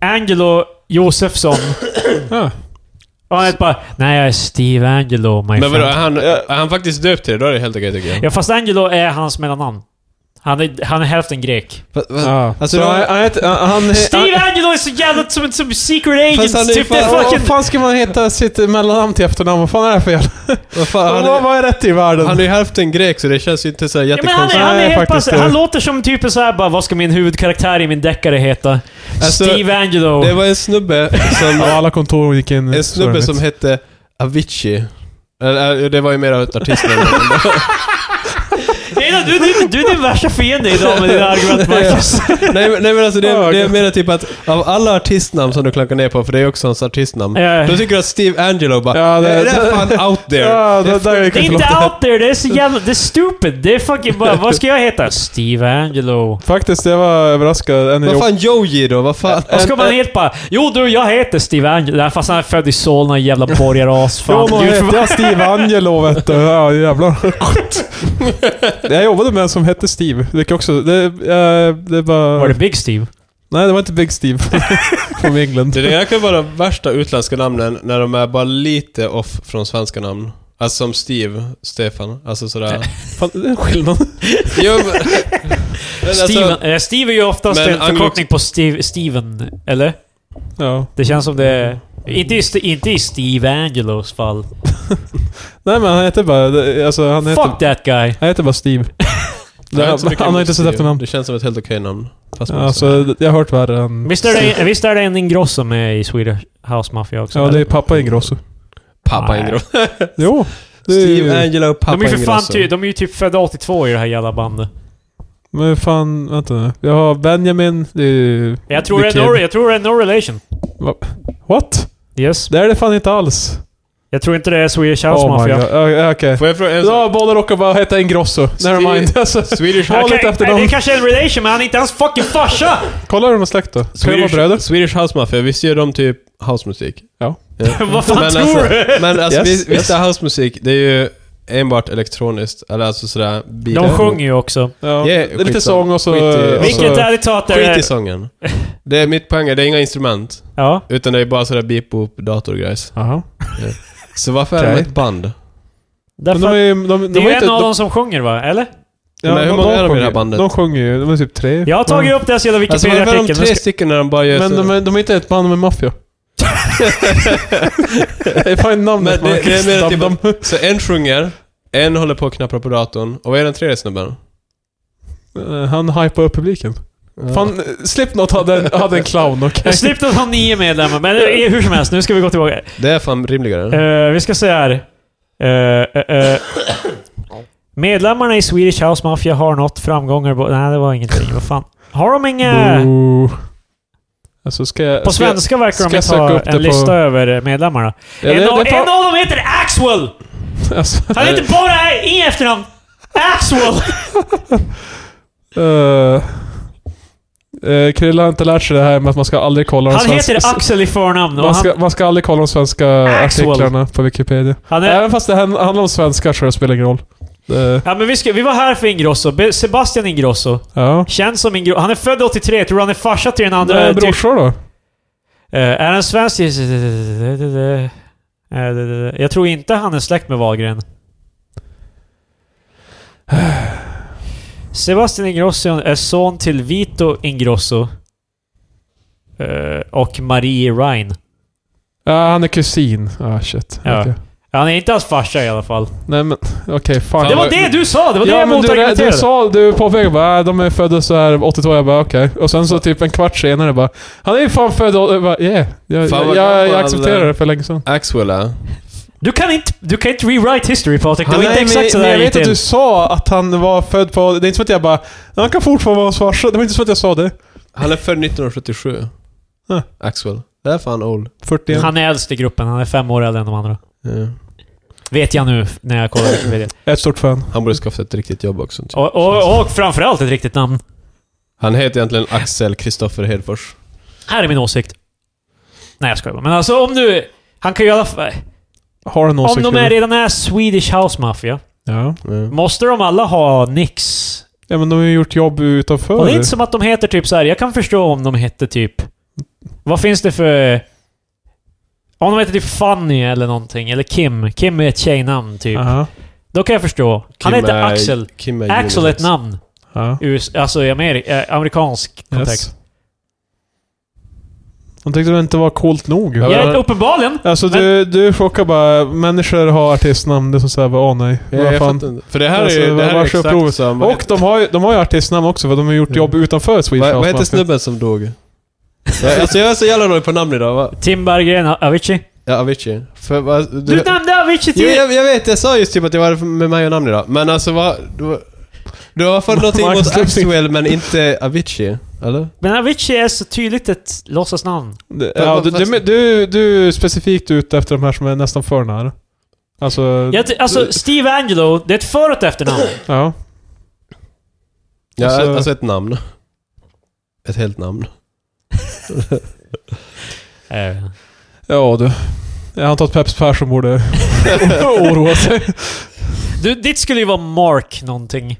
[SPEAKER 1] Angelo Josefsson.
[SPEAKER 2] Ja.
[SPEAKER 1] Och han heter bara... Nej, jag är Steve Angelo, my
[SPEAKER 3] Men vadå, är
[SPEAKER 1] friend.
[SPEAKER 3] han, är han faktiskt döpt till det? Då är det helt okej tycker jag.
[SPEAKER 1] Ja, fast Angelo är hans mellannamn. Han är, han är hälften grek.
[SPEAKER 2] Ja.
[SPEAKER 3] Alltså,
[SPEAKER 2] Så
[SPEAKER 3] det var-
[SPEAKER 2] han, han heter... Han, han,
[SPEAKER 1] Steve Angelo är så jävla som, som secret
[SPEAKER 3] Eh, Fast han
[SPEAKER 1] agent.
[SPEAKER 3] är ju
[SPEAKER 1] Typ det
[SPEAKER 3] fan-
[SPEAKER 1] är
[SPEAKER 2] Vad
[SPEAKER 1] fucking...
[SPEAKER 2] fan ska man heta sitt mellannamn till efternamn? Vad fan är det för jävla...
[SPEAKER 3] Vad fan,
[SPEAKER 2] Vad,
[SPEAKER 3] han,
[SPEAKER 2] vad är rätt i världen?
[SPEAKER 3] är, han är ju hälften grek så det känns ju inte så här
[SPEAKER 1] Ja, men han, är,
[SPEAKER 3] jättekonstigt.
[SPEAKER 1] han, är
[SPEAKER 2] Nej,
[SPEAKER 1] helt
[SPEAKER 2] faktiskt
[SPEAKER 1] pass,
[SPEAKER 2] det.
[SPEAKER 1] han låter som typ så här bara, vad ska min huvudkaraktär i min deckare heta?
[SPEAKER 3] Alltså,
[SPEAKER 1] Steve Angelo.
[SPEAKER 3] Det var en snubbe som...
[SPEAKER 2] Ja, alla kontor gick in...
[SPEAKER 3] En snubbe som hette Avicii. Eller, eh, Det var ju mer av ett artistnamn.
[SPEAKER 1] Nej, nej, du, du, du är din värsta fiende idag med dina argument Marcus.
[SPEAKER 3] nej, men- nej men alltså det,
[SPEAKER 2] Ja,
[SPEAKER 3] är- det
[SPEAKER 2] okej.
[SPEAKER 3] är mer typ att av alla artistnamn som du klankar ner på, för det är också hans artistnamn.
[SPEAKER 1] Ja.
[SPEAKER 3] Då tycker du att Steve Angelo bara
[SPEAKER 2] Ja,
[SPEAKER 3] det,
[SPEAKER 2] det-
[SPEAKER 3] är fan out there.
[SPEAKER 2] Ja,
[SPEAKER 3] Det är
[SPEAKER 2] det där gick
[SPEAKER 1] Det är
[SPEAKER 2] jag
[SPEAKER 1] inte
[SPEAKER 2] förlåt.
[SPEAKER 1] out there, det är så jävla... Det är stupid. Det är fucking bara, vad ska jag heta? Steve Angelo.
[SPEAKER 2] Faktiskt, jag var överraskad. En
[SPEAKER 3] Vad
[SPEAKER 2] jobb-
[SPEAKER 3] fan Joji då? Vad fan?
[SPEAKER 1] Vad ska man heta bara? Jo du, jag heter Steve Angelo. Nej, Fast han är född i Solna, jävla borgaras. Fan,
[SPEAKER 2] Jo, någon
[SPEAKER 1] Gud,
[SPEAKER 2] hette jag Steve Angelo vet du. Ja, jävlar. jag jobbade med en som hette Steve. Vilket också... Det, eh, det var...
[SPEAKER 1] Var det Big Steve?
[SPEAKER 2] Nej, det var inte Big Steve. Från England.
[SPEAKER 3] Det där kan vara de värsta utländska namnen när de är bara lite off från svenska namn. Alltså som Steve, Stefan. Alltså sådär.
[SPEAKER 2] Fan, det är en skillnad.
[SPEAKER 3] jo, men, men alltså,
[SPEAKER 1] Steven, eh, Steve är ju oftast
[SPEAKER 3] Men
[SPEAKER 1] en
[SPEAKER 3] anglo-
[SPEAKER 1] förkortning på Steve, Steven, eller?
[SPEAKER 2] Ja.
[SPEAKER 1] Det känns som det är... Inte i, St- inte i Steve Angelos fall.
[SPEAKER 2] Nej, men han heter bara... det- Alltså, han heter...
[SPEAKER 1] Fuck that guy!
[SPEAKER 2] Han heter bara Steve.
[SPEAKER 3] jag har inte så mycket
[SPEAKER 2] han har
[SPEAKER 3] emot
[SPEAKER 2] inte sett
[SPEAKER 3] Steve.
[SPEAKER 2] efternamn.
[SPEAKER 3] Det känns som ett helt okej namn. Fast man också-
[SPEAKER 2] Alltså, jag har hört värre än...
[SPEAKER 1] Visst är det, visst är det en Ingrosso med i Swedish House Mafia också?
[SPEAKER 2] Ja, det är
[SPEAKER 1] eller?
[SPEAKER 2] pappa Ingrosso.
[SPEAKER 3] Pappa Ingro.
[SPEAKER 2] Jo. Det är,
[SPEAKER 3] Steve Angelo, pappa alltså.
[SPEAKER 1] de är ju för fan
[SPEAKER 3] Ingrosso.
[SPEAKER 1] ty, de är ju typ födda 82 i det här jävla bandet.
[SPEAKER 2] Men fan, vänta nu. Jag har Benjamin, det är ju...
[SPEAKER 1] Jag tror, det
[SPEAKER 2] The
[SPEAKER 1] är no,
[SPEAKER 2] Kid.
[SPEAKER 1] jag tror det är no relation.
[SPEAKER 2] What?
[SPEAKER 1] Yes.
[SPEAKER 2] Det är det fan inte alls.
[SPEAKER 1] Jag tror inte det är Swedish House
[SPEAKER 2] Oh my
[SPEAKER 1] Mafia.
[SPEAKER 2] god. Okej. Okay.
[SPEAKER 3] Får jag fråga en sak?
[SPEAKER 2] Ja, båda råkar bara heta Ingrosso. Nevermind. Alltså,
[SPEAKER 3] Swedish
[SPEAKER 2] Håll
[SPEAKER 1] Okej,
[SPEAKER 2] lite efter
[SPEAKER 1] nej, det
[SPEAKER 2] dem.
[SPEAKER 1] är kanske är en relation, men han är inte hans fucking farsa!
[SPEAKER 2] Kolla hur de är släkt då. Ska de vara bröder?
[SPEAKER 3] Swedish, Swedish House Mafia, visst gör de typ housemusik?
[SPEAKER 2] Ja.
[SPEAKER 1] Vad fan
[SPEAKER 3] men
[SPEAKER 1] tror
[SPEAKER 3] alltså,
[SPEAKER 1] du?
[SPEAKER 3] Men alltså,
[SPEAKER 2] Yes,
[SPEAKER 3] vis-
[SPEAKER 2] yes.
[SPEAKER 3] visst är housemusik, det är ju enbart elektroniskt, eller alltså sådär... bilar.
[SPEAKER 1] De sjunger ju också.
[SPEAKER 2] Ja.
[SPEAKER 3] Yeah,
[SPEAKER 2] det är lite
[SPEAKER 3] skitsamma.
[SPEAKER 2] sång och så...
[SPEAKER 3] Skit i-
[SPEAKER 2] och så-
[SPEAKER 1] Vilket ärligt talat
[SPEAKER 3] Skit
[SPEAKER 1] är...
[SPEAKER 3] i sången. Det är mitt poäng, är, det är inga instrument.
[SPEAKER 1] Ja.
[SPEAKER 3] Utan det är bara sådär beep boop datorgrejs.
[SPEAKER 2] Jaha.
[SPEAKER 3] Så varför är de
[SPEAKER 2] Okej.
[SPEAKER 3] ett band?
[SPEAKER 2] Men de
[SPEAKER 1] Därför
[SPEAKER 2] är
[SPEAKER 1] att
[SPEAKER 2] ju... De, de,
[SPEAKER 1] det är
[SPEAKER 2] var
[SPEAKER 1] ju
[SPEAKER 2] inte-
[SPEAKER 1] en av
[SPEAKER 2] de-
[SPEAKER 1] dem som sjunger va? Eller?
[SPEAKER 2] ja,
[SPEAKER 3] Men hur
[SPEAKER 2] de-
[SPEAKER 3] många
[SPEAKER 2] de
[SPEAKER 3] är de i det här
[SPEAKER 2] sjunger ju.
[SPEAKER 3] bandet?
[SPEAKER 2] De sjunger ju. De är typ tre.
[SPEAKER 1] Jag har tagit upp deras jävla
[SPEAKER 3] Alltså varför är de
[SPEAKER 1] Wikipedia-artikeln.
[SPEAKER 3] tre
[SPEAKER 1] men ska-
[SPEAKER 3] stycken när de bara gör
[SPEAKER 2] Men
[SPEAKER 3] så?
[SPEAKER 2] de är, de är inte ett band med maffia. det är fan namnet
[SPEAKER 3] Men det- det är mer
[SPEAKER 2] Marcus.
[SPEAKER 3] typ-
[SPEAKER 2] de, de,
[SPEAKER 3] Så en sjunger, en håller på och knappar på datorn, och vad är den tredje snubben?
[SPEAKER 2] Eh, Han hypar upp publiken. Fan, eh, Slipknot hade en, hade en clown, okej?
[SPEAKER 1] Slipknot har nio medlemmar, men eh, hur som helst, nu ska vi gå tillbaka.
[SPEAKER 3] Det är fan rimligare.
[SPEAKER 1] Eh, vi ska se här. Eh, eh, eh. Medlemmarna i Swedish House Mafia har nått framgångar... bo- Nej, det var ingenting. Vad fan. Har de inga...
[SPEAKER 2] Boo. Alltså ska jag...
[SPEAKER 1] På
[SPEAKER 2] ska jag-
[SPEAKER 1] svenska verkar de
[SPEAKER 2] ska jag
[SPEAKER 1] inte
[SPEAKER 2] söka
[SPEAKER 1] ha
[SPEAKER 2] upp det
[SPEAKER 1] en
[SPEAKER 2] på-
[SPEAKER 1] lista över medlemmarna.
[SPEAKER 2] Ja, det-
[SPEAKER 1] en, av,
[SPEAKER 2] det är fan-
[SPEAKER 1] en av dem heter Axwell!
[SPEAKER 2] Alltså,
[SPEAKER 1] Han heter bara i efternamn. Axwell!
[SPEAKER 2] eh, eh, Krilla har inte lärt sig det här med att man ska aldrig kolla de
[SPEAKER 1] Han
[SPEAKER 2] svenska...
[SPEAKER 1] heter Axel i förnamn och
[SPEAKER 2] man, ska,
[SPEAKER 1] han,
[SPEAKER 2] man ska aldrig kolla de svenska
[SPEAKER 1] Axel.
[SPEAKER 2] artiklarna på Wikipedia.
[SPEAKER 1] han är...
[SPEAKER 2] Även fast det hand- handlar om svenskar så det spelar ingen roll. Det,
[SPEAKER 1] Ja, men vi, ska, vi var här för Ingrosso. Be- Sebastian Ingrosso.
[SPEAKER 2] ja.
[SPEAKER 1] Känns som Ingrosso. Han är född 83. Tror du han är farsa till den andra?
[SPEAKER 2] Andra,
[SPEAKER 1] typ-
[SPEAKER 2] brorsor då?
[SPEAKER 1] Eh, är han svensk? Eh, Jag tror inte han är släkt med Wahlgren. Sebastian Ingrosso är son till Vito Ingrosso. Eh, Och Marie Ryan.
[SPEAKER 2] Ja, han är kusin. Ah, shit.
[SPEAKER 1] Ja.
[SPEAKER 2] Okej.
[SPEAKER 1] Han är inte hans farsa i alla fall.
[SPEAKER 2] Nej men, okej, fine.
[SPEAKER 3] Fan,
[SPEAKER 1] Det var
[SPEAKER 3] vad-
[SPEAKER 1] det du sa! Det var det
[SPEAKER 2] Ja
[SPEAKER 1] jag
[SPEAKER 2] men du, du
[SPEAKER 1] motargumenterade.
[SPEAKER 2] sa, du påpekade bara äh, de är födda så här 82, jag bara okej. Och sen så typ en kvart senare bara Han är ju fan född och jag bara yeah. Jag,
[SPEAKER 3] Fan,
[SPEAKER 2] jag,
[SPEAKER 3] vad
[SPEAKER 2] jag,
[SPEAKER 3] gammal.
[SPEAKER 2] accepterar det för länge sedan.
[SPEAKER 3] Axwell är...
[SPEAKER 1] Du kan inte, du kan inte rewrite history Patrik. Det var inte exakt sådär
[SPEAKER 2] jag
[SPEAKER 1] det gick
[SPEAKER 2] vet att
[SPEAKER 1] till.
[SPEAKER 2] du sa att han var född på... Det är inte som att jag bara Han kan fortfarande vara hans farsa. Det var inte som att jag sa det.
[SPEAKER 3] Han är född 1977.
[SPEAKER 2] Huh.
[SPEAKER 3] Axwell. Det är fan old.
[SPEAKER 2] 41.
[SPEAKER 1] Han är äldst i gruppen. Han är fem år äldre än de andra.
[SPEAKER 3] Ja.
[SPEAKER 1] Vet jag nu när jag kollar Wikipedia.
[SPEAKER 2] Jag är ett stort fan.
[SPEAKER 3] Han borde skaffa ett riktigt jobb också. typ.
[SPEAKER 1] Och, och, och framförallt ett riktigt namn.
[SPEAKER 3] Han heter egentligen Axel Kristoffer Hedfors.
[SPEAKER 1] Här är min åsikt. Nej, jag skojar bara. Men alltså om du... Han kan ju i alla fall...
[SPEAKER 2] Har en
[SPEAKER 1] Om
[SPEAKER 2] åsikt.
[SPEAKER 1] de
[SPEAKER 2] eller?
[SPEAKER 1] är redan är Swedish House Mafia,
[SPEAKER 2] ja.
[SPEAKER 3] Ja.
[SPEAKER 1] måste de alla ha nix?
[SPEAKER 2] ja men de har ju gjort jobb utanför.
[SPEAKER 1] Och det är inte som att de heter typ så här. jag kan förstå om de hette typ... Vad finns det för... Om de heter typ Fanny eller någonting, eller Kim. Kim är ett tjejnamn typ.
[SPEAKER 2] Aha.
[SPEAKER 1] Då kan jag förstå. Han
[SPEAKER 3] Kim
[SPEAKER 1] heter
[SPEAKER 3] är-
[SPEAKER 1] Axel.
[SPEAKER 3] Kim är
[SPEAKER 1] Axel är ett
[SPEAKER 3] unisex.
[SPEAKER 1] namn.
[SPEAKER 2] Ja.
[SPEAKER 1] US, alltså i Ameri- eh, amerikansk kontext.
[SPEAKER 2] Yes. De tyckte det inte var coolt nog.
[SPEAKER 3] Ja,
[SPEAKER 1] Ja,
[SPEAKER 3] men-
[SPEAKER 1] uppenbarligen.
[SPEAKER 2] Alltså du, du chockar bara, människor har artistnamn, det är som säger bara åh nej.
[SPEAKER 3] Ja,
[SPEAKER 2] vad
[SPEAKER 3] jag
[SPEAKER 2] fan.
[SPEAKER 3] fattar inte. För det här
[SPEAKER 2] Alltså,
[SPEAKER 3] är ju... Det
[SPEAKER 2] vad-
[SPEAKER 3] här är
[SPEAKER 2] vad
[SPEAKER 3] exakt
[SPEAKER 2] köper du?
[SPEAKER 3] som... vad
[SPEAKER 2] Och de har, ju, de har ju artistnamn också för de har gjort jobb utanför Swedish
[SPEAKER 3] Vad, vad
[SPEAKER 2] House
[SPEAKER 3] heter
[SPEAKER 2] Mafia.
[SPEAKER 3] snubben som dog? Ja, alltså jag är så jävla dålig på namn idag. Va?
[SPEAKER 1] Tim Berggren, Avicii.
[SPEAKER 3] Ja, Avicii. För, vad-
[SPEAKER 1] Du nämnde Avicii
[SPEAKER 3] jo,
[SPEAKER 1] till...
[SPEAKER 3] jag, jag vet, jag sa just typ att det var med mig och namn idag. Men alltså vad... Du, du har fått någonting
[SPEAKER 2] Marcus
[SPEAKER 3] mot
[SPEAKER 2] Lundqvist.
[SPEAKER 3] Axwell men inte Avicii, eller?
[SPEAKER 1] Men Avicii är så tydligt ett låtsasnamn.
[SPEAKER 2] Det- Ja, du, du, du, du är specifikt ute efter de här som är nästan för nära. Alltså,
[SPEAKER 1] Jag ty- Alltså, Steve Angelo, det är ett för och ett efternamn.
[SPEAKER 2] ja.
[SPEAKER 3] Ja,
[SPEAKER 2] Alltså-
[SPEAKER 3] alltså, ett namn. Ett helt namn.
[SPEAKER 1] Eh,
[SPEAKER 2] Ja du. Jag antar att Peps Persson borde oroa sig.
[SPEAKER 1] du, ditt skulle ju vara Mark någonting.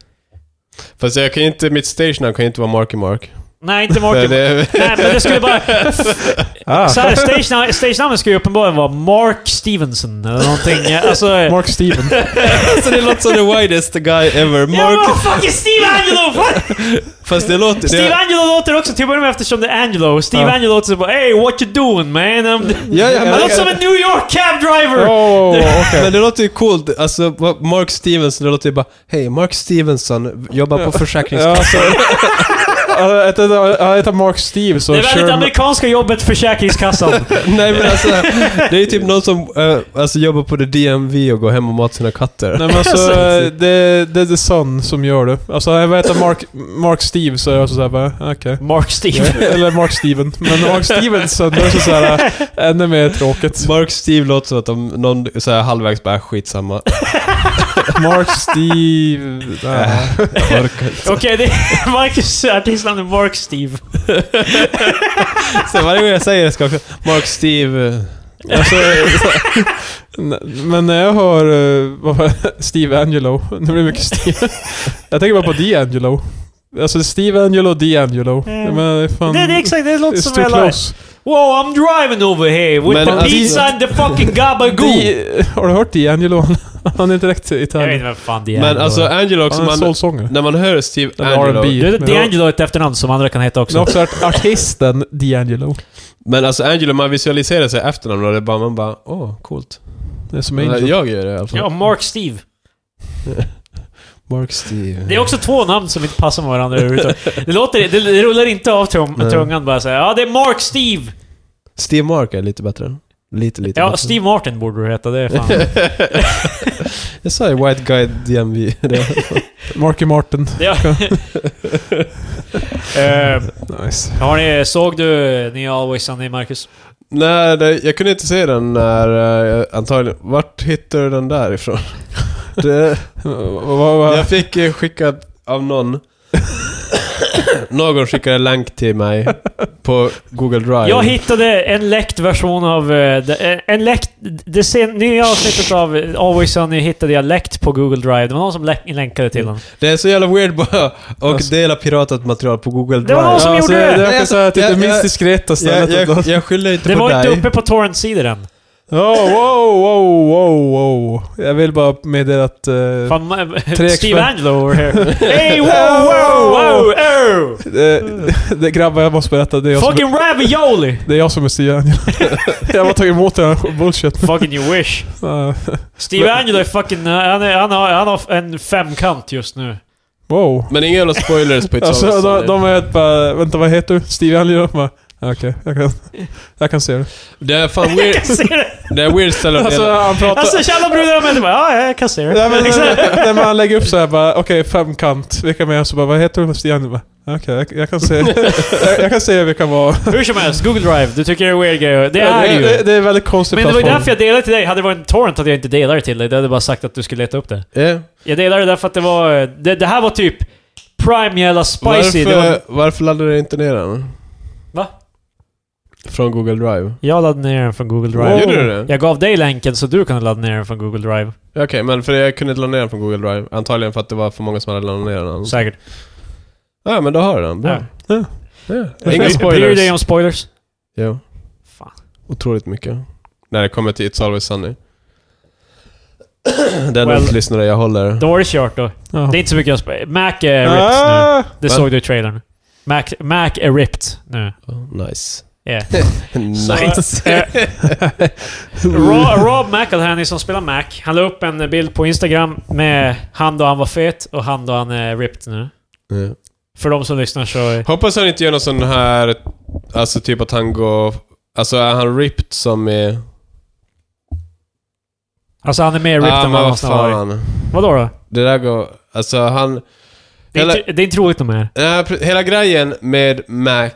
[SPEAKER 3] Fast jag kan ju inte, mitt stage namn kan ju inte vara Marky Mark.
[SPEAKER 1] Nej, inte
[SPEAKER 3] För
[SPEAKER 1] Mark.
[SPEAKER 3] det,
[SPEAKER 1] Nej, men det skulle bara...
[SPEAKER 2] Ah,
[SPEAKER 1] Så här, stagenamn- stagenamnet skulle ju uppenbarligen vara Mark Stevenson eller någonting. Alltså... Mark
[SPEAKER 2] Mark Steven.
[SPEAKER 3] alltså det låter som the widest guy ever.
[SPEAKER 1] ja, men
[SPEAKER 3] Mark.
[SPEAKER 1] vad fuck är Steve Angelo? Fuck!
[SPEAKER 3] Fast det låter...
[SPEAKER 1] Steve
[SPEAKER 3] Det,
[SPEAKER 1] Angelo låter också, till att börja med eftersom det är Angelo, Steve
[SPEAKER 2] Ja.
[SPEAKER 1] Angelo låter så bara Hey, what you doing man? I'm...
[SPEAKER 3] ja, ja,
[SPEAKER 1] Han
[SPEAKER 3] men,
[SPEAKER 1] låter som en New York cab driver!
[SPEAKER 2] Oh, okej.
[SPEAKER 3] men det låter ju coolt. Alltså vad- Mark Stevenson, det låter ju bara Hej, Mark Stevenson jobbar på
[SPEAKER 2] Ja,
[SPEAKER 3] Försäkringskassan.
[SPEAKER 2] alltså, Ja, Ett, ett, ja, ett av Mark Steves
[SPEAKER 1] Det
[SPEAKER 2] och
[SPEAKER 1] är väldigt
[SPEAKER 2] Sherman...
[SPEAKER 1] amerikanska jobbet Försäkringskassan.
[SPEAKER 3] Nej men alltså, det är ju typ någon som eh, alltså, jobbar på det DMV och går hem och matar sina katter.
[SPEAKER 2] Nej men alltså, eh, det, det är The Sun som gör det. Alltså, jag vet att Mark, Mark Steves så är jag så såhär bara, okej.
[SPEAKER 1] Mark Steve.
[SPEAKER 2] Eller Mark Steven. Men Mark Stevenson, det är så såhär, äh, ännu mer tråkigt.
[SPEAKER 3] Mark Steve låter som att de, någon så här, halvvägs bara skitsamma.
[SPEAKER 2] Mark Steve... nej.
[SPEAKER 3] Jag orkar inte.
[SPEAKER 1] Okej, det är Marcus artistnamn är Mark Steve.
[SPEAKER 3] Så varje gång jag säger det ska jag också, Mark Steve... eh,
[SPEAKER 2] Alltså, så- men när jag hör eh, vad var det? Steve Angelo, nu blir det mycket Steve. Jag tänker bara på D'Angelo. Alltså Steve Angelo och D'Angelo.
[SPEAKER 1] Ja.
[SPEAKER 2] Men fan...
[SPEAKER 1] Mm. Det, det är exakt, det låter
[SPEAKER 2] it's
[SPEAKER 1] som
[SPEAKER 2] too
[SPEAKER 1] hela...
[SPEAKER 2] close.
[SPEAKER 1] Wow, I'm driving over here with
[SPEAKER 3] Men
[SPEAKER 1] the
[SPEAKER 3] alltså-
[SPEAKER 1] pizza and the fucking gabagoo.
[SPEAKER 2] Di- har du hört D'Angelo? Han- Han är direkt
[SPEAKER 1] Jag vet inte
[SPEAKER 2] Italien.
[SPEAKER 1] vem fan det är.
[SPEAKER 3] Men alltså Angelo också,
[SPEAKER 2] Han är en
[SPEAKER 3] man,
[SPEAKER 2] soulsångare.
[SPEAKER 3] när man hör Steve
[SPEAKER 2] Eller
[SPEAKER 3] Angelo...
[SPEAKER 2] R&B.
[SPEAKER 1] Du vet, D'Angelo är ett efternamn som andra kan heta
[SPEAKER 2] Men
[SPEAKER 1] också.
[SPEAKER 2] också art- artisten D'Angelo.
[SPEAKER 3] Men alltså Angelo, man visualiserar sig efternamn och det är bara, man bara, åh, coolt.
[SPEAKER 2] Det är som
[SPEAKER 3] Men
[SPEAKER 2] Angel.
[SPEAKER 3] jag gör det i alla fall.
[SPEAKER 1] Ja, Mark Steve.
[SPEAKER 3] Mark Steve.
[SPEAKER 1] Det är också två namn som inte passar med varandra överhuvudtaget. Det, låter, det, det rullar inte av tum,
[SPEAKER 3] Nej.
[SPEAKER 1] tungan bara säga. Ja, det är Mark Steve!
[SPEAKER 3] Steve Mark är lite bättre. Lite, lite
[SPEAKER 1] Ja,
[SPEAKER 3] bättre.
[SPEAKER 1] Steve Martin borde du heta. Det är fan...
[SPEAKER 3] jag sa ju White Guy DMV. Det-
[SPEAKER 2] Marky Martin.
[SPEAKER 1] Det, Eh,
[SPEAKER 2] Nice.
[SPEAKER 1] har ni, såg du nya Always Sunny, Marcus?
[SPEAKER 3] Nej, det, jag kunde inte se den när... eh, antagligen... Vart hittar du den där ifrån? det, jag fick eh, skickat av någon. någon skickade en länk till mig på Google Drive.
[SPEAKER 1] Jag hittade en läckt version av... eh, de- eh, En läckt... Det sen, nya avsnittet av eh, Always Sunny hittade jag läckt på Google Drive. Det var någon som lä- länkade till den.
[SPEAKER 3] Det är så jävla weird bara och
[SPEAKER 2] Alltså-
[SPEAKER 3] dela piratat material på Google Drive.
[SPEAKER 1] Det var någon som
[SPEAKER 2] Ja,
[SPEAKER 1] gjorde
[SPEAKER 2] så jag-
[SPEAKER 1] det.
[SPEAKER 2] Jag kan
[SPEAKER 3] Alltså,
[SPEAKER 2] säga att det är
[SPEAKER 3] jag-
[SPEAKER 2] det minst
[SPEAKER 3] jag-
[SPEAKER 2] diskreta
[SPEAKER 3] jag,
[SPEAKER 2] stället.
[SPEAKER 3] jag, jag skyller inte
[SPEAKER 1] Det
[SPEAKER 3] på
[SPEAKER 1] var
[SPEAKER 3] dig.
[SPEAKER 1] inte uppe på Torrent-sidor än.
[SPEAKER 2] Oh, wow, wow, wow, wow. Jag vill bara meddela att... eh,
[SPEAKER 1] Fan, ma-
[SPEAKER 2] expert-
[SPEAKER 1] Steve Angelo over here. Hey, wow, wow, wow, oh.
[SPEAKER 2] eh, det, grabbar, jag måste berätta. Det är jag, som,
[SPEAKER 1] Fucking ravioli!
[SPEAKER 2] det är, jag som är Steve Angelo. jag har bara tagit emot den här bullshit.
[SPEAKER 1] Fucking you wish.
[SPEAKER 2] Eh,
[SPEAKER 1] Steve Angelo är fucking... eh, Han, är, han, har, han har en femkant just nu.
[SPEAKER 2] wow.
[SPEAKER 3] Men inga jävla spoilers på It's
[SPEAKER 2] Alltså,
[SPEAKER 3] Always
[SPEAKER 2] de,
[SPEAKER 3] Sunny.
[SPEAKER 2] de är ett bara... Vänta, vad heter du? Steve Angelo? Bara, Okej, jag, kan, jag kan se det.
[SPEAKER 3] Det är fan weird,
[SPEAKER 1] Jag ser det.
[SPEAKER 3] det är weird ställe att
[SPEAKER 2] Alltså,
[SPEAKER 3] dela.
[SPEAKER 2] han pratar...
[SPEAKER 1] Alltså tjena brudar med det bara "Ah, Alltså, ja, jag kan se
[SPEAKER 2] Nej
[SPEAKER 1] det.
[SPEAKER 2] men, nej, men han lägger upp så här bara, okej femkant, vilka mer? Så bara, vad heter de? Stian bara, okej jag, jag kan se, jag, jag kan se vilka var.
[SPEAKER 1] Hur som helst, Google Drive. Du tycker det är weird grejer. Det är det
[SPEAKER 2] det,
[SPEAKER 1] ju.
[SPEAKER 2] det är en väldigt konstigt
[SPEAKER 1] Men det var ju därför jag delade till dig. Hade det varit en torrent hade jag inte delat det till dig. Det hade bara sagt att du skulle leta upp det.
[SPEAKER 3] Ja.
[SPEAKER 1] Jag delade det därför att det var... Det, det här var typ prime jävla spicy. Det var,
[SPEAKER 3] Varför, varför laddade du inte ner den?
[SPEAKER 1] Va?
[SPEAKER 3] Från Google Drive?
[SPEAKER 1] jag laddade ner den från Google Drive.
[SPEAKER 2] Wow.
[SPEAKER 3] Gjorde du det?
[SPEAKER 1] Jag gav dig länken så du kan ladda ner den från Google Drive.
[SPEAKER 3] Okej, men för jag kunde inte ladda ner den från Google Drive. Antagligen för att det var för många som hade laddat ner den.
[SPEAKER 1] Säkert.
[SPEAKER 3] Ja, men då har du den. Bra.
[SPEAKER 2] Ja.
[SPEAKER 3] Ja.
[SPEAKER 1] Bryr du
[SPEAKER 3] Inga
[SPEAKER 1] dig
[SPEAKER 3] spoilers.
[SPEAKER 1] om spoilers?
[SPEAKER 3] Jo,
[SPEAKER 1] Fan.
[SPEAKER 3] otroligt mycket. När det kommer till It's Always Sunny. Den
[SPEAKER 1] Well-
[SPEAKER 3] well, lyssnare jag håller.
[SPEAKER 1] Då var det kört då.
[SPEAKER 2] Ja.
[SPEAKER 1] Det är inte så mycket jag spoilar. Mac är ripped nu.
[SPEAKER 2] Ah!
[SPEAKER 1] Det
[SPEAKER 3] Va?
[SPEAKER 1] såg du i trailern. Mac, Mac är ripped nu.
[SPEAKER 3] Oh, nice.
[SPEAKER 1] Yeah.
[SPEAKER 3] nice.
[SPEAKER 1] Så, eh, Rob, Rob McElhenney som spelar Mac, han la upp en bild på Instagram med han då han var fet och han då han är ripped nu.
[SPEAKER 3] Ja.
[SPEAKER 1] För de som lyssnar så...
[SPEAKER 3] Hoppas han inte gör någon sån här, alltså typ att han går, alltså är han ripped som i...
[SPEAKER 1] Alltså han är mer
[SPEAKER 3] Ah,
[SPEAKER 1] ripped än vad han någonsin har varit. Vadå då?
[SPEAKER 3] Det där går, alltså han...
[SPEAKER 1] Det är, typ-
[SPEAKER 3] Eller-
[SPEAKER 1] inte, det är inte roligt nog mer.
[SPEAKER 3] Nej, pre- hela grejen med Mac,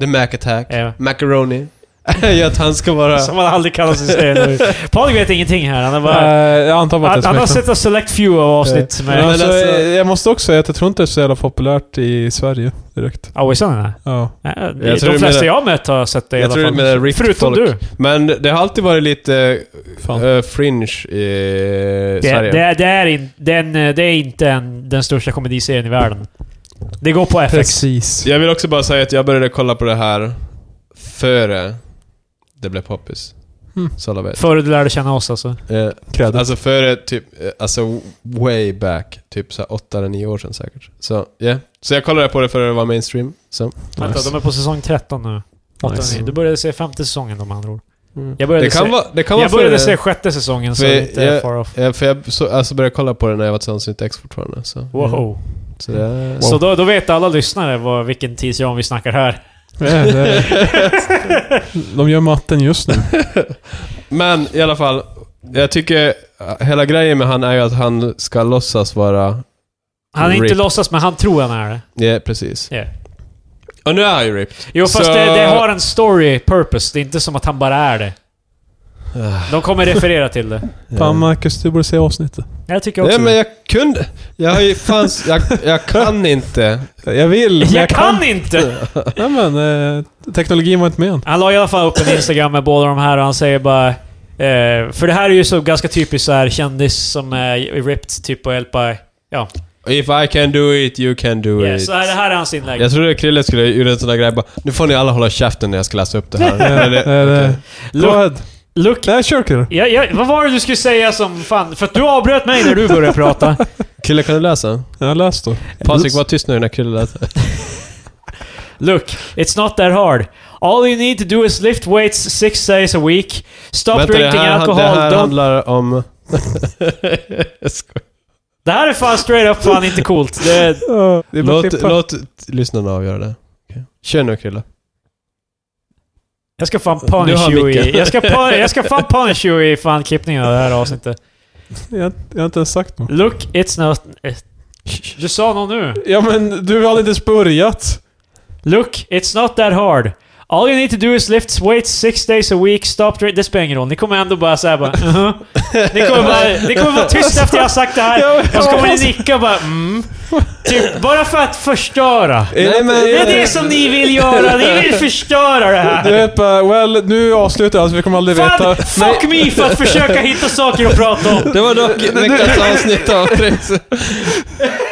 [SPEAKER 3] the Mac attack,
[SPEAKER 1] Ja.
[SPEAKER 3] macaroni, är ju att han ska vara...
[SPEAKER 1] Som han aldrig kallar sig säga nu. Patrik vet ingenting här. Han, är bara,
[SPEAKER 2] Eh, jag antar bara
[SPEAKER 1] han,
[SPEAKER 2] att det
[SPEAKER 1] han
[SPEAKER 2] är
[SPEAKER 1] har
[SPEAKER 2] smeknamn.
[SPEAKER 1] sett en select few av avsnitt
[SPEAKER 2] Men
[SPEAKER 1] med...
[SPEAKER 2] alltså,
[SPEAKER 3] Men alltså-
[SPEAKER 2] eh, jag måste också säga att jag tror inte det är så jävla populärt i Sverige direkt.
[SPEAKER 1] Awisarna?
[SPEAKER 2] Ja.
[SPEAKER 1] Ja,
[SPEAKER 3] eh, tror
[SPEAKER 1] Eh, de
[SPEAKER 3] du
[SPEAKER 1] flesta
[SPEAKER 3] menar-
[SPEAKER 1] jag mött har sett det i
[SPEAKER 3] Jag
[SPEAKER 1] alla
[SPEAKER 3] tror du
[SPEAKER 1] fall.
[SPEAKER 3] menar ripped
[SPEAKER 1] Förutom
[SPEAKER 3] folk.
[SPEAKER 1] du.
[SPEAKER 3] Men det har alltid varit lite
[SPEAKER 2] Fan.
[SPEAKER 3] eh, fringe i
[SPEAKER 1] Det,
[SPEAKER 3] Eh, Sverige.
[SPEAKER 1] det, är- det, är, in, den, eh, det är inte en, den största komediserien i världen. Det går på FX.
[SPEAKER 2] Precis.
[SPEAKER 3] Jag vill också bara säga att jag började kolla på det här före det blev poppis.
[SPEAKER 1] Hmm.
[SPEAKER 2] Mm.
[SPEAKER 3] Så alla vet.
[SPEAKER 1] Före du lärde känna oss alltså.
[SPEAKER 3] Eh,
[SPEAKER 2] Cred.
[SPEAKER 3] Alltså före typ, eh, alltså way back, typ så här åtta eller nio år sedan säkert. Så yeah. Så jag kollade på det före det var mainstream. Så.
[SPEAKER 1] Vänta, de är på säsong 13 nu. Åttonde.
[SPEAKER 2] Nice.
[SPEAKER 1] Du började se femte säsongen om andra ord.
[SPEAKER 3] Mm.
[SPEAKER 1] Jag började,
[SPEAKER 3] det kan
[SPEAKER 1] se,
[SPEAKER 3] vara, det kan vara
[SPEAKER 1] jag började
[SPEAKER 3] före-
[SPEAKER 1] se sjätte säsongen så
[SPEAKER 3] För
[SPEAKER 1] det är inte
[SPEAKER 3] jag-
[SPEAKER 1] far off.
[SPEAKER 3] Ja, för jag så, alltså började kolla på det när jag var tillsammans med mitt ex fortfarande. Så.
[SPEAKER 1] Wow.
[SPEAKER 3] Så det...
[SPEAKER 1] Så då, då vet alla lyssnare vad, vilken tidsram vi snackar här.
[SPEAKER 2] Ja, det, de gör matten just nu.
[SPEAKER 3] Men i alla fall, jag tycker eh, hela grejen med han är ju att han ska låtsas vara...
[SPEAKER 1] Han är inte
[SPEAKER 3] Rip.
[SPEAKER 1] låtsas, men han tror han är det.
[SPEAKER 3] Ja, precis.
[SPEAKER 1] Ja.
[SPEAKER 3] Och nu är han ju ripped.
[SPEAKER 1] Jo, fast
[SPEAKER 3] Så-
[SPEAKER 1] det, det har en story purpose. Det är inte som att han bara är det. De kommer referera till det.
[SPEAKER 2] Fan Marcus, du borde se avsnittet.
[SPEAKER 1] Jag tycker också
[SPEAKER 3] Nej men
[SPEAKER 1] det.
[SPEAKER 3] jag kunde... Jag har ju fanns... Jag, jag kan inte.
[SPEAKER 2] Jag vill, men
[SPEAKER 1] Jag, kan inte!
[SPEAKER 2] Nej men, eh, teknologin var inte med än.
[SPEAKER 1] Han la i alla fall upp en Instagram med båda de här och han säger bara... Eh, för det här är ju så ganska typiskt så här kändis som är ripped, typ och helt bara... Ja.
[SPEAKER 3] If I can do it, you can do
[SPEAKER 1] Yeah,
[SPEAKER 3] it.
[SPEAKER 1] så här, det här är hans inlägg.
[SPEAKER 3] Jag trodde Krille skulle göra en sån där grej bara, nu får ni alla hålla käften när jag ska läsa upp det här.
[SPEAKER 2] Eh,
[SPEAKER 3] Men det-
[SPEAKER 2] eh, det-
[SPEAKER 3] okej.
[SPEAKER 2] Go
[SPEAKER 1] Look,
[SPEAKER 2] ahead.
[SPEAKER 1] look
[SPEAKER 2] Nej, kör kille.
[SPEAKER 1] Ja, ja, vad var det du skulle säga som fan... För att du avbröt mig när du började prata.
[SPEAKER 3] Krille, kan du läsa?
[SPEAKER 2] Jag har läst då.
[SPEAKER 3] Patrik, var tyst nu när Krille läser.
[SPEAKER 1] Look, it's not that hard. All you need to do is lift weights six days a week. Stop
[SPEAKER 3] det
[SPEAKER 1] drinking
[SPEAKER 3] här,
[SPEAKER 1] alcohol.
[SPEAKER 3] det här
[SPEAKER 1] don't...
[SPEAKER 3] handlar om... Jag skojar.
[SPEAKER 1] Det här är fan straight up fan inte coolt. Det...
[SPEAKER 2] Ja, Det är bara att
[SPEAKER 3] låt,
[SPEAKER 2] klippa.
[SPEAKER 3] låt lyssnarna avgöra det. Okay. Kör nu Krille.
[SPEAKER 1] Jag ska fan
[SPEAKER 3] Du
[SPEAKER 1] punish
[SPEAKER 3] har
[SPEAKER 1] you i...
[SPEAKER 3] micken.
[SPEAKER 1] Jag ska, pu- jag ska fan punish you i fan klippningen av det här avsnittet.
[SPEAKER 2] Jag, jag har inte ens sagt något.
[SPEAKER 1] Look, it's not... eh, Du sa något nu.
[SPEAKER 2] Ja men, du har inte ens börjat.
[SPEAKER 1] Look, it's not that hard. All you need to do is lift weights six days a week, stop drinking... Det spelar ingen roll. Ni kommer ändå bara såhär bara... "Mhm." Ni kommer bara... Ni kommer vara tysta efter jag har sagt det här. Och så kommer ni nicka och bara mm. Typ, bara för att förstöra.
[SPEAKER 3] Nej, men-
[SPEAKER 1] Det är det som ni vill göra. Ni vill förstöra det här.
[SPEAKER 2] Du vet bara, well, nu avslutar jag så vi kommer aldrig veta.
[SPEAKER 1] Fan, fuck me för att försöka hitta saker att prata om.
[SPEAKER 3] Det var dock veckans avsnitt av Trix.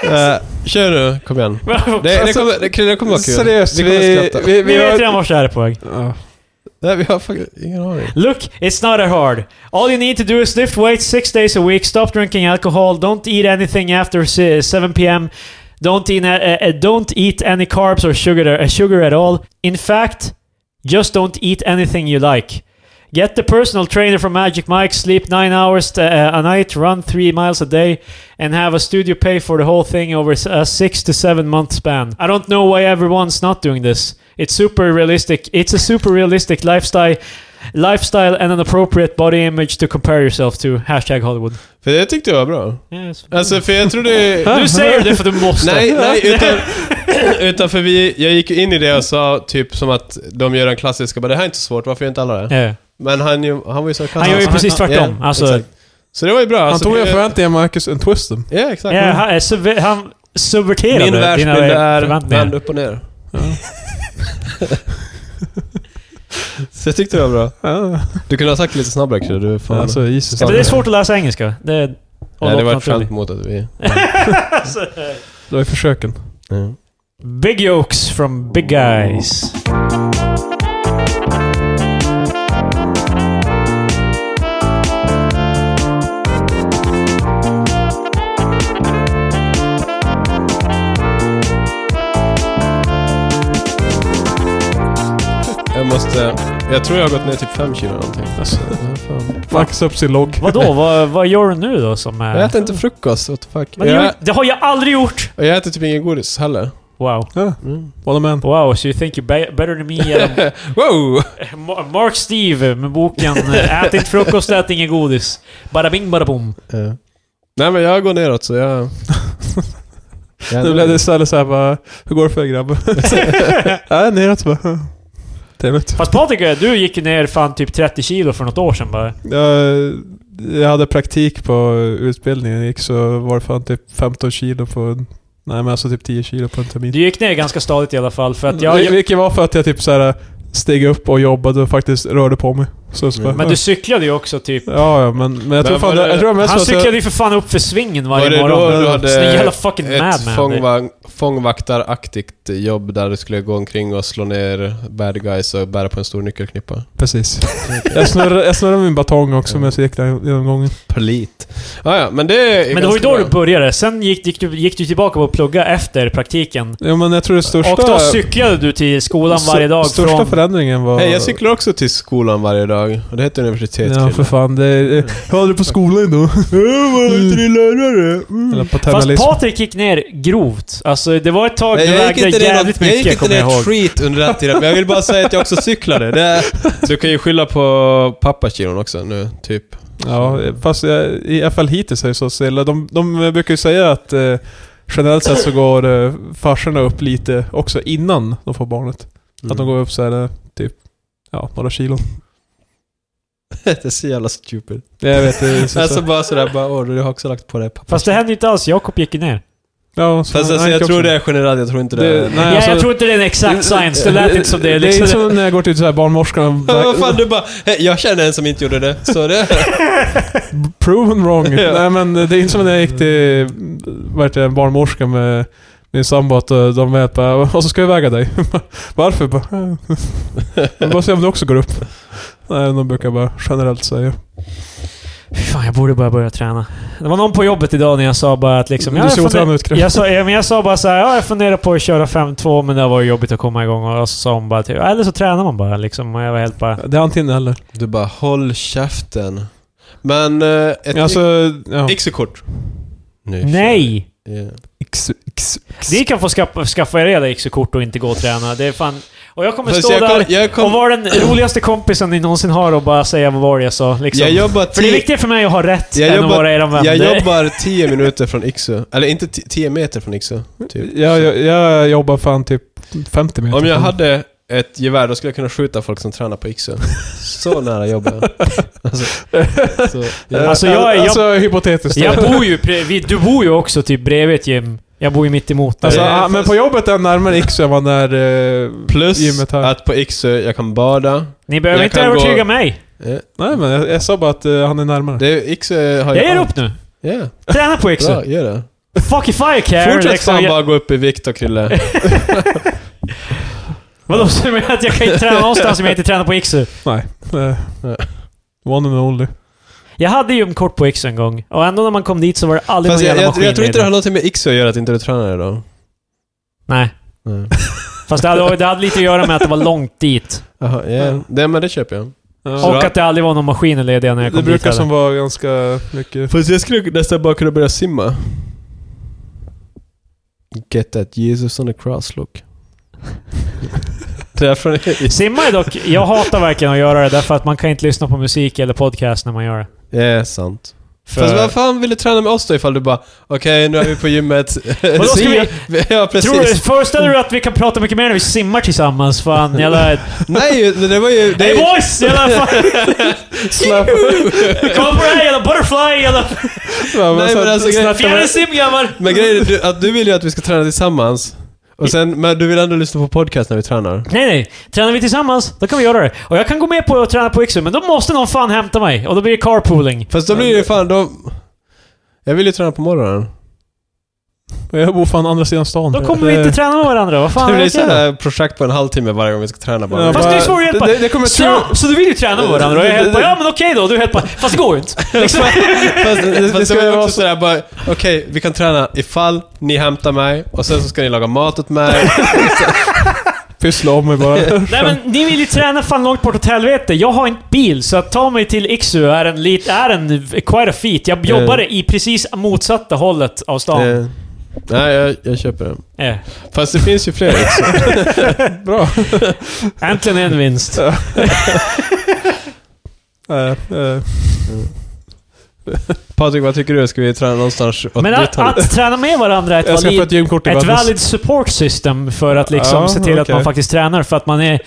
[SPEAKER 3] Eh, Kör nu, kom igen. Det, det
[SPEAKER 2] Alltså,
[SPEAKER 3] kommer, det, Krille, det kommer vara kul.
[SPEAKER 2] Seriöst,
[SPEAKER 3] vi
[SPEAKER 2] vi...
[SPEAKER 3] kommer skratta.
[SPEAKER 2] vi,
[SPEAKER 1] Ni
[SPEAKER 2] vi
[SPEAKER 1] vet
[SPEAKER 2] har,
[SPEAKER 1] redan vart det här är på väg.
[SPEAKER 2] Ja.
[SPEAKER 3] Nej, vi har faktiskt ingen aning.
[SPEAKER 1] Look, it's not that hard. All you need to do is lift weights six days a week, stop drinking alcohol, don't eat anything after uh, si- 7 p.m., don't eat, uh, uh, don't eat any carbs or sugar, uh, sugar at all. In fact, just don't eat anything you like. Get the personal trainer from Magic Mike, sleep nine hours t- uh, a night, run three miles a day, and have a studio pay for the whole thing over s- a six to seven month span. I don't know why everyone's not doing this. It's super realistic. It's a super realistic lifestyle, lifestyle and an appropriate body image to compare yourself to. Hashtag Hollywood.
[SPEAKER 3] För det tyckte jag var bra.
[SPEAKER 1] Yes.
[SPEAKER 3] Alltså, för jag trodde...
[SPEAKER 1] Du säger det för du måste.
[SPEAKER 3] Nej, nej, utan, utan för vi, jag gick ju in i det och sa typ som att de gör den klassiska, bara det här är inte så svårt, varför gör inte alla det?
[SPEAKER 1] Ja.
[SPEAKER 3] Men han, ju- han var ju sarkastisk.
[SPEAKER 1] Han gör ju precis tvärtom.
[SPEAKER 3] Ja,
[SPEAKER 1] alltså,
[SPEAKER 3] exakt. Så det var ju bra.
[SPEAKER 2] Han
[SPEAKER 3] alltså,
[SPEAKER 2] tog ju
[SPEAKER 3] det-
[SPEAKER 2] förväntningar Marcus, en twisten.
[SPEAKER 3] Ja, exakt.
[SPEAKER 1] ja, han, är subver- han subverterade
[SPEAKER 3] Min
[SPEAKER 1] dina
[SPEAKER 3] världsbild är
[SPEAKER 1] förväntningar.
[SPEAKER 3] vänd upp och ner. så jag tyckte det var bra.
[SPEAKER 2] Ja,
[SPEAKER 3] Du kunde ha sagt det lite snabbare Krille, du är fan...
[SPEAKER 2] alltså Jesus.
[SPEAKER 1] Ja, men det är svårt att läsa engelska. Det är, och
[SPEAKER 3] Nej, det
[SPEAKER 1] låta
[SPEAKER 3] var ett
[SPEAKER 1] naturligt.
[SPEAKER 3] skämt mot att vi...
[SPEAKER 2] Det var ju försöken.
[SPEAKER 3] Ja.
[SPEAKER 1] Big Yokes from Big Guys.
[SPEAKER 3] Jag måste... Jag tror jag har gått ner typ 5 kilo eller någonting.
[SPEAKER 2] Alltså, ja, fan. Marcus upp sin logg.
[SPEAKER 1] Vadå? vad, vad gör du nu då som är...
[SPEAKER 3] Jag äter inte frukost, what the fuck.
[SPEAKER 1] Men det,
[SPEAKER 3] Jag,
[SPEAKER 1] gör- det har jag aldrig gjort!
[SPEAKER 3] och jag äter typ ingen godis heller.
[SPEAKER 1] Wow.
[SPEAKER 2] Ja,
[SPEAKER 3] Mm.
[SPEAKER 2] what a man.
[SPEAKER 1] Wow, so you think you're be- better than me? eh,
[SPEAKER 3] Wow!
[SPEAKER 1] Ma- Mark Steve med boken eh, Ät inte frukost, ät ingen godis. Bada bing, bada bom.
[SPEAKER 3] Ja. Nej men jag går neråt så jag... jag
[SPEAKER 2] Nu blev det istället såhär bara, hur går det för er grabbar? Nej, neråt bara. Trevligt.
[SPEAKER 1] Fast Patrik, eh, du gick ju ner fan typ 30 kilo för något år sedan bara.
[SPEAKER 2] Jag, jag hade praktik på utbildningen, jag gick så var det fan typ 15 kilo på en... Nej men alltså typ 10 kilo på en termin.
[SPEAKER 1] Du gick ner ganska stadigt i alla fall för att jag...
[SPEAKER 2] Vil-
[SPEAKER 1] jag
[SPEAKER 2] Vilket var för att jag typ såhär steg upp och jobbade och faktiskt rörde på mig. Så, så bara,
[SPEAKER 1] men du cyklade ju också typ...
[SPEAKER 2] Ja, ja men, men jag tror
[SPEAKER 3] Men
[SPEAKER 2] fan...
[SPEAKER 3] var
[SPEAKER 2] Jag,
[SPEAKER 3] det-
[SPEAKER 2] jag tror mest
[SPEAKER 1] Han
[SPEAKER 2] var så-
[SPEAKER 1] cyklade ju för fan upp för svingen
[SPEAKER 3] Var det
[SPEAKER 1] varje
[SPEAKER 3] då
[SPEAKER 1] morgon.
[SPEAKER 3] du hade
[SPEAKER 1] Sån jävla fucking
[SPEAKER 3] ett
[SPEAKER 1] madman. Det-
[SPEAKER 3] fångvak fångvaktaraktigt jobb där du skulle gå omkring och slå ner bad guys och bära på en stor nyckelknippa.
[SPEAKER 2] Precis. jag, snurrade, jag snurrade min batong också men så gick den den gången.
[SPEAKER 3] Polit. Ah, ja, men det är
[SPEAKER 1] Men det var ju
[SPEAKER 3] ganska
[SPEAKER 1] då
[SPEAKER 3] bra.
[SPEAKER 1] du började. Sen gick, gick, du, gick du tillbaka på att plugga efter praktiken.
[SPEAKER 2] Ja men jag tror det största...
[SPEAKER 1] Och då cyklade du till skolan varje dag
[SPEAKER 2] Största
[SPEAKER 1] från...
[SPEAKER 2] förändringen var...
[SPEAKER 3] Hej, jag cyklar också till skolan varje dag. idag. Och det heter universitetskille.
[SPEAKER 2] Ja, för fan. Det är, hörde du på skolan då?
[SPEAKER 3] Var inte det lärare?
[SPEAKER 2] Mm. Eller på
[SPEAKER 1] Fast
[SPEAKER 2] terminalism.
[SPEAKER 1] Patrik gick ner grovt. Alltså det var ett tag du
[SPEAKER 3] Nej, jag gick
[SPEAKER 1] vägde
[SPEAKER 3] inte ner
[SPEAKER 1] jävligt
[SPEAKER 3] något, jag gick
[SPEAKER 1] mycket,
[SPEAKER 3] inte
[SPEAKER 1] kommer jag
[SPEAKER 3] ner
[SPEAKER 1] ihåg.
[SPEAKER 3] ett skit under den tiden, men jag vill bara säga att jag också cyklade. Det är, du kan ju skylla på pappakilon också nu, typ.
[SPEAKER 2] Ja, fast jag, i alla fall hittills är det så stilla. De, de brukar ju säga att eh, generellt sett så går eh, farsorna upp lite också innan de får barnet. Att
[SPEAKER 3] Mm.
[SPEAKER 2] de går upp så här eh, typ, ja, några kilo.
[SPEAKER 3] Mm. det är så jävla stupid.
[SPEAKER 2] Jag vet, det är så,
[SPEAKER 3] Alltså
[SPEAKER 2] så.
[SPEAKER 3] bara sådär, bara, åh, du har också lagt på dig pappa.
[SPEAKER 1] Fast det hände inte alls. Jakob gick ner.
[SPEAKER 2] Ja, så
[SPEAKER 3] Fast alltså,
[SPEAKER 2] han gick
[SPEAKER 3] jag tror
[SPEAKER 2] också.
[SPEAKER 3] det är generellt, jag tror inte det,
[SPEAKER 2] Det- nej.
[SPEAKER 3] är...
[SPEAKER 1] ja,
[SPEAKER 2] alltså-
[SPEAKER 1] jag tror inte det är en exakt science. Det lät inte som det.
[SPEAKER 2] Det är
[SPEAKER 1] Liksom.
[SPEAKER 2] som när jag går till så här barnmorskan.
[SPEAKER 3] Ja, vad fan, du bara, "Hej, jag känner en som inte gjorde det. Så det...
[SPEAKER 2] Proven wrong.
[SPEAKER 3] Ja.
[SPEAKER 2] Nej men det är inte som när jag gick till vad heter det, en barnmorska med min sambo att eh, de vet bara och så ska jag väga dig. Varför? Bara, "Eh." Men bara se om du också går upp. Nej, de brukar bara generellt säga.
[SPEAKER 1] Fy fan, jag borde bara börja träna. Det var någon på jobbet idag när jag sa bara att liksom...
[SPEAKER 2] Du
[SPEAKER 1] ja, jag
[SPEAKER 2] ser
[SPEAKER 1] funder-
[SPEAKER 2] otränad ut, Chris.
[SPEAKER 1] jag, sa, ja, men jag sa bara så här, ja, jag funderar på att köra 5-2, men det var ju jobbigt att komma igång. Och så sa hon bara typ, eller så tränar man bara liksom. Och jag var helt bara...
[SPEAKER 2] Det är antingen eller.
[SPEAKER 3] Du bara, håll käften. Men, eh, ett
[SPEAKER 2] Alltså, ja.
[SPEAKER 3] Yxekort. Nu
[SPEAKER 1] Nej!
[SPEAKER 3] kör vi. Ja.
[SPEAKER 1] Ni kan få skaffa, skaffa er era X-kort och inte gå och träna. Det är fan... Och jag kommer
[SPEAKER 3] Fast
[SPEAKER 1] stå
[SPEAKER 3] jag kom-
[SPEAKER 1] där
[SPEAKER 3] jag kom-
[SPEAKER 1] och vara den roligaste kompisen ni någonsin har och bara säga vad var det jag sa. Liksom.
[SPEAKER 3] Jag jobbar
[SPEAKER 1] För det är
[SPEAKER 3] tio-
[SPEAKER 1] viktigare för mig att ha rätt
[SPEAKER 3] Jag
[SPEAKER 1] än
[SPEAKER 3] jobbar-
[SPEAKER 1] att vara era vän.
[SPEAKER 3] Jag
[SPEAKER 1] Det-
[SPEAKER 3] jobbar 10 minuter från Iksu. Eller inte 10 meter från Iksu. Typ.
[SPEAKER 2] Jag, jag, jag jobbar fan typ 50 meter.
[SPEAKER 3] Om jag
[SPEAKER 2] från-
[SPEAKER 3] hade ett gevär, då skulle jag kunna skjuta folk som tränar på Iksu. Så nära jobbar jag. Alltså, så,
[SPEAKER 2] Eh,
[SPEAKER 3] ja.
[SPEAKER 1] Alltså, jag- jag-
[SPEAKER 2] alltså hypotetiskt.
[SPEAKER 1] Jag bor ju bredvid, du bor ju också typ bredvid ett gym. Jag bor ju mitt emot dig.
[SPEAKER 2] Alltså,
[SPEAKER 3] Eh,
[SPEAKER 2] ah, men
[SPEAKER 3] fast-
[SPEAKER 2] på jobbet är jag närmare X än vad när... Eh,
[SPEAKER 3] Plus
[SPEAKER 2] Gymmet här.
[SPEAKER 3] att på Iksu, jag kan bada. Eh,
[SPEAKER 1] Ni behöver
[SPEAKER 3] jag
[SPEAKER 1] inte
[SPEAKER 3] kan gå-
[SPEAKER 1] övertyga mig.
[SPEAKER 3] Ja.
[SPEAKER 2] nej men jag, jag sa bara att eh, han är närmare.
[SPEAKER 3] Det är, Iksu har ju...
[SPEAKER 1] Jag ger upp nu.
[SPEAKER 3] Ja,
[SPEAKER 1] Träna på Iksu.
[SPEAKER 3] bra. Gör det.
[SPEAKER 1] Fuck if I care.
[SPEAKER 3] Fortsätt
[SPEAKER 1] liksom.
[SPEAKER 3] fan
[SPEAKER 1] Jag-
[SPEAKER 3] bara gå upp i vikt och Krille.
[SPEAKER 1] Vadå, så du menar att jag kan inte träna någonstans om jag inte tränar på Iksu?
[SPEAKER 2] Nej. Eh, one and only.
[SPEAKER 1] Jag hade gymkort på Iksu en gång. Och ändå när man kom dit så var det aldrig
[SPEAKER 3] Fast
[SPEAKER 1] någon
[SPEAKER 3] jag,
[SPEAKER 1] jävla
[SPEAKER 3] jag,
[SPEAKER 1] maskin
[SPEAKER 3] jag tror
[SPEAKER 1] i
[SPEAKER 3] inte det har någonting med Iksu att göra att inte du tränar idag.
[SPEAKER 1] Nej.
[SPEAKER 3] Nej.
[SPEAKER 1] Fast det hade, det hade lite att göra med att det var långt dit.
[SPEAKER 3] Jaha, ja. Det, men det köper jag.
[SPEAKER 2] Ja.
[SPEAKER 1] Och att det aldrig var någon maskin lediga när jag
[SPEAKER 2] Det
[SPEAKER 1] kom dit
[SPEAKER 2] brukar
[SPEAKER 1] heller.
[SPEAKER 2] som vara ganska mycket...
[SPEAKER 3] Fast jag skulle nästan bara kunna börja simma. Get that Jesus on the cross look. det är från...
[SPEAKER 1] Simma är dock... Jag hatar verkligen att göra det därför att man kan inte lyssna på musik eller podcast när man gör det.
[SPEAKER 3] Ja, sant.
[SPEAKER 1] För-
[SPEAKER 3] Fast vad fan vill du träna med oss då ifall du bara okej nu är vi på gymmet.
[SPEAKER 1] Vadå, ska
[SPEAKER 3] Simma- ja
[SPEAKER 1] Tror du,
[SPEAKER 3] precis.
[SPEAKER 1] föreställer du att vi kan prata mycket mer när vi simmar tillsammans? Fan, jävla...
[SPEAKER 3] Nej men det var ju... Det
[SPEAKER 1] Hey
[SPEAKER 3] är,
[SPEAKER 1] boys! Jävla fan... Kom på det här jävla butterfly, jävla...
[SPEAKER 2] Ja,
[SPEAKER 3] Nej,
[SPEAKER 2] så-
[SPEAKER 3] men alltså, grejen-
[SPEAKER 1] Fjärilsim grabbar!
[SPEAKER 3] men grejen är du- att du vill ju att vi ska träna tillsammans. Och sen, men du vill ändå lyssna på podcast när vi tränar.
[SPEAKER 1] Nej, nej. Tränar vi tillsammans, då kan vi göra det. Och jag kan gå med på att träna på Iksu, men då måste någon fan hämta mig. Och då blir det carpooling.
[SPEAKER 3] Fast då blir det ju fan då... Jag vill ju träna på morgonen.
[SPEAKER 2] jag bor fan andra sidan stan.
[SPEAKER 1] Då kommer vi inte träna med varandra. Vad fan
[SPEAKER 3] Det blir
[SPEAKER 1] vet jag?
[SPEAKER 3] såhär projekt på en halvtimme varje gång vi ska träna bara.
[SPEAKER 2] Ja,
[SPEAKER 1] Fast det är svårt att hjälpa.
[SPEAKER 2] Eh, Det, det, det kommer tro...
[SPEAKER 1] Så, så du vill ju träna med varandra? Och jag är helt bara, ja men okej då. Du är helt bara, fast det går ju inte. Liksom.
[SPEAKER 3] Fast, det,
[SPEAKER 2] det
[SPEAKER 3] ska
[SPEAKER 2] ska
[SPEAKER 3] det var
[SPEAKER 2] ju
[SPEAKER 3] ju
[SPEAKER 2] vara
[SPEAKER 3] också sådär bara, okej, vi kan träna ifall ni hämtar mig och sen så ska ni laga mat åt mig.
[SPEAKER 2] Pyssla om mig bara.
[SPEAKER 1] Nej men ni vill ju träna fan långt bort åt helvete. Jag har inte bil, så att ta mig till Iksu är en lit, är en quite a feat. Jag
[SPEAKER 2] Eh.
[SPEAKER 1] jobbar i precis motsatta hållet av stan.
[SPEAKER 3] Eh, Nej, jag, jag köper det.
[SPEAKER 1] Eh.
[SPEAKER 3] Fast det finns ju fler också.
[SPEAKER 2] Bra.
[SPEAKER 1] Äntligen en vinst.
[SPEAKER 2] Eh, eh,
[SPEAKER 3] Patrik, vad tycker du? Ska vi träna någonstans åt
[SPEAKER 1] Men att,
[SPEAKER 3] ditt håll?
[SPEAKER 1] att träna med varandra är ett
[SPEAKER 2] jag ska få
[SPEAKER 1] valid
[SPEAKER 2] ett gymkort i
[SPEAKER 1] ett
[SPEAKER 2] Vallis.
[SPEAKER 1] valid support system för att liksom
[SPEAKER 2] Ja,
[SPEAKER 1] se till att
[SPEAKER 2] okej.
[SPEAKER 1] man faktiskt tränar för att man är...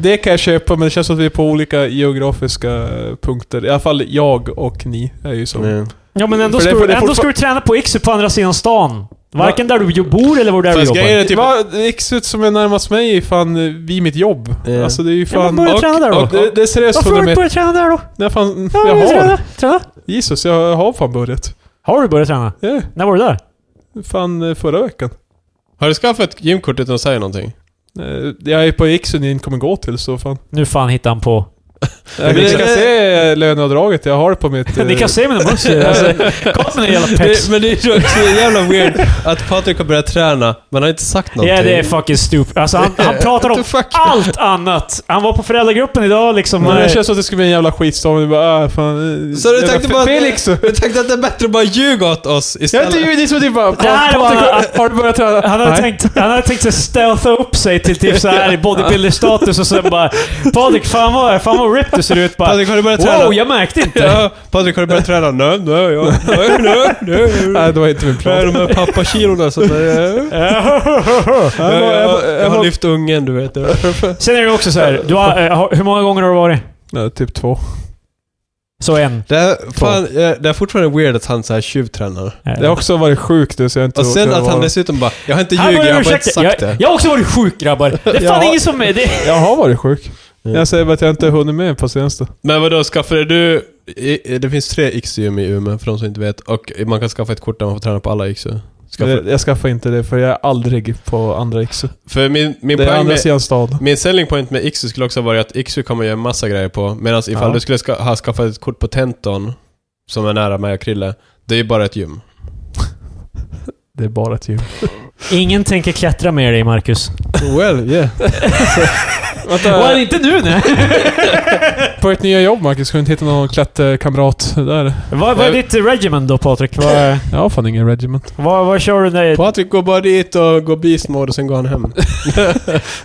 [SPEAKER 2] Det kan jag köpa, men det känns som att vi är på olika geografiska eh, punkter. I alla fall jag och ni är ju så.
[SPEAKER 3] Nej.
[SPEAKER 1] Ja men ändå,
[SPEAKER 2] För det-
[SPEAKER 1] ska,
[SPEAKER 2] för
[SPEAKER 1] du,
[SPEAKER 2] det
[SPEAKER 1] ändå
[SPEAKER 2] fortfar-
[SPEAKER 1] ska du träna på Iksu på andra sidan stan. Varken där du ju bor eller var där du
[SPEAKER 3] Fast
[SPEAKER 1] jobbar.
[SPEAKER 3] grejen är typ...
[SPEAKER 2] Va, Exet som är närmast mig är fan eh, vid mitt jobb.
[SPEAKER 3] Ja.
[SPEAKER 2] Alltså det är ju
[SPEAKER 1] Ja, men
[SPEAKER 2] fan...
[SPEAKER 1] börja
[SPEAKER 2] och,
[SPEAKER 1] träna där då.
[SPEAKER 2] och, det, det är seriöst
[SPEAKER 1] Varför har
[SPEAKER 2] 100
[SPEAKER 1] du inte
[SPEAKER 2] meter.
[SPEAKER 1] börjat träna där då?
[SPEAKER 2] Nej fan,
[SPEAKER 1] Ja,
[SPEAKER 2] jag
[SPEAKER 1] men
[SPEAKER 2] har...
[SPEAKER 1] Träna, träna.
[SPEAKER 2] Jesus, jag har fan börjat.
[SPEAKER 1] Har du börjat träna?
[SPEAKER 2] Yeah.
[SPEAKER 1] När var du där?
[SPEAKER 2] Fan, eh, förra veckan.
[SPEAKER 3] Har du skaffat ett gymkort utan att säga någonting?
[SPEAKER 2] Eh, Jag är på X och ni inte kommer gå till, så fan.
[SPEAKER 1] Nu fan hittar han på.
[SPEAKER 2] Ja, men ni kan se eh, löneavdraget, jag har det på mitt... eh,
[SPEAKER 1] Ni kan se mina muskler. Alltså, kom med jävla pex.
[SPEAKER 3] Det, men det är ju också jävla weird att Patrik har börjat träna, men han har inte sagt
[SPEAKER 1] Ja,
[SPEAKER 3] någonting.
[SPEAKER 1] det är fucking stupid. Alltså, han, han pratar om Ah!
[SPEAKER 3] What the fuck?
[SPEAKER 1] allt annat. Han var på föräldragruppen idag liksom.
[SPEAKER 2] Men
[SPEAKER 1] eh,
[SPEAKER 2] det känns som att det skulle bli en jävla skitstorm. Du bara äh, fan... eh,
[SPEAKER 3] Så du
[SPEAKER 2] jävla
[SPEAKER 3] tänkte
[SPEAKER 2] Fe-
[SPEAKER 3] bara-
[SPEAKER 2] Felix!
[SPEAKER 3] Jag tänkte att det är bättre att bara ljuga åt oss
[SPEAKER 2] Jag
[SPEAKER 3] istället.
[SPEAKER 2] intervjuade dig som typ bara...
[SPEAKER 1] Det här var-
[SPEAKER 2] Patrik, Har du börjat träna?
[SPEAKER 1] Han hade,
[SPEAKER 2] Nej.
[SPEAKER 1] tänkt, han hade tänkt sig stealtha upp sig till typ såhär i bodybuilder-status och sen bara Patrik, fan vad, fan vad ripped du ser ut. Bara,
[SPEAKER 3] Patrik, har du börjat träna?
[SPEAKER 1] wow, jag märkte inte.
[SPEAKER 3] Ja, Patrik, har du börjat träna? Nej, nej, jag- nej, nej, nej.
[SPEAKER 2] Nej, det var inte min
[SPEAKER 3] Det är
[SPEAKER 2] plan.
[SPEAKER 3] de här pappakilorna som... Jag,
[SPEAKER 2] Jag, jag, jag,
[SPEAKER 3] jag, jag har lyft ungen, du vet.
[SPEAKER 1] Sen är det också så här, du har, eh, har- hur många gånger har du varit?
[SPEAKER 2] Nej, typ två.
[SPEAKER 1] Så en.
[SPEAKER 3] Det är, fan, eh, det är fortfarande weird att han så här tjuvtränar.
[SPEAKER 1] Eh.
[SPEAKER 2] Det har också varit sjukt nu så jag har inte...
[SPEAKER 3] Och sen
[SPEAKER 2] orkat
[SPEAKER 3] att han
[SPEAKER 2] vara-
[SPEAKER 3] dessutom bara, jag har inte
[SPEAKER 1] Här
[SPEAKER 3] ljugit,
[SPEAKER 1] börjar
[SPEAKER 3] jag har
[SPEAKER 1] du
[SPEAKER 3] bara inte
[SPEAKER 1] ursäkta.
[SPEAKER 3] sagt det.
[SPEAKER 1] jag, jag har också varit sjuk grabbar. Det är fan
[SPEAKER 3] Ja.
[SPEAKER 1] ingen som... är- Det,
[SPEAKER 2] Jag har varit sjuk.
[SPEAKER 3] Mm.
[SPEAKER 2] Jag säger bara att jag inte hunnit med på senaste.
[SPEAKER 3] Men vadå, skaffade du... i- i- Det finns tre XU i Umeå, för de som inte vet. Och man kan skaffa ett kort där man får träna på alla XU. Skaffa,
[SPEAKER 2] Jag, jag skaffar inte det för jag är aldrig på andra X.
[SPEAKER 3] för min, min
[SPEAKER 2] Det är
[SPEAKER 3] poäng
[SPEAKER 2] andra
[SPEAKER 3] med,
[SPEAKER 2] sidan stan.
[SPEAKER 3] Min selling point med XU skulle också vara att XU kan man göra massa grejer på. Medan ifall
[SPEAKER 2] Ja.
[SPEAKER 3] du skulle ska, ha skaffat ett kort på Tenton, som är nära mig och Krille, det är ju bara ett gym.
[SPEAKER 2] Det är bara ett gym.
[SPEAKER 1] ingen tänker klättra med dig Marcus.
[SPEAKER 2] Well, yeah.
[SPEAKER 1] Well,
[SPEAKER 2] Vänta,
[SPEAKER 1] inte nu nej.
[SPEAKER 2] på ett nya jobb Marcus, ska du inte hitta någon klätterkamrat där?
[SPEAKER 1] Vad, vad är ditt eh, regimen då Patrik? Vad,
[SPEAKER 2] Jag har fan ingen regiment.
[SPEAKER 1] vad, vad kör du när...
[SPEAKER 3] Patrik går bara dit och går beast mode och sen går han hem.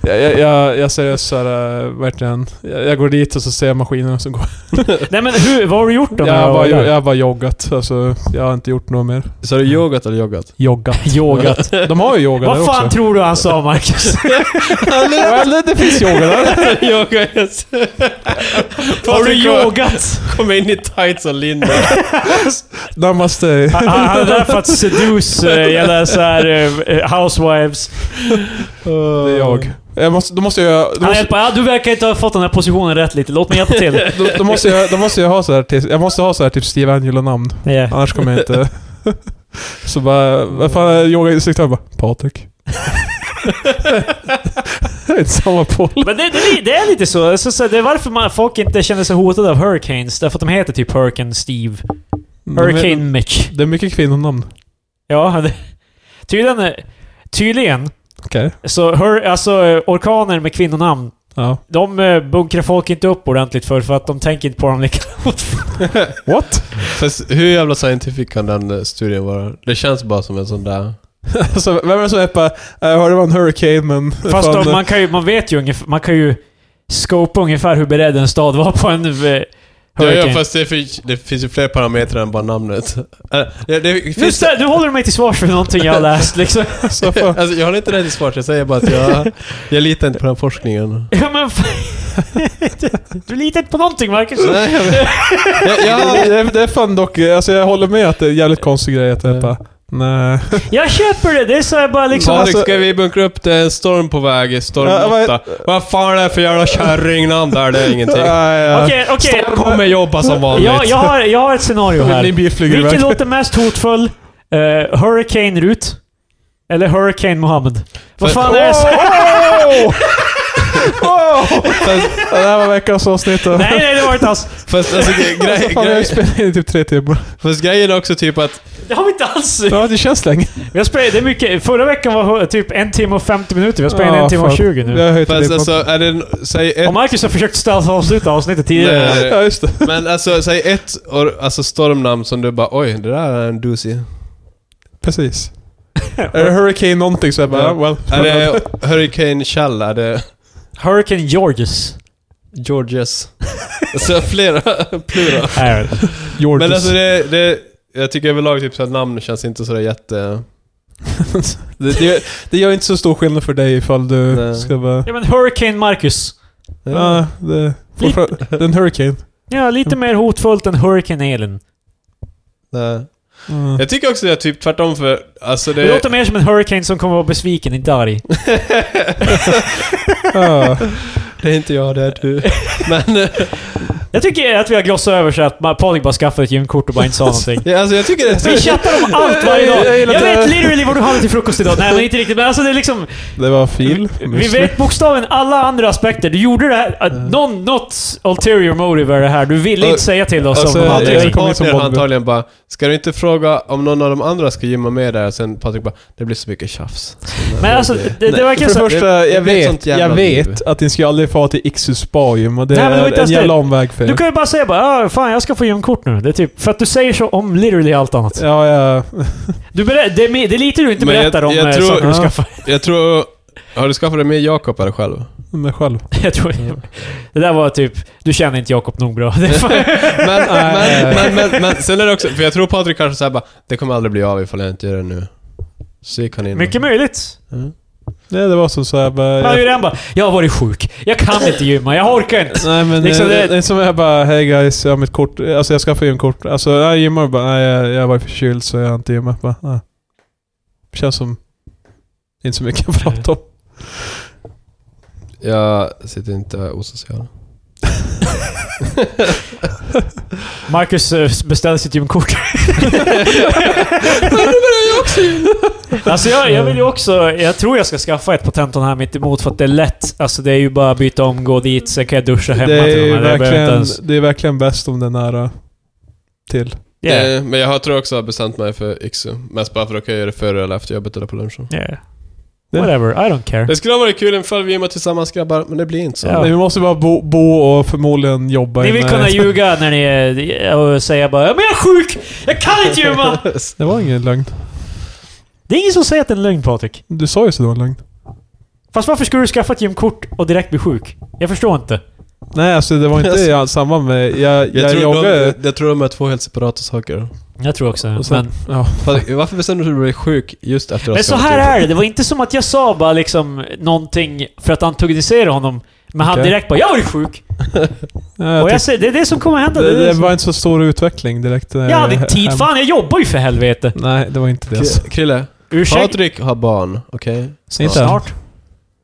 [SPEAKER 2] Jag, jag, jag, jag seriöst såhär, äh, verkligen. Jag, jag går dit och så ser jag maskinerna som går.
[SPEAKER 1] Nej men hur, vad har du gjort då?
[SPEAKER 2] Jag
[SPEAKER 1] när
[SPEAKER 2] har
[SPEAKER 1] du var
[SPEAKER 2] bara,
[SPEAKER 1] där?
[SPEAKER 2] jag har bara joggat. Alltså, jag har inte gjort något mer.
[SPEAKER 3] Så har du yogat eller joggat?
[SPEAKER 2] Joggat.
[SPEAKER 1] Yogat.
[SPEAKER 2] De har ju yoga där
[SPEAKER 1] Vad fan
[SPEAKER 2] också.
[SPEAKER 1] tror du han sa Marcus?
[SPEAKER 2] Well, det, det finns yoga där.
[SPEAKER 3] Yoga, yes.
[SPEAKER 1] Har du
[SPEAKER 3] Patrik kom-
[SPEAKER 1] yogat?
[SPEAKER 3] Kom in i tights och linda.
[SPEAKER 2] Namaste.
[SPEAKER 1] Han han är där för att seduce eh, jävla såhär eh, housewives.
[SPEAKER 2] Det är jag. jag måste, då måste jag... Då
[SPEAKER 1] Han
[SPEAKER 2] måste,
[SPEAKER 1] hjälper. Ja, du verkar inte ha fått den här positionen rätt lite. Låt mig hjälpa till.
[SPEAKER 2] då, då måste jag, då måste jag ha så här till, jag måste ha så här typ Steve Angelo-namn.
[SPEAKER 1] Yeah.
[SPEAKER 2] Annars kommer jag inte... Så bara, vad fan är yogainstruktör? Bara, Patrik. det är inte samma poll.
[SPEAKER 1] Men det, det, det är lite så. så, så det är varför man, folk inte känner sig hotade av Hurricanes. Därför att de heter typ Hurricane Steve. Hurricane Mitch.
[SPEAKER 2] Det är mycket kvinnonamn.
[SPEAKER 1] Ja, det, tydligen... är- Tydligen.
[SPEAKER 2] Okej.
[SPEAKER 1] Så hur, alltså, eh, orkaner med kvinnonamn.
[SPEAKER 2] Ja.
[SPEAKER 1] De eh, bunkrar folk inte upp ordentligt för, för att de tänker inte på dem lika
[SPEAKER 2] What?
[SPEAKER 3] Fast hur jävla scientific kan den eh, studien vara? Det känns bara som en sån där...
[SPEAKER 2] alltså, vem är det som är bara, jag hörde det var en hurricane men...
[SPEAKER 1] Fast
[SPEAKER 2] fan,
[SPEAKER 1] om, man, kan ju, man vet ju ungefär, man kan ju scopa ungefär hur beredd en stad var på en eh, hurricane.
[SPEAKER 3] Ja, ja, fast det, fin- det finns ju fler parametrar än bara namnet. Eh, Det, det,
[SPEAKER 1] nu,
[SPEAKER 3] finns
[SPEAKER 1] stä- nu håller du mig till svars för någonting jag har läst liksom.
[SPEAKER 2] alltså, fan.
[SPEAKER 3] Alltså, jag har inte rätt i svaret, jag säger bara att jag, jag litar inte på den forskningen.
[SPEAKER 1] Ja, men fan. du litar inte på någonting Marcus.
[SPEAKER 3] Nej, jag, jag,
[SPEAKER 2] det,
[SPEAKER 3] jag,
[SPEAKER 2] det, är- det är fan dock, alltså jag håller med att det är en jävligt konstig grej att det är bara, nej.
[SPEAKER 1] Jag köper det. Det är så här bara liksom...
[SPEAKER 3] Patrik,
[SPEAKER 2] alltså-
[SPEAKER 3] ska vi bunkra upp det? En storm på väg, storm
[SPEAKER 2] Ja, vad-
[SPEAKER 3] 8. Vad fan är det för jävla kärringnamn där? Det är ingenting.
[SPEAKER 2] Nej, ja.
[SPEAKER 1] Okej, okej.
[SPEAKER 3] Jag kommer jobba som vanligt.
[SPEAKER 1] Jag, jag, har, jag har ett scenario
[SPEAKER 2] Min
[SPEAKER 1] här.
[SPEAKER 2] bil flyger
[SPEAKER 1] Vilken
[SPEAKER 2] iväg.
[SPEAKER 1] låter mest hotfull? Eh, Hurricane Rut? Eller Hurricane Mohammed? Vad
[SPEAKER 3] För-
[SPEAKER 1] fan är det? som-
[SPEAKER 2] Oh! Oh! Det här var veckans avsnitt. och-
[SPEAKER 1] Nej, nej, det var inte alls.
[SPEAKER 3] Fast, alltså, gre-
[SPEAKER 2] Alltså,
[SPEAKER 3] gre-
[SPEAKER 2] fan, jag har ju
[SPEAKER 3] gre-
[SPEAKER 2] spelat in i typ tre timmar.
[SPEAKER 3] fast grejen är också typ att...
[SPEAKER 1] Det har vi inte alls.
[SPEAKER 2] Ja, det känns länge.
[SPEAKER 1] Vi har spelat, det är mycket. Förra veckan var hu- typ en timme och 50 minuter. Vi har spelat in
[SPEAKER 2] Ja,
[SPEAKER 1] en timme och
[SPEAKER 2] fan.
[SPEAKER 1] 20 nu.
[SPEAKER 2] Jag har höjt
[SPEAKER 3] Fast
[SPEAKER 2] det
[SPEAKER 3] alltså,
[SPEAKER 2] på...
[SPEAKER 3] är det... en- Säg ett...
[SPEAKER 1] Och Marcus har försökt stealth avsluta avsnittet tidigare.
[SPEAKER 3] Nej.
[SPEAKER 2] Ja, just det.
[SPEAKER 3] Men alltså, säg ett or, alltså, stormnamn som du bara oj, det där är en doozy.
[SPEAKER 2] Precis. Är det Hurricane någonting så jag bara,
[SPEAKER 3] Ja.
[SPEAKER 2] ja, well.
[SPEAKER 3] Är det Hurricane Shell? Är det
[SPEAKER 1] Hurricane Georges.
[SPEAKER 3] Georges? Alltså flera, plura.
[SPEAKER 1] Nej, jag vet inte.
[SPEAKER 2] Georges.
[SPEAKER 3] Men alltså det, det, jag tycker överlag typ så att namn känns inte sådär jätte...
[SPEAKER 2] det, det, det gör inte så stor skillnad för dig ifall du
[SPEAKER 3] Nej.
[SPEAKER 2] ska bara...
[SPEAKER 1] ja, men Hurricane Marcus.
[SPEAKER 2] Ja, det, fortfarande- det är en Hurricane.
[SPEAKER 1] Ja, lite mer hotfullt än Hurricane Elin.
[SPEAKER 3] Nej.
[SPEAKER 2] Mm.
[SPEAKER 3] Jag tycker också det är typ tvärtom för, alltså
[SPEAKER 1] Det,
[SPEAKER 3] det...
[SPEAKER 1] låter mer som en Hurricane som kommer att vara besviken, inte arg.
[SPEAKER 2] Ja.
[SPEAKER 3] det är inte jag, det är du. Men,
[SPEAKER 1] Jag tycker att vi har glossat över så att man- Patrik bara skaffade ett gymkort och bara inte sa någonting.
[SPEAKER 3] Ja, alltså jag tycker det
[SPEAKER 1] Vi
[SPEAKER 3] är...
[SPEAKER 1] chattar om allt varje dag.
[SPEAKER 2] Jag
[SPEAKER 1] Jag
[SPEAKER 2] gillar det.
[SPEAKER 1] vet literally vad du hade till frukost idag. Nej, men inte riktigt. Men alltså det är liksom...
[SPEAKER 2] Det var fil.
[SPEAKER 1] Vi vet bokstaven alla andra aspekter. Du gjorde det här... att Någon, något ulterior motive är det här. Du ville
[SPEAKER 3] Och-
[SPEAKER 1] inte säga till oss
[SPEAKER 2] alltså,
[SPEAKER 1] om de
[SPEAKER 2] jag-
[SPEAKER 1] andra.
[SPEAKER 2] jag-
[SPEAKER 3] Din
[SPEAKER 1] grejerna.
[SPEAKER 2] kommer in som
[SPEAKER 3] partner har
[SPEAKER 2] Bobby.
[SPEAKER 3] eh, antagligen bara Ska du inte fråga om någon av de andra ska gymma med där? Sen Patrik bara Det blir så mycket tjafs. Så,
[SPEAKER 1] Men
[SPEAKER 3] nej,
[SPEAKER 1] alltså,
[SPEAKER 3] det-
[SPEAKER 1] det, det verkar
[SPEAKER 2] För det
[SPEAKER 1] så...
[SPEAKER 2] första,
[SPEAKER 3] det-
[SPEAKER 2] jag
[SPEAKER 3] det är ett sånt
[SPEAKER 2] vet,
[SPEAKER 3] jävla
[SPEAKER 2] jag
[SPEAKER 3] liv.
[SPEAKER 2] vet att ni ska aldrig få till Iksus Bajum och det
[SPEAKER 1] Nej, men det var
[SPEAKER 2] är
[SPEAKER 1] inte
[SPEAKER 2] en
[SPEAKER 1] ens
[SPEAKER 2] jävla
[SPEAKER 1] det.
[SPEAKER 2] omväg för
[SPEAKER 1] Du
[SPEAKER 2] er.
[SPEAKER 1] kan ju bara säga bara "Ah, fan jag ska få gymkort nu. Det är typ, för att du säger så om literally allt annat.
[SPEAKER 2] Ja, ja.
[SPEAKER 1] Du berä- det, är, mi- det är lite du inte
[SPEAKER 3] Men jag-
[SPEAKER 1] berättar om
[SPEAKER 3] jag
[SPEAKER 1] eh,
[SPEAKER 3] tror-
[SPEAKER 1] saker du
[SPEAKER 2] Ja.
[SPEAKER 1] skaffar.
[SPEAKER 3] Jag tror... Har du skaffat det med Jakob eller själv?
[SPEAKER 2] Mig själv.
[SPEAKER 1] Jag tror, det där var typ, du känner inte Jakob nog bra. Det är fan-
[SPEAKER 3] Men,
[SPEAKER 2] Nej.
[SPEAKER 3] men, men, men, men sen är det också, för jag tror Patrik kanske säger bara Det kommer aldrig bli av ifall jag inte gör det nu. Så gick han in. och-
[SPEAKER 1] Mycket möjligt.
[SPEAKER 2] Nej, det var som såhär bara...
[SPEAKER 1] Han har ju
[SPEAKER 2] Jag,
[SPEAKER 1] redan bara, jag har varit sjuk, jag kan inte gymma, jag orkar inte.
[SPEAKER 2] nej men
[SPEAKER 1] Liksom
[SPEAKER 2] eh,
[SPEAKER 1] det-
[SPEAKER 2] det, det är som jag bara hej guys, jag har mitt kort. Alltså jag ska få gymkort. Alltså jag gymmar bara, nej jag, jag var förkyld så jag har inte gymmat. Bara, nej. Känns som... Inte så mycket att prata om.
[SPEAKER 3] Jag sitter inte och är osocial.
[SPEAKER 1] Marcus eh, beställde sitt gymkort. Alltså jag, jag vill ju också, jag tror jag ska skaffa ett på tentorn här mitt emot för att det är lätt. Alltså det är ju bara att byta om, gå dit, sen kan jag duscha hemma
[SPEAKER 2] Det är,
[SPEAKER 1] till
[SPEAKER 2] ju
[SPEAKER 1] och med. Jag behöver inte
[SPEAKER 2] verkligen,
[SPEAKER 1] ens-
[SPEAKER 2] det är verkligen bäst om det är nära till.
[SPEAKER 1] Yeah.
[SPEAKER 3] Eh, Men jag har- tror också jag har bestämt mig för Iksu. Mest bara för att jag göra det före eller efter jobbet eller på lunchen.
[SPEAKER 1] Yeah. Whatever, I don't care.
[SPEAKER 3] Det skulle ha varit kul ifall vi gymmar tillsammans grabbar, men det blir inte så.
[SPEAKER 1] Ja.
[SPEAKER 2] Nej, vi måste bara bo, bo och förmodligen jobba
[SPEAKER 1] Ni
[SPEAKER 2] i
[SPEAKER 1] vill kunna
[SPEAKER 2] närheten.
[SPEAKER 1] ljuga när ni är, och säga bara "Ja, men jag är sjuk! Jag kan inte gymma!
[SPEAKER 2] Det var ingen lögn.
[SPEAKER 1] Det är ingen som säger att det är en lögn Patrik.
[SPEAKER 2] Du sa ju så det var en lögn.
[SPEAKER 1] Fast varför skulle du skaffa ett gymkort och direkt bli sjuk? Jag förstår inte.
[SPEAKER 2] Nej, alltså det var inte
[SPEAKER 3] Alltså-
[SPEAKER 2] i samband med... Jag, jag,
[SPEAKER 3] Jag, tror
[SPEAKER 2] joggade...
[SPEAKER 3] de, jag tror de är två helt separata saker.
[SPEAKER 1] Jag tror också
[SPEAKER 2] och sen,
[SPEAKER 1] men,
[SPEAKER 2] ja.
[SPEAKER 3] Fast Varför bestämde du dig för att bli sjuk just efter att
[SPEAKER 1] men
[SPEAKER 3] ha
[SPEAKER 1] så
[SPEAKER 3] spelat
[SPEAKER 1] här
[SPEAKER 3] ut?
[SPEAKER 1] är det. Det var inte som att jag sa bara liksom någonting för att antagonisera honom. Men han
[SPEAKER 2] Okej.
[SPEAKER 1] direkt bara “Jag var ju sjuk!”
[SPEAKER 2] Ja, jag
[SPEAKER 1] Och jag
[SPEAKER 2] tyckte-
[SPEAKER 1] säger, det är det som kommer hända.
[SPEAKER 2] det,
[SPEAKER 1] är
[SPEAKER 2] det
[SPEAKER 1] som-
[SPEAKER 2] var inte så stor utveckling direkt. när
[SPEAKER 1] jag hade
[SPEAKER 2] hem-
[SPEAKER 1] tid. Fan, jag jobbar ju för helvete!
[SPEAKER 2] Nej, det var inte det. Alltså.
[SPEAKER 3] Kri- Krille,
[SPEAKER 1] Ursäkt.
[SPEAKER 3] Patrik har barn, okej?
[SPEAKER 2] Inte Mm. än.
[SPEAKER 1] Snart.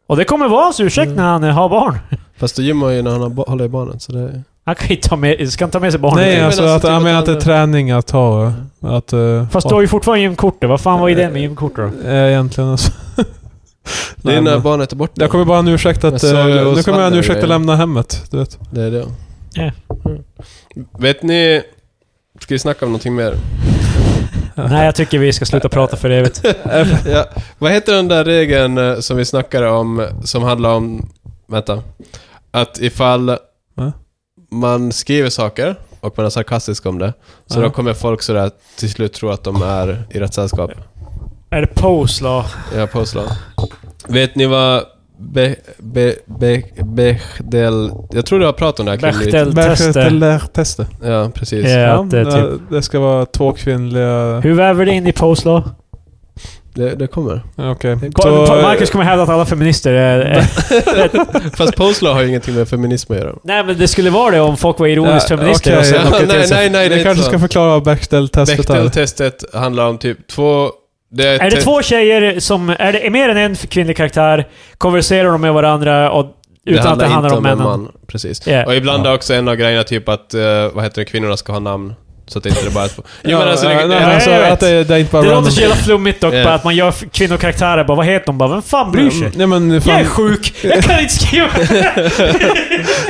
[SPEAKER 1] Och det kommer vara hans ursäkt när han eh, har barn.
[SPEAKER 3] Fast du gymmar ju när han har, ba- håller i barnet, så det...
[SPEAKER 1] Han kan ju ta med, ska han ta med sig barnet.
[SPEAKER 2] Nej,
[SPEAKER 3] men
[SPEAKER 2] alltså,
[SPEAKER 3] alltså,
[SPEAKER 2] att,
[SPEAKER 3] typ
[SPEAKER 2] jag
[SPEAKER 3] att
[SPEAKER 2] menar att det är
[SPEAKER 3] han-
[SPEAKER 2] träning att ha... Att, eh,
[SPEAKER 1] Fast du har ju fortfarande gymkortet. Vad fan var idén med gymkortet då?
[SPEAKER 2] eh, Egentligen alltså.
[SPEAKER 3] Det är
[SPEAKER 2] Nej,
[SPEAKER 3] när
[SPEAKER 2] men-
[SPEAKER 3] barnet är borta.
[SPEAKER 2] jag kommer bara ha en ursäkt
[SPEAKER 3] Jag
[SPEAKER 2] att...
[SPEAKER 3] såg
[SPEAKER 2] eh,
[SPEAKER 3] det
[SPEAKER 2] Nu kommer jag
[SPEAKER 3] hos
[SPEAKER 2] ha en
[SPEAKER 3] Wander
[SPEAKER 2] ursäkt att
[SPEAKER 3] grejen.
[SPEAKER 2] lämna hemmet. Du vet.
[SPEAKER 3] Det är det.
[SPEAKER 1] Ja.
[SPEAKER 3] Mm. Vet ni... Ska vi snacka om någonting mer?
[SPEAKER 1] Nej, jag tycker vi ska sluta prata för evigt.
[SPEAKER 3] ja, vad heter den där regeln eh, som vi snackade om, eh, som handlar om... Vänta. Att ifall
[SPEAKER 2] Va?
[SPEAKER 3] man skriver saker och man är sarkastisk om det, så
[SPEAKER 2] Ja.
[SPEAKER 3] då kommer folk sådär till slut tro att de är i rätt sällskap.
[SPEAKER 1] Är det pose då?
[SPEAKER 3] Jag påslår. Vet ni vad... Be, be, be, Bechdel... Jag tror du har pratat om det här Kim, lite.
[SPEAKER 1] Bechdel-tester.
[SPEAKER 2] Bechdel-tester.
[SPEAKER 3] Ja, precis.
[SPEAKER 1] Ja,
[SPEAKER 2] Ja,
[SPEAKER 1] att det, är typ.
[SPEAKER 2] det, det ska vara två kvinnliga...
[SPEAKER 1] Hur väver det in i pose då?
[SPEAKER 3] Det, det kommer.
[SPEAKER 2] Ja, Okej.
[SPEAKER 1] Så,
[SPEAKER 2] Så,
[SPEAKER 1] Marcus kommer hävda att alla feminister är... är
[SPEAKER 3] Fast Postlaw har ju ingenting med feminism att göra.
[SPEAKER 1] nej, men det skulle vara det om folk var ironiskt
[SPEAKER 2] Ja,
[SPEAKER 1] feminister.
[SPEAKER 2] okej.
[SPEAKER 1] och sen
[SPEAKER 2] Ja,
[SPEAKER 1] åkte
[SPEAKER 3] nej,
[SPEAKER 1] till sig.
[SPEAKER 3] nej, nej, det
[SPEAKER 2] Vi
[SPEAKER 3] är
[SPEAKER 2] kanske
[SPEAKER 3] inte
[SPEAKER 2] ska
[SPEAKER 3] så.
[SPEAKER 2] förklara vad Bechdel-testet är.
[SPEAKER 3] Bechdel-testet handlar om typ två... Det är,
[SPEAKER 1] Är det
[SPEAKER 3] te-
[SPEAKER 1] två tjejer som... Är det är mer än en kvinnlig karaktär? Konverserar de med varandra och, utan att det handlar
[SPEAKER 3] inte
[SPEAKER 1] om männen?
[SPEAKER 3] en man. Precis.
[SPEAKER 1] Yeah.
[SPEAKER 3] Och ibland är också en av grejerna typ att, eh, vad heter det, kvinnorna ska ha namn. Så att det inte är bara är två... Jo men alltså...
[SPEAKER 2] ja,
[SPEAKER 3] det,
[SPEAKER 2] nej,
[SPEAKER 1] ja,
[SPEAKER 2] alltså
[SPEAKER 1] jag vet.
[SPEAKER 2] att det, det är inte bara
[SPEAKER 1] Det
[SPEAKER 2] random.
[SPEAKER 1] låter så jävla flummigt dock,
[SPEAKER 3] Ja.
[SPEAKER 1] bara att man gör kvinnokaraktärer. Bara, vad heter de? Bara, vem fan bryr sig?
[SPEAKER 2] Nej men
[SPEAKER 1] Jag är
[SPEAKER 2] fan,
[SPEAKER 1] sjuk! Jag kan inte skriva!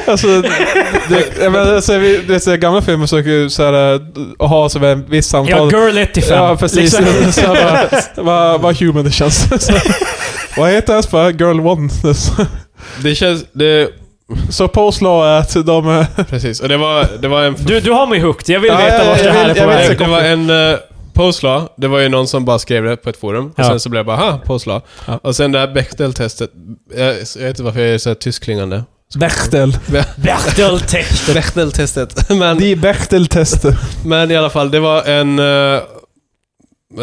[SPEAKER 2] alltså... Det, jag menar, alltså vi, du vet, så här gamla filmer försöker ju såhär ha så här en viss
[SPEAKER 1] Jag
[SPEAKER 2] samtal.
[SPEAKER 1] har girl 1-5.
[SPEAKER 2] ja, precis.
[SPEAKER 1] Liksom.
[SPEAKER 2] så här, bara, vad, vad human det känns. Så här, Vad heter hans bara? Girl One.
[SPEAKER 3] det känns... Det,
[SPEAKER 2] Så Postlaw är att de... eh,
[SPEAKER 3] precis. Och det var, det var en...
[SPEAKER 1] Du, du har mig hooked. Jag vill
[SPEAKER 2] Ja,
[SPEAKER 1] veta
[SPEAKER 2] ja,
[SPEAKER 1] vart
[SPEAKER 2] jag
[SPEAKER 1] det här
[SPEAKER 2] vill-
[SPEAKER 1] är på
[SPEAKER 2] jag vill
[SPEAKER 1] väg.
[SPEAKER 2] se
[SPEAKER 3] Det, det var en uh, Postlaw, det var ju någon som bara skrev det på ett forum.
[SPEAKER 1] Ja.
[SPEAKER 3] Och sen så blev det bara ha, Postlaw.
[SPEAKER 2] Ja.
[SPEAKER 3] Och sen det här Bechdel-testet. Jag, jag vet inte varför jag är så här tyskklingande.
[SPEAKER 2] Bechdel.
[SPEAKER 1] Berteltext.
[SPEAKER 3] Bechdel-testet. men,
[SPEAKER 2] De Bechdel-tester.
[SPEAKER 3] men i alla fall, det var en eh,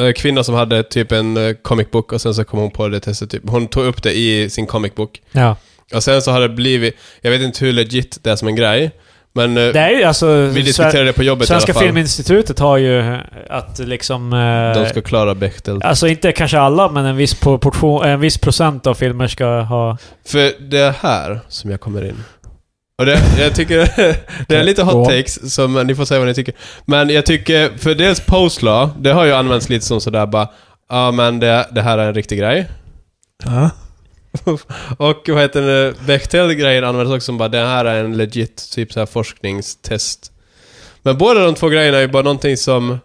[SPEAKER 3] eh, kvinna som hade typ en eh, comic book och sen så kom hon på det testet. Typ. Hon tog upp det i sin comic book.
[SPEAKER 1] Ja.
[SPEAKER 3] Och sen så har det blivit, jag vet inte hur legit det är som en grej, men eh,
[SPEAKER 1] Det är ju alltså...
[SPEAKER 3] vi diskuterade det på jobbet i
[SPEAKER 1] Svenska
[SPEAKER 3] alla fall.
[SPEAKER 1] Filminstitutet har ju eh, att liksom... eh,
[SPEAKER 3] De ska klara Bechdel.
[SPEAKER 1] Alltså inte kanske alla, men en viss, po- portion, en viss procent av filmer ska ha...
[SPEAKER 3] För det är här som jag kommer in. Och det, jag tycker det är lite hot takes, som ni får säga vad ni tycker. Men jag tycker, för dels Postlaw, det har ju använts lite som sådär bara, ja men det, det här är en riktig grej.
[SPEAKER 2] Ja.
[SPEAKER 3] Och vad heter det, Bechtel-grejen används också som bara, det här är en legit typ så här forskningstest. Men båda de två grejerna är ju bara någonting som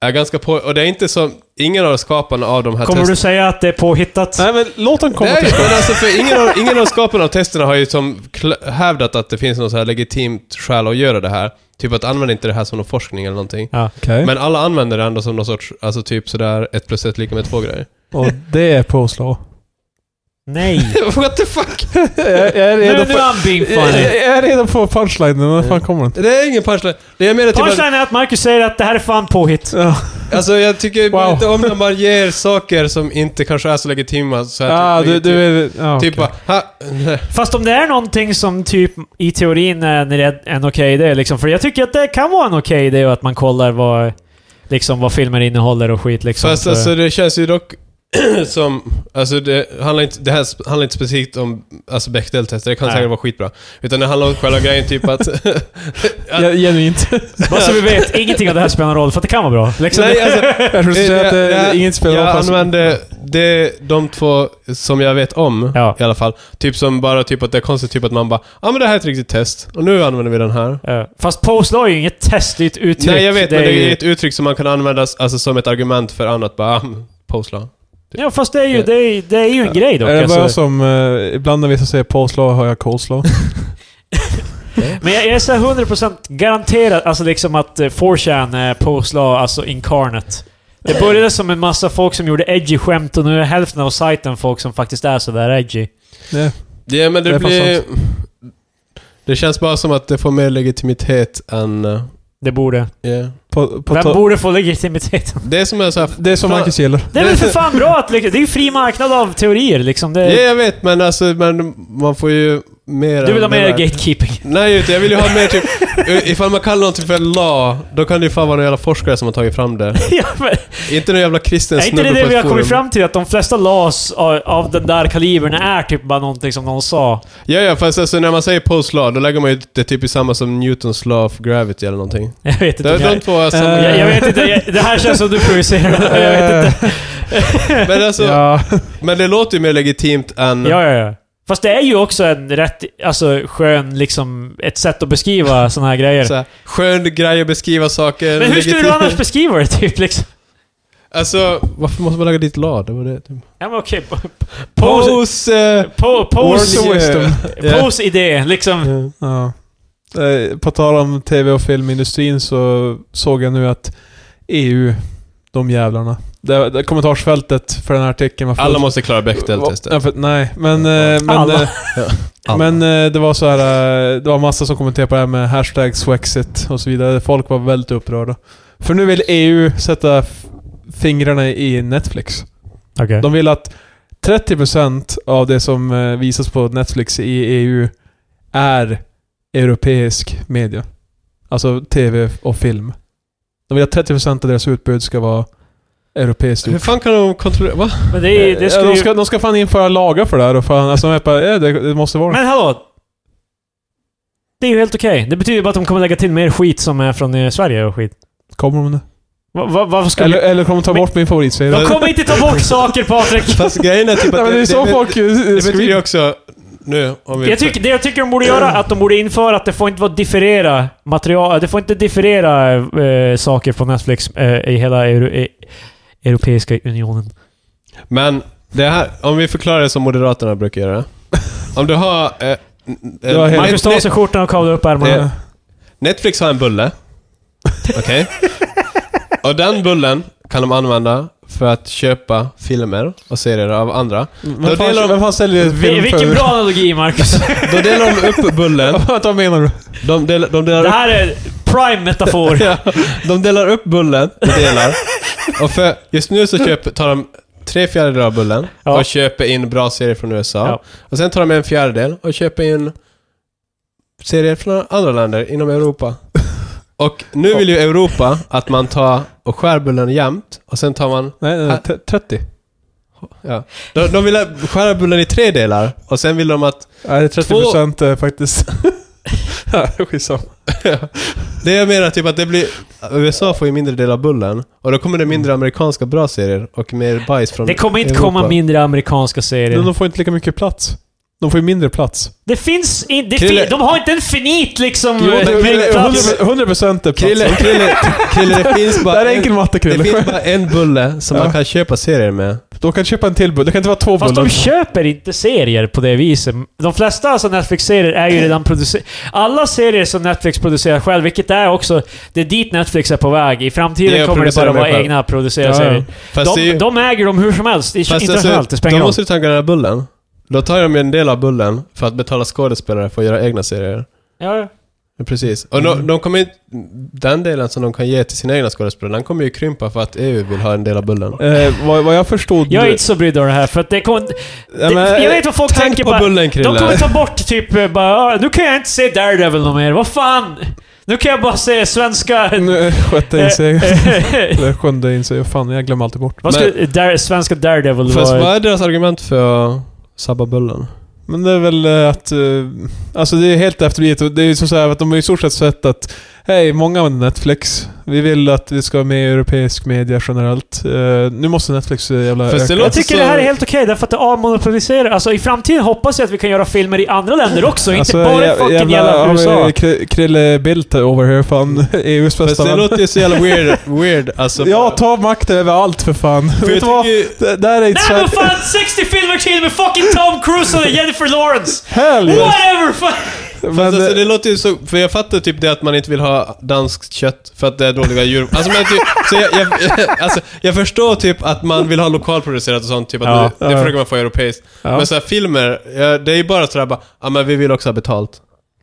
[SPEAKER 3] är ganska på... Och det är inte som, ingen av skaparna av de här
[SPEAKER 1] Kommer
[SPEAKER 3] testerna...
[SPEAKER 1] du säga att det är påhittat?
[SPEAKER 2] Nej men låt dem komma
[SPEAKER 3] Nej,
[SPEAKER 2] till
[SPEAKER 3] men alltså för ingen av, ingen av skaparna av testerna har ju som kl- hävdat att det finns något så här legitimt skäl att göra det här. Typ att använda inte det här som någon forskning eller någonting.
[SPEAKER 1] Ja.
[SPEAKER 2] Okej.
[SPEAKER 3] Men alla använder det ändå som någon sorts, alltså typ sådär ett plus ett lika med två grejer.
[SPEAKER 2] Och det är påslag.
[SPEAKER 1] Nej.
[SPEAKER 3] What the fuck?
[SPEAKER 2] jag, jag är
[SPEAKER 1] Nu, nu
[SPEAKER 2] redo på...
[SPEAKER 1] är han being
[SPEAKER 2] Jag,
[SPEAKER 1] funny.
[SPEAKER 2] jag är redo på punchline men vad fan kommer den?
[SPEAKER 3] Det är ingen punchline. Det är mer typ att,
[SPEAKER 1] Punchline är att Marcus säger att det här är fan påhitt.
[SPEAKER 2] Ja,
[SPEAKER 3] alltså jag tycker bara
[SPEAKER 2] Wow.
[SPEAKER 3] inte om när man ger saker som inte kanske är så legitima. Så här,
[SPEAKER 2] ah,
[SPEAKER 3] typ,
[SPEAKER 2] du, du är... Ja,
[SPEAKER 3] Typ
[SPEAKER 2] okej.
[SPEAKER 3] bara, ha, nej.
[SPEAKER 1] Fast om det är någonting som typ i teorin är en red- en okej idé liksom. För jag tycker att det kan vara en okej idé och att man kollar vad, liksom, vad filmer innehåller och skit liksom.
[SPEAKER 3] Fast
[SPEAKER 1] Så-
[SPEAKER 3] alltså det känns ju dock som... Alltså det, handlar inte, det här handlar inte specifikt om alltså Bechdel-tester, det kan
[SPEAKER 1] Nej.
[SPEAKER 3] säkert vara skitbra. Utan det handlar om själva grejen typ att...
[SPEAKER 2] Ja, genuint.
[SPEAKER 1] Bara så vi vet, ingenting av det här spelar någon roll för att det kan vara bra. Liksom.
[SPEAKER 3] Nej, alltså,
[SPEAKER 2] Jag skulle säga att det,
[SPEAKER 3] jag-
[SPEAKER 2] inget spelar
[SPEAKER 3] Jag
[SPEAKER 2] roll, fast-
[SPEAKER 3] använder det, de två som jag vet om
[SPEAKER 1] Ja.
[SPEAKER 3] i alla fall. Typ som bara typ att det är konstigt typ att man bara ja ah, men det här är ett riktigt test och nu använder vi den här.
[SPEAKER 1] Eh, Fast postlaw är ju inget testigt uttryck.
[SPEAKER 3] Nej jag vet men
[SPEAKER 1] är
[SPEAKER 3] det är
[SPEAKER 1] ju-
[SPEAKER 3] ett uttryck som man kan använda alltså, som ett argument för annat. Bara ah, postla.
[SPEAKER 1] Ja, fast det är ju, det är, det är ju en grej dock.
[SPEAKER 2] är det bara
[SPEAKER 1] alltså.
[SPEAKER 2] jag som... eh, ibland när vissa säger påslag hör jag coleslaw.
[SPEAKER 1] Men jag, jag är så här 100% garanterad alltså liksom att eh, 4chan är postlaw, alltså incarnate. Det började som en massa folk som gjorde edgy skämt och nu är hälften av sajten folk som faktiskt är sådär edgy.
[SPEAKER 2] Nej.
[SPEAKER 3] Ja men det,
[SPEAKER 2] Det är fan
[SPEAKER 3] blir... Det känns bara som att det får mer legitimitet än... eh,
[SPEAKER 1] Det borde.
[SPEAKER 3] ja.
[SPEAKER 2] På, på
[SPEAKER 1] Vem
[SPEAKER 2] ta-
[SPEAKER 1] borde få legitimiteten?
[SPEAKER 3] Det som är så här...
[SPEAKER 2] det är som
[SPEAKER 3] Fan.
[SPEAKER 2] Marcus gillar.
[SPEAKER 1] Det är väl för fan bra att... liksom- Det är ju fri marknad av teorier liksom.
[SPEAKER 3] Ja
[SPEAKER 1] Det,
[SPEAKER 3] jag vet men alltså men man får ju mer...
[SPEAKER 1] du vill ha
[SPEAKER 3] än
[SPEAKER 1] mer
[SPEAKER 3] det där.
[SPEAKER 1] gatekeeping.
[SPEAKER 3] Nej, inte. jag vill ju ha mer typ... Ifall man kallar någonting för law, då kan det ju fan vara någon jävla forskare som har tagit fram det.
[SPEAKER 1] ja, men,
[SPEAKER 3] Inte någon jävla kristen
[SPEAKER 1] är inte
[SPEAKER 3] snubbe
[SPEAKER 1] det
[SPEAKER 3] på
[SPEAKER 1] det
[SPEAKER 3] ett
[SPEAKER 1] vi har kommit
[SPEAKER 3] forum.
[SPEAKER 1] fram till? Att de flesta laws av, av den där kalibern är typ bara någonting som någon sa.
[SPEAKER 3] Ja, ja, fast alltså, när man säger Poes law, då lägger man ju det typ i samma som Newtons law of gravity eller någonting.
[SPEAKER 1] Jag vet
[SPEAKER 3] Det
[SPEAKER 1] inte. om
[SPEAKER 3] är
[SPEAKER 1] jag-
[SPEAKER 3] de två är samma
[SPEAKER 2] Eh,
[SPEAKER 1] Jag,
[SPEAKER 3] grej.
[SPEAKER 1] jag vet inte, jag, det här känns som du projicerar. Jag vet inte.
[SPEAKER 3] men, alltså,
[SPEAKER 2] Eh, Ja.
[SPEAKER 3] men det låter ju mer legitimt än...
[SPEAKER 1] Ja, ja, ja. Fast det är ju också en rätt, alltså skön, liksom, ett sätt att beskriva såna här grejer.
[SPEAKER 3] Så här, skön grej att beskriva saker.
[SPEAKER 1] Men hur skulle du
[SPEAKER 3] legitim-
[SPEAKER 1] annars beskriva det, typ? Liksom?
[SPEAKER 3] Alltså, varför måste man lägga dit law? Det var det. Typ.
[SPEAKER 1] Ja, men okej. po- Pose...
[SPEAKER 3] Pose... eh,
[SPEAKER 1] po-
[SPEAKER 2] Words
[SPEAKER 1] Pose...
[SPEAKER 2] of wisdom.
[SPEAKER 3] ja.
[SPEAKER 1] Pose idé, liksom.
[SPEAKER 2] Ja. Eh, På tal om tv och filmindustrin så såg jag nu att EU, de jävlarna. Det, det kommentarsfältet för den här artikeln var fullt.
[SPEAKER 3] Alla måste klara
[SPEAKER 2] Ja,
[SPEAKER 3] Bechdel-testet.
[SPEAKER 2] för- Nej, men... eh, men
[SPEAKER 1] Alla.
[SPEAKER 2] eh,
[SPEAKER 3] Alla.
[SPEAKER 2] Men eh, det var så här, eh, det var massa som kommenterade på det här med hashtag swexit och så vidare. Folk var väldigt upprörda. För nu vill EU sätta f- fingrarna i Netflix.
[SPEAKER 1] Okej.
[SPEAKER 2] De vill att 30% av det som eh, visas på Netflix i EU är europeisk media. Alltså TV och film. De vill att 30% av deras utbud ska vara europeiskt
[SPEAKER 3] Hur
[SPEAKER 2] gjort.
[SPEAKER 3] fan kan de kontrollera... Va?
[SPEAKER 1] Men det, är- det
[SPEAKER 2] Ja,
[SPEAKER 1] skulle
[SPEAKER 2] de,
[SPEAKER 1] ju...
[SPEAKER 2] ska, de ska fan införa lagar för det här. Och fan, alltså, de är bara, eh, det, det måste vara
[SPEAKER 1] Men hallå! Det är ju helt okej. Det betyder ju bara att de kommer lägga till mer skit som är från eh, Sverige och skit.
[SPEAKER 2] Kommer de det?
[SPEAKER 1] Va, va, varför ska
[SPEAKER 2] Eller,
[SPEAKER 1] vi...
[SPEAKER 2] eller kommer ta bort min favoritserie.
[SPEAKER 1] De kommer inte ta bort saker, Patrik!
[SPEAKER 3] Fast grejen är typ att...
[SPEAKER 2] Nej, men det är så
[SPEAKER 3] det-
[SPEAKER 2] folk... eh,
[SPEAKER 3] Det betyder ju också... Nu, om vi...
[SPEAKER 1] Jag tycker, det jag tycker de borde göra är att de borde införa att det får inte vara differera material... Det får inte differera eh, saker på Netflix eh, i hela Euro, eh, Europeiska Unionen.
[SPEAKER 3] Men det här, om vi förklarar det som Moderaterna brukar göra. Om du har... Eh, n- eh,
[SPEAKER 2] har helt-
[SPEAKER 1] Marcus tar av sig skjortan och kavlar upp ärmarna.
[SPEAKER 3] Eh, Netflix har en bulle. Okej? Och den bullen kan de använda för att köpa filmer och serier av andra.
[SPEAKER 2] Vem
[SPEAKER 3] delar
[SPEAKER 2] fan,
[SPEAKER 3] de-
[SPEAKER 2] vem fan säljer
[SPEAKER 1] Vi,
[SPEAKER 2] film
[SPEAKER 1] vilken
[SPEAKER 2] för...
[SPEAKER 1] bra analogi, Marcus!
[SPEAKER 3] Då delar de upp bullen.
[SPEAKER 2] Vad menar du?
[SPEAKER 3] De, del, de,
[SPEAKER 1] det
[SPEAKER 3] delar,
[SPEAKER 1] här är prime metafor.
[SPEAKER 3] ja, de delar upp bullen i delar. Och för, just nu så köper, tar de tre fjärdedelar av bullen
[SPEAKER 1] Ja.
[SPEAKER 3] och köper in bra serier från USA.
[SPEAKER 1] Ja.
[SPEAKER 3] Och sen tar de en fjärdedel och köper in serier från andra länder inom Europa. Och nu vill ju Europa att man tar och skär bullen jämnt och sen tar man...
[SPEAKER 2] Nej, nej,
[SPEAKER 3] Ah.
[SPEAKER 2] nej, t- 30.
[SPEAKER 3] Ja. De, de ville skära bullen i tre delar och sen ville de att...
[SPEAKER 2] Nej, det är 30 procent faktiskt. ja, skitsamma.
[SPEAKER 3] Det är mer typ att det blir... USA får ju mindre del av bullen och då kommer det mindre amerikanska bra serier och mer bajs från
[SPEAKER 1] Det kommer inte
[SPEAKER 3] Europa.
[SPEAKER 1] komma mindre amerikanska
[SPEAKER 2] Men
[SPEAKER 1] serier.
[SPEAKER 2] de får inte lika mycket plats. De får ju mindre plats.
[SPEAKER 1] Det finns in, det
[SPEAKER 3] Krille-
[SPEAKER 1] fin, De har inte en finit liksom...
[SPEAKER 2] Jo,
[SPEAKER 1] eh,
[SPEAKER 2] det-
[SPEAKER 1] mängd plats.
[SPEAKER 2] 100%, 100% är plats.
[SPEAKER 3] Krille, krille, krille, det finns
[SPEAKER 2] Det
[SPEAKER 3] bara
[SPEAKER 2] här är
[SPEAKER 3] en,
[SPEAKER 2] enkel matte,
[SPEAKER 3] det
[SPEAKER 2] Krille.
[SPEAKER 3] finns bara en bulle som man kan köpa serier med.
[SPEAKER 2] Då kan du köpa en till bulle. Det kan inte vara två
[SPEAKER 1] Fast de
[SPEAKER 2] bullar.
[SPEAKER 1] köper inte serier på det viset. De flesta alltså Netflix-serier är ju redan producerade. Alla serier som Netflix producerar själv, vilket är också... Det är dit Netflix är på väg. I framtiden
[SPEAKER 3] Det är att
[SPEAKER 1] kommer det bara
[SPEAKER 3] producera
[SPEAKER 1] vara
[SPEAKER 3] mer själv.
[SPEAKER 1] egna producerade
[SPEAKER 2] Ja, ja.
[SPEAKER 1] serier.
[SPEAKER 3] Fast det är
[SPEAKER 1] De,
[SPEAKER 3] ju-
[SPEAKER 1] de äger dem hur som helst. Det är
[SPEAKER 3] Fast alltså,
[SPEAKER 1] internationellt. det spelar
[SPEAKER 3] de
[SPEAKER 1] ingen roll.
[SPEAKER 3] måste ju ta den här bullen. Då tar de ju en del av bullen för att betala skådespelare för att göra egna serier.
[SPEAKER 1] Ja, ja.
[SPEAKER 3] Ja, Precis. Och
[SPEAKER 1] Mm.
[SPEAKER 3] de, de kommer ju, den delen som de kan ge till sina egna skådespelare, den kommer ju krympa för att EU vill ha en del av bullen.
[SPEAKER 2] Eh, vad, vad jag förstod...
[SPEAKER 1] Jag är inte så brydd av det här, för att det kommer...
[SPEAKER 2] Ja, men,
[SPEAKER 1] det- jag vet vad folk
[SPEAKER 3] eh, Tänk
[SPEAKER 1] tänker
[SPEAKER 3] på
[SPEAKER 1] bara...
[SPEAKER 3] bullen
[SPEAKER 1] De kommer
[SPEAKER 3] Krille.
[SPEAKER 1] ta bort typ eh, bara "Ah, nu kan jag inte se Daredevil någon mer, vad fan! Nu kan jag bara se svenska...
[SPEAKER 2] Nu skötte in sig.
[SPEAKER 1] Eh,
[SPEAKER 2] Eller sjunde in sig. Vad Fan, jag glömmer alltid bort.
[SPEAKER 1] vad skulle Dare, svenska Daredevil
[SPEAKER 3] Fast
[SPEAKER 1] vara?
[SPEAKER 3] vad är deras argument för att sabba bullen?
[SPEAKER 2] Men det är väl eh, att... eh, Alltså det är helt efterblivet. Och Det är ju som så här att de har i stort sett sett att... Hej, många använder Netflix. Vi vill att vi ska ha med europeisk media generellt. Eh, nu måste Netflix eh, jävla
[SPEAKER 3] Fast
[SPEAKER 2] öka.
[SPEAKER 3] det låter-
[SPEAKER 1] Jag tycker
[SPEAKER 3] så-
[SPEAKER 1] det här är helt okej, därför att det avmonopoliserar. Alltså i framtiden hoppas jag att vi kan göra filmer i andra länder också,
[SPEAKER 2] Alltså,
[SPEAKER 1] inte bara i
[SPEAKER 2] jä-
[SPEAKER 1] fucking jävla
[SPEAKER 2] har vi
[SPEAKER 1] USA.
[SPEAKER 2] Kri- Krille Bildt over here, fan. EUs
[SPEAKER 3] Mm. Fast
[SPEAKER 2] bästa
[SPEAKER 3] det
[SPEAKER 2] man.
[SPEAKER 3] låter ju så jävla weird. weird alltså,
[SPEAKER 2] Ja, ta makten över allt för fan.
[SPEAKER 3] För
[SPEAKER 2] Vet
[SPEAKER 3] jag
[SPEAKER 2] du vad?
[SPEAKER 3] tycker ju-
[SPEAKER 2] Det det här är inte
[SPEAKER 1] Nej
[SPEAKER 2] Sverige.
[SPEAKER 1] men fan! 60 filmer till med fucking Tom Cruise och Jennifer Lawrence!
[SPEAKER 2] Hell yes.
[SPEAKER 1] Whatever! Fan.
[SPEAKER 2] Men,
[SPEAKER 3] Fast alltså, det låter ju så, för jag fattar typ det att man inte vill ha danskt kött för att det är dåliga djur. Alltså, men typ, så jag, jag, alltså, jag förstår typ att man vill ha lokalproducerat och sånt, typ att
[SPEAKER 1] Ja,
[SPEAKER 3] det, det
[SPEAKER 2] ja.
[SPEAKER 3] försöker man få europeiskt.
[SPEAKER 2] Ja.
[SPEAKER 3] Men så här, filmer, ja, det är ju bara sådär bara, ja men vi vill också ha betalt.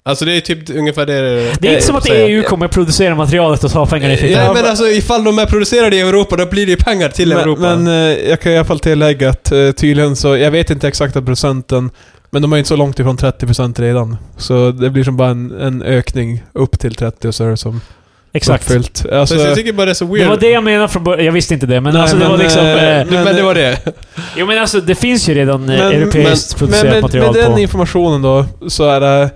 [SPEAKER 3] Alltså det är ju typ ungefär det
[SPEAKER 1] Det är inte som att EU kommer producera materialet och ta pengarna i fickan.
[SPEAKER 3] Nej men alltså ifall de är producerade i Europa, då blir det ju pengar till Europa.
[SPEAKER 2] men, men eh, jag kan i alla fall tillägga att eh, tydligen så, jag vet inte exakta procenten, men de är ju inte så långt ifrån 30% redan. Så det blir som bara en, en ökning upp till 30 och så är det som
[SPEAKER 1] Exakt.
[SPEAKER 2] uppfyllt.
[SPEAKER 3] så
[SPEAKER 2] Alltså,
[SPEAKER 3] jag tycker bara det är så weird.
[SPEAKER 1] Det var det jag menade från början. Jag visste inte det, men
[SPEAKER 2] Nej,
[SPEAKER 1] alltså det
[SPEAKER 2] men,
[SPEAKER 1] var liksom...
[SPEAKER 2] eh,
[SPEAKER 1] Eh,
[SPEAKER 3] men, det var det.
[SPEAKER 1] jo men alltså det finns ju redan eh,
[SPEAKER 2] Men-
[SPEAKER 1] europeiskt
[SPEAKER 2] men
[SPEAKER 1] producerat
[SPEAKER 2] med,
[SPEAKER 1] material
[SPEAKER 2] med den
[SPEAKER 1] på...
[SPEAKER 2] informationen då, så är det...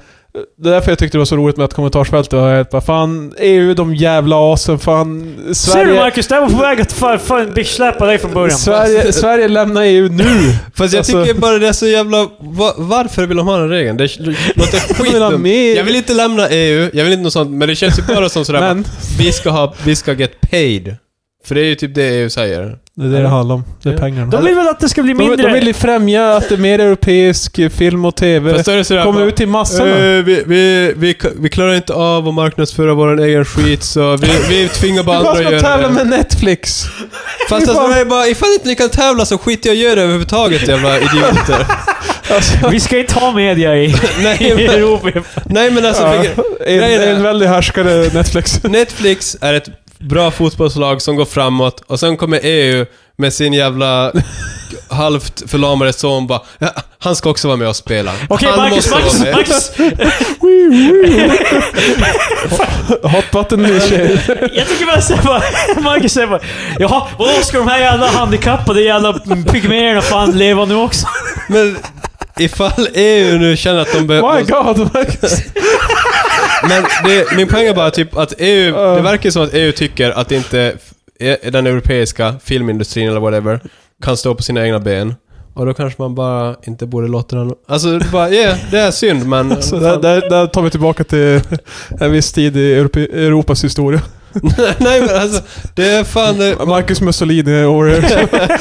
[SPEAKER 2] Det är därför jag tyckte det var så roligt med att kommentarsfältet var helt bara fan, EU de jävla asen, fan,
[SPEAKER 1] Ser du
[SPEAKER 2] Sverige...
[SPEAKER 1] Marcus, det här var på väg att fan, fan bitchsläpa dig från början.
[SPEAKER 2] Sverige, Sverige lämnar EU nu!
[SPEAKER 3] Fast jag
[SPEAKER 2] Alltså-
[SPEAKER 3] tycker bara det är så jävla... Va, varför vill de ha den regeln? Det låter
[SPEAKER 2] vill ha
[SPEAKER 3] skitdumt.
[SPEAKER 2] mer.
[SPEAKER 3] Jag vill inte lämna EU, jag vill inte något sånt, men det känns ju bara som sådär
[SPEAKER 2] Men,
[SPEAKER 3] vi ska ha, vi ska get paid. För det är ju typ det EU säger.
[SPEAKER 2] det är det det handlar om. Det är pengarna.
[SPEAKER 1] De vill väl att det ska bli
[SPEAKER 2] De,
[SPEAKER 1] mindre...
[SPEAKER 2] de vill ju främja att det är mer europeisk eh, film och TV
[SPEAKER 3] Fast då är det sådär...
[SPEAKER 2] kommer
[SPEAKER 3] bara,
[SPEAKER 2] ut till massorna.
[SPEAKER 3] eh, vi, vi, vi, vi klarar inte av att marknadsföra vår egen skit så vi, vi tvingar bara
[SPEAKER 2] Du
[SPEAKER 3] andra
[SPEAKER 2] bara
[SPEAKER 3] att
[SPEAKER 2] ska
[SPEAKER 3] göra
[SPEAKER 2] tävla
[SPEAKER 3] det.
[SPEAKER 2] med Netflix.
[SPEAKER 3] Fast alltså, det är bara, ifall inte ni kan tävla så skit jag gör det överhuvudtaget jävla idioter.
[SPEAKER 1] Vi ska inte ha media i,
[SPEAKER 3] nej,
[SPEAKER 1] i
[SPEAKER 3] men,
[SPEAKER 1] Europa.
[SPEAKER 3] nej men alltså,
[SPEAKER 2] Ja,
[SPEAKER 3] fick-
[SPEAKER 2] en,
[SPEAKER 3] Nej, nej.
[SPEAKER 2] en väldig härskare Netflix.
[SPEAKER 3] Netflix är ett bra fotbollslag som går framåt och sen kommer EU med sin jävla halvt förlamade son bara ja, Han ska också vara med och spela.
[SPEAKER 1] Okej
[SPEAKER 3] han
[SPEAKER 1] Marcus,
[SPEAKER 3] måste
[SPEAKER 1] Marcus,
[SPEAKER 3] vara med."
[SPEAKER 1] Marcus!
[SPEAKER 2] Hot button nu tjejer.
[SPEAKER 1] Jag tycker bara såhär bara... Marcus säger bara... Jaha, vadå ska de här jävla handikappade jävla pygméerna fan leva nu också?
[SPEAKER 3] Men ifall EU nu känner att de
[SPEAKER 2] My
[SPEAKER 3] behöver...
[SPEAKER 2] god, Marcus.
[SPEAKER 3] Men det, min poäng är bara typ att EU,
[SPEAKER 2] Uh.
[SPEAKER 3] det verkar som att EU tycker att inte f- den europeiska filmindustrin eller whatever kan stå på sina egna ben. Och då kanske man bara inte borde låta den... Alltså, bara, yeah, det är synd men...
[SPEAKER 2] Så där, där, där tar vi tillbaka till en viss tid i Europe, Europas historia.
[SPEAKER 3] Nej men alltså, det är fan... Det,
[SPEAKER 2] Marcus Mussolini over here.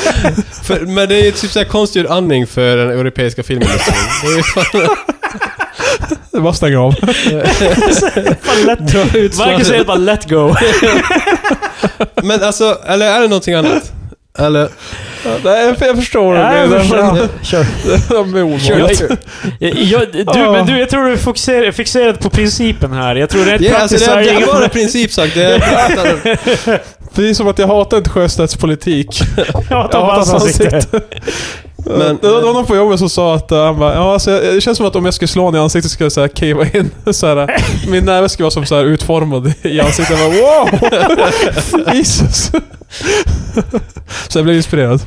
[SPEAKER 3] För, men det är ju typ såhär konstgjord andning för den europeiska filmindustrin. Det är ju fan...
[SPEAKER 2] Det bara stänger av.
[SPEAKER 1] Fan, let,
[SPEAKER 3] dra ut
[SPEAKER 1] Marcus säger
[SPEAKER 3] sladden.
[SPEAKER 1] bara let go.
[SPEAKER 3] Men alltså, eller är det någonting annat? Eller?
[SPEAKER 2] Nej, jag jag förstår det.
[SPEAKER 1] Nej, jag
[SPEAKER 2] Det är
[SPEAKER 1] förstår.
[SPEAKER 2] därför-
[SPEAKER 1] Kör.
[SPEAKER 2] De är ovanliga.
[SPEAKER 1] Jag, jag, jag, du, men du, jag tror du är fokuser- fixerad på principen här. Jag tror det är
[SPEAKER 3] Ja, alltså
[SPEAKER 1] praktiskt
[SPEAKER 3] det
[SPEAKER 1] är det
[SPEAKER 3] är
[SPEAKER 1] inget-
[SPEAKER 3] bara en principsak. Det är
[SPEAKER 2] Det är som att jag hatar inte Sjöstedts politik.
[SPEAKER 1] Jag
[SPEAKER 2] Jag
[SPEAKER 1] tar
[SPEAKER 2] hatar
[SPEAKER 1] hans
[SPEAKER 3] alltså,
[SPEAKER 2] hans
[SPEAKER 1] ansikte.
[SPEAKER 3] Men-
[SPEAKER 2] det var någon på jobbet som sa att eh, han bara, ja, alltså, jag- det känns som att om jag skulle slå honom i ansiktet skulle jag såhär cavea in. Så här, eh, min näve skulle vara som så här utformad i ansiktet. Jag bara, wow! Jesus! så jag blev inspirerad.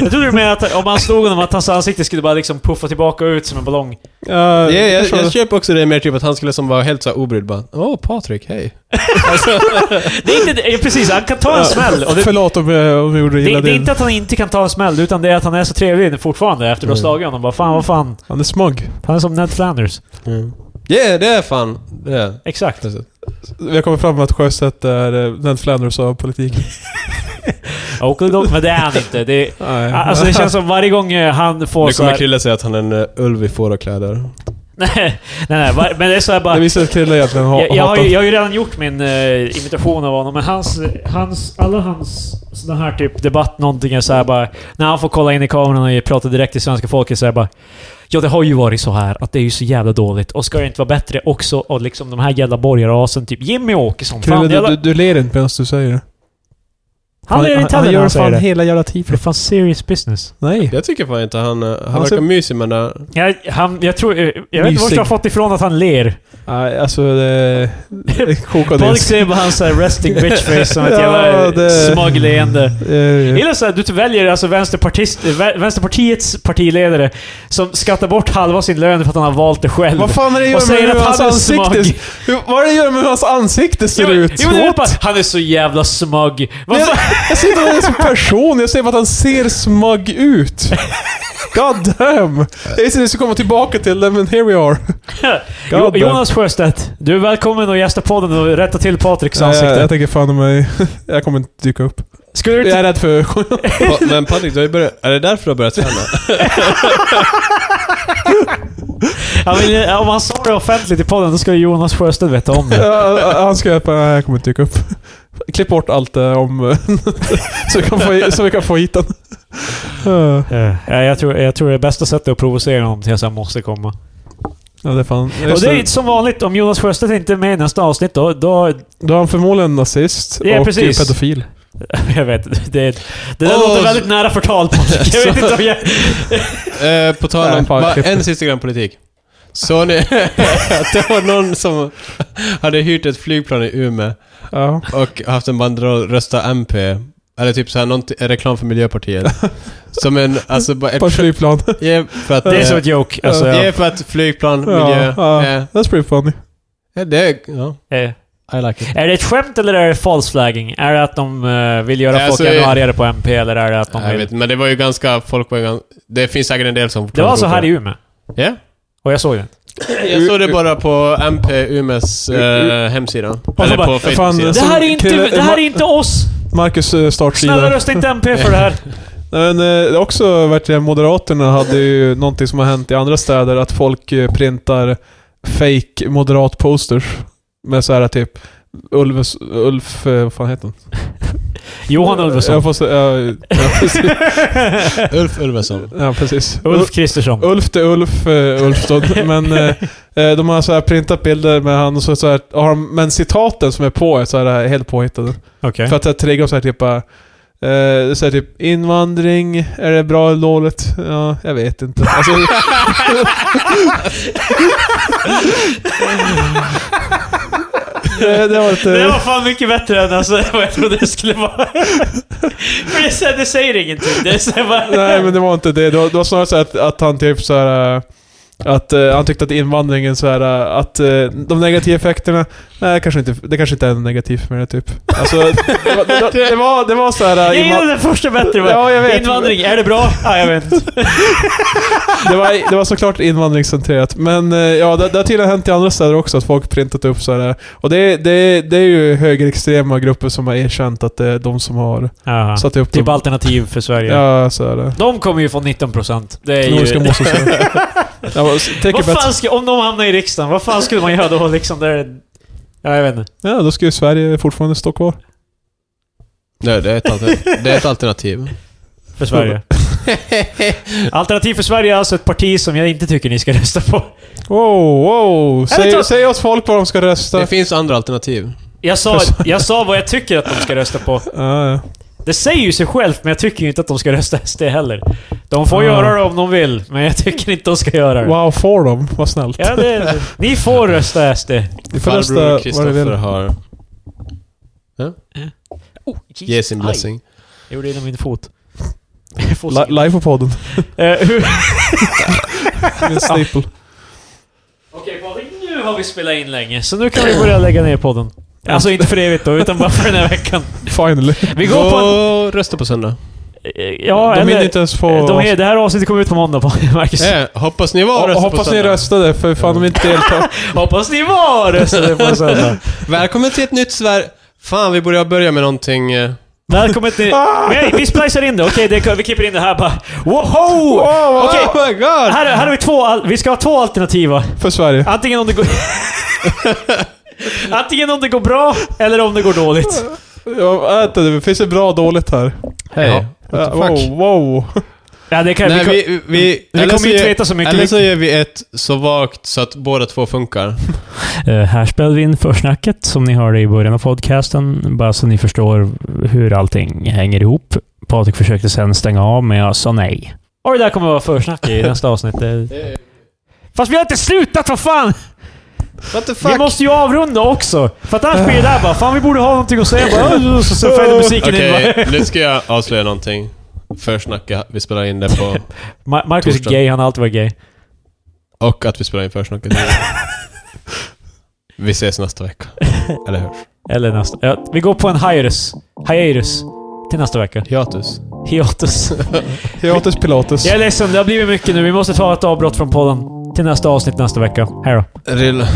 [SPEAKER 1] Jag trodde du menade att om han slog honom, att hans ansikte skulle bara liksom puffa tillbaka ut som en ballong.
[SPEAKER 2] Ja,
[SPEAKER 3] jag, jag,
[SPEAKER 2] förstår
[SPEAKER 3] jag
[SPEAKER 2] det.
[SPEAKER 3] köper också det mer typ att han skulle som vara helt så här obrydd bara Åh Patrik, hej. alltså,
[SPEAKER 1] Det är inte... det- ja, Precis, han kan ta en smäll. Och det,
[SPEAKER 2] Förlåt om jag om jag gjorde
[SPEAKER 1] det,
[SPEAKER 2] illa
[SPEAKER 1] det är
[SPEAKER 2] din.
[SPEAKER 1] inte att han inte kan ta en smäll, utan det är att han är så trevlig fortfarande efter att ha
[SPEAKER 3] Mm.
[SPEAKER 1] slagit honom. Bara, fan, vad fan.
[SPEAKER 2] Han är smugg.
[SPEAKER 1] Han är som Ned Flanders.
[SPEAKER 3] yeah, det är fan. Det är.
[SPEAKER 1] Exakt.
[SPEAKER 3] Alltså,
[SPEAKER 2] Vi har kommit fram med att Sjöstedt är eh, Ned Flanders av politiken.
[SPEAKER 1] Oakley Dog, men det är han inte. Det, är-
[SPEAKER 2] Nej.
[SPEAKER 1] alltså det känns som varje gång eh, han får
[SPEAKER 3] Nu
[SPEAKER 1] så
[SPEAKER 3] kommer
[SPEAKER 1] här,
[SPEAKER 3] Krille säga att han är en eh, ulv i fårakläder.
[SPEAKER 1] Nej, nej, var, men det är så här bara...
[SPEAKER 2] Det visar att Krille egentligen har
[SPEAKER 1] Jag, jag, har
[SPEAKER 2] hatat...
[SPEAKER 1] ju, jag har ju redan gjort min eh, imitation av honom, men hans, hans, alla hans såna här typ debatt någonting är så här bara... När han får kolla in i kameran och prata direkt till svenska folket så är det bara... Ja, det har ju varit så här att det är ju så jävla dåligt och ska det inte vara bättre också? Och liksom de här jävla borgarrasen, typ Jimmy Åkesson.
[SPEAKER 2] Krille,
[SPEAKER 1] Fan,
[SPEAKER 2] du,
[SPEAKER 1] jävla,
[SPEAKER 2] du, du ler inte medan du säger det.
[SPEAKER 1] han är i
[SPEAKER 2] han
[SPEAKER 1] detalj när
[SPEAKER 2] gör
[SPEAKER 1] han säger
[SPEAKER 2] fan
[SPEAKER 1] det.
[SPEAKER 2] hela jävla
[SPEAKER 1] Det är
[SPEAKER 2] tiden.
[SPEAKER 1] fan serious business.
[SPEAKER 2] Nej.
[SPEAKER 3] Jag tycker fan inte han... eh, Han,
[SPEAKER 2] Han
[SPEAKER 3] verkar
[SPEAKER 2] ser-
[SPEAKER 3] mysig men... eh,
[SPEAKER 1] Jag, han, jag tror... eh, Jag vet inte vart
[SPEAKER 2] Mysig.
[SPEAKER 1] jag har fått ifrån att han ler.
[SPEAKER 2] Nej, alltså det... det kokar
[SPEAKER 1] Folk
[SPEAKER 2] disk.
[SPEAKER 1] ser bara hans så här resting bitch face som ett
[SPEAKER 2] Ja,
[SPEAKER 1] jävla
[SPEAKER 2] det-
[SPEAKER 1] smugleende.
[SPEAKER 2] Eh,
[SPEAKER 1] Jag gillar så här, du väljer alltså vänsterpartist, vä- Vänsterpartiets partiledare som skattar bort halva sin lön för att han har valt det själv.
[SPEAKER 2] Vad fan är det
[SPEAKER 1] Och
[SPEAKER 2] gör
[SPEAKER 1] säger
[SPEAKER 2] med hur
[SPEAKER 1] att
[SPEAKER 2] hans
[SPEAKER 1] han är smug.
[SPEAKER 2] ansikte... Hur, vad är det gör med hur hans ansikte ser
[SPEAKER 1] Jo, men-
[SPEAKER 2] ut?
[SPEAKER 1] jo, men det är
[SPEAKER 2] What?
[SPEAKER 1] bara, han är så jävla smug. Vad
[SPEAKER 2] jag,
[SPEAKER 1] fan-
[SPEAKER 2] jag ser inte honom som person, jag ser bara att han ser smug ut. God damn! Jag visste att vi skulle komma tillbaka till det, men here we are. God
[SPEAKER 1] Jo-
[SPEAKER 2] damn.
[SPEAKER 1] Jonas Sjöstedt, du är välkommen att gästa podden och rätta till Patriks
[SPEAKER 2] Nej, Eh, jag,
[SPEAKER 1] ansikte.
[SPEAKER 2] jag tänker fan om mig... Jag kommer inte dyka upp.
[SPEAKER 1] Skulle du
[SPEAKER 2] Jag
[SPEAKER 1] inte...
[SPEAKER 2] är rädd för...
[SPEAKER 3] Pa- Men Patrik, du har ju börjat... Är det därför du har börjat träna?
[SPEAKER 1] Han vill, eh, om han sa det offentligt i podden, då skulle Jonas Sjöstedt veta om det.
[SPEAKER 2] Ja, Han ska hjälpa... Nej, jag kommer inte dyka upp. Klipp bort allt det om... så, vi kan få, så vi kan få hit den. Eh,
[SPEAKER 1] Eh, Ja, jag, tror, jag tror det bästa sättet är att provocera honom tills han måste komma.
[SPEAKER 2] Ja, det är fan...
[SPEAKER 1] Och det är inte som vanligt, om Jonas Sjöstedt inte är med i nästa avsnitt, då... då
[SPEAKER 2] Då är han förmodligen nazist
[SPEAKER 1] Ja,
[SPEAKER 2] och
[SPEAKER 1] precis.
[SPEAKER 2] pedofil.
[SPEAKER 1] jag vet det, det där
[SPEAKER 3] Åh,
[SPEAKER 1] låter
[SPEAKER 3] så-
[SPEAKER 1] väldigt nära förtal, Patrik. Jag vet inte om jag...
[SPEAKER 3] eh, på tal
[SPEAKER 2] Nej,
[SPEAKER 3] om...
[SPEAKER 2] fan,
[SPEAKER 3] bara
[SPEAKER 2] klipp.
[SPEAKER 3] en sista grann politik. Så ni... att det var någon som hade hyrt ett flygplan i Umeå
[SPEAKER 2] Ja.
[SPEAKER 3] och haft en banderoll Rösta MP. Eller typ såhär, någon t- en reklam för Miljöpartiet. Som en... Alltså bara... Ett,
[SPEAKER 2] På ett flygplan.
[SPEAKER 3] Ja, för att...
[SPEAKER 1] Det är
[SPEAKER 3] eh,
[SPEAKER 1] som ett joke. Alltså,
[SPEAKER 3] Det
[SPEAKER 1] ja.
[SPEAKER 3] är för att flygplan,
[SPEAKER 2] Ja,
[SPEAKER 3] miljö...
[SPEAKER 2] ja.
[SPEAKER 3] eh,
[SPEAKER 2] That's pretty funny.
[SPEAKER 3] Ja, det är... Ja,
[SPEAKER 1] Eh,
[SPEAKER 3] I like it.
[SPEAKER 1] Är det ett skämt eller är det false flagging? Är det att de eh, vill göra
[SPEAKER 3] Alltså,
[SPEAKER 1] folk ännu
[SPEAKER 3] eh,
[SPEAKER 1] argare på MP eller är det att de
[SPEAKER 3] Jag
[SPEAKER 1] vill...
[SPEAKER 3] vet men det var ju ganska... Folk var ju ganska... Det finns säkert en del som...
[SPEAKER 1] Det var så här i Umeå.
[SPEAKER 3] Ja.
[SPEAKER 1] Och jag såg det.
[SPEAKER 3] Jag såg det bara på MP Umeås eh, hemsida.
[SPEAKER 1] så
[SPEAKER 3] Eller
[SPEAKER 1] bara,
[SPEAKER 3] på
[SPEAKER 2] fan,
[SPEAKER 3] Facebook-sidan.
[SPEAKER 1] Det
[SPEAKER 2] Som
[SPEAKER 1] här är inte,
[SPEAKER 2] kille-
[SPEAKER 1] det här är inte oss!
[SPEAKER 2] Marcus eh, startsida.
[SPEAKER 1] Snälla rösta inte MP för det här.
[SPEAKER 2] Nej, Men, eh, det är också verkligen, Moderaterna hade ju någonting som har hänt i andra städer, att folk eh, printar fake moderat-posters. Med så här typ Ulves, Ulf... eh, Vad fan heter han?
[SPEAKER 1] Johan Ulveson.
[SPEAKER 2] Eh, Jag får se, ja, ja, precis.
[SPEAKER 3] Ulf Ulveson.
[SPEAKER 2] Ja, precis.
[SPEAKER 1] Ulf Kristersson.
[SPEAKER 2] Ulf till Ulf, eh, Ulf då. Men eh, eh, de har så här printat bilder med han och så, så här, har de, Men citaten som är på är så här helt påhittade.
[SPEAKER 1] Okej.
[SPEAKER 2] För att jag triggar så här typ bara... Eh, så här typ invandring, är det bra eller dåligt? Ja, jag vet inte. Alltså, det, det var lite...
[SPEAKER 3] eh,
[SPEAKER 1] Det var fan mycket bättre än alltså, vad jag trodde det skulle vara. För det, är så här, det säger ingenting. Det är så här bara...
[SPEAKER 2] Nej, men det var inte det. Det var, det var snarare så här att, att han typ så här... eh, Att eh, han tyckte att invandringen så här, eh, att eh, de negativa effekterna, nej kanske inte, det kanske inte är negativt med det typ. Alltså, det var, det, var- det var, det var så här... eh,
[SPEAKER 1] Jag
[SPEAKER 2] invan-
[SPEAKER 1] gillade den första bättre. bara.
[SPEAKER 2] Ja, jag vet.
[SPEAKER 1] Invandring, är det bra? Ja, jag vet inte.
[SPEAKER 2] Det var, det var såklart invandringscentrerat, men eh, ja, det, det har tydligen hänt i andra städer också att folk printat upp så här. eh, Och det, det, det är ju högerextrema grupper som har erkänt att det är de som har
[SPEAKER 1] Aha.
[SPEAKER 2] satt upp
[SPEAKER 1] Typ
[SPEAKER 2] dem.
[SPEAKER 1] alternativ för Sverige.
[SPEAKER 2] Ja, så är det.
[SPEAKER 1] De kommer ju få 19%. Det är
[SPEAKER 2] Nordiska
[SPEAKER 1] ju...
[SPEAKER 2] motståndsrörelsen. Ja, take a
[SPEAKER 1] Vad
[SPEAKER 2] bet.
[SPEAKER 1] fan ska, om de hamnar i riksdagen, vad fan skulle man göra då liksom? Där, ja, jag vet inte.
[SPEAKER 2] Ja, då ska ju Sverige fortfarande stå kvar.
[SPEAKER 3] Nej, det är ett, alter- det är ett alternativ.
[SPEAKER 1] För Sverige. Alternativ för Sverige är alltså ett parti som jag inte tycker ni ska rösta på.
[SPEAKER 2] Wow, wow!
[SPEAKER 1] Eller ta-
[SPEAKER 2] Säg, säg oss folk vad de ska rösta.
[SPEAKER 3] Det finns andra alternativ.
[SPEAKER 1] Jag sa, jag sa vad jag tycker att de ska rösta på.
[SPEAKER 2] Ja, ja.
[SPEAKER 1] Det säger ju sig självt, men jag tycker ju inte att de ska rösta SD heller. De får
[SPEAKER 2] Ah.
[SPEAKER 1] göra det om de vill, men jag tycker inte de ska göra det.
[SPEAKER 2] Wow, får de? Vad snällt.
[SPEAKER 1] Ja, det ni får rösta SD.
[SPEAKER 2] Ni får rösta
[SPEAKER 3] Farbror
[SPEAKER 2] vad ni
[SPEAKER 3] Kristoffer
[SPEAKER 2] vill.
[SPEAKER 3] har...
[SPEAKER 1] Oh,
[SPEAKER 3] Ge sin blessing.
[SPEAKER 1] Jag gjorde det i min fot.
[SPEAKER 2] Li- Live på podden.
[SPEAKER 1] Eh, hur-
[SPEAKER 2] Min staple.
[SPEAKER 1] Okej Patrik, nu har vi spelat in länge, så nu kan vi börja lägga ner podden. Alltså inte för evigt då, utan bara för den här veckan.
[SPEAKER 2] Finally.
[SPEAKER 1] Vi går på en...
[SPEAKER 3] Gå och rösta på söndag.
[SPEAKER 1] Eh, Ja,
[SPEAKER 2] de
[SPEAKER 1] eller...
[SPEAKER 2] hinner inte ens få...
[SPEAKER 1] de är, det här avsnittet kommer ut på måndag, Marcus.
[SPEAKER 3] Eh, hoppas ni var
[SPEAKER 2] Och- och
[SPEAKER 3] rösta på
[SPEAKER 2] hoppas ni
[SPEAKER 3] söndag.
[SPEAKER 2] röstade, för fan de inte deltar.
[SPEAKER 1] Hoppas ni var röstade på söndag.
[SPEAKER 3] Välkommen till ett nytt Sverige. Fan, vi borde ha börjat med någonting... eh,
[SPEAKER 1] Välkommen till... Men vi splicear in det, okej? det- vi klipper in det här bara. Woho! Okej,
[SPEAKER 3] Oh my god!
[SPEAKER 1] här, här har vi två... al- Vi ska ha två alternativa.
[SPEAKER 2] För Sverige.
[SPEAKER 1] Antingen om det går... Antingen om det går bra, eller om det går dåligt.
[SPEAKER 2] Ja, vänta, det finns det bra och dåligt här?
[SPEAKER 3] Hej.
[SPEAKER 1] Ja.
[SPEAKER 3] What the
[SPEAKER 2] Ja,
[SPEAKER 3] fuck?
[SPEAKER 2] wow, wow.
[SPEAKER 1] Ja, det kan,
[SPEAKER 3] Nej,
[SPEAKER 1] Eh, vi,
[SPEAKER 3] vi, vi,
[SPEAKER 1] vi
[SPEAKER 3] eller
[SPEAKER 1] kommer
[SPEAKER 3] så
[SPEAKER 1] inte
[SPEAKER 3] gör-
[SPEAKER 1] veta så mycket.
[SPEAKER 3] Eller
[SPEAKER 1] Vi-
[SPEAKER 3] så gör vi ett så vagt så att båda två funkar.
[SPEAKER 1] Eh, här spelade vi in försnacket som ni hörde i början av podcasten, bara så ni förstår hur allting hänger ihop. Patrik försökte sen stänga av, men jag sa nej. Och det där kommer vara försnack i nästa avsnitt. Det- Fast vi har inte slutat, vad fan!
[SPEAKER 3] What the fuck?
[SPEAKER 1] Vi måste ju avrunda också! För att annars blir det där bara, fan vi borde ha någonting att säga. Bara, så så följer musiken in.
[SPEAKER 3] Okej,
[SPEAKER 1] bara.
[SPEAKER 3] nu ska jag avslöja någonting. Försnacka, vi spelar in det på...
[SPEAKER 1] Ma- Marcus är
[SPEAKER 3] Torsdag.
[SPEAKER 1] gay, han har alltid varit gay.
[SPEAKER 3] Och att vi spelar in försnacket. Vi ses nästa vecka. Eller hörs.
[SPEAKER 1] Eller nästa... Ja, vi går på en hiatus. Hiatus. Till nästa vecka.
[SPEAKER 3] Hiatus.
[SPEAKER 1] Hiatus.
[SPEAKER 2] Hiatus pilatus.
[SPEAKER 1] Jag är ledsen, det har blivit mycket nu. Vi måste ta ett avbrott från podden. Till nästa avsnitt nästa vecka. Hej då.
[SPEAKER 3] Rilla.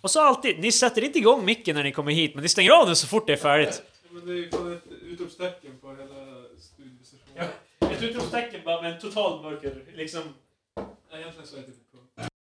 [SPEAKER 1] Och så alltid, ni sätter inte igång micken när ni kommer hit, men ni stänger av den så fort det är färdigt.
[SPEAKER 2] Men det är ju fan ett utropstecken på hela studiosessionen.
[SPEAKER 1] Ett utropstecken bara med en total mörker, liksom...
[SPEAKER 2] Egentligen så är det typ-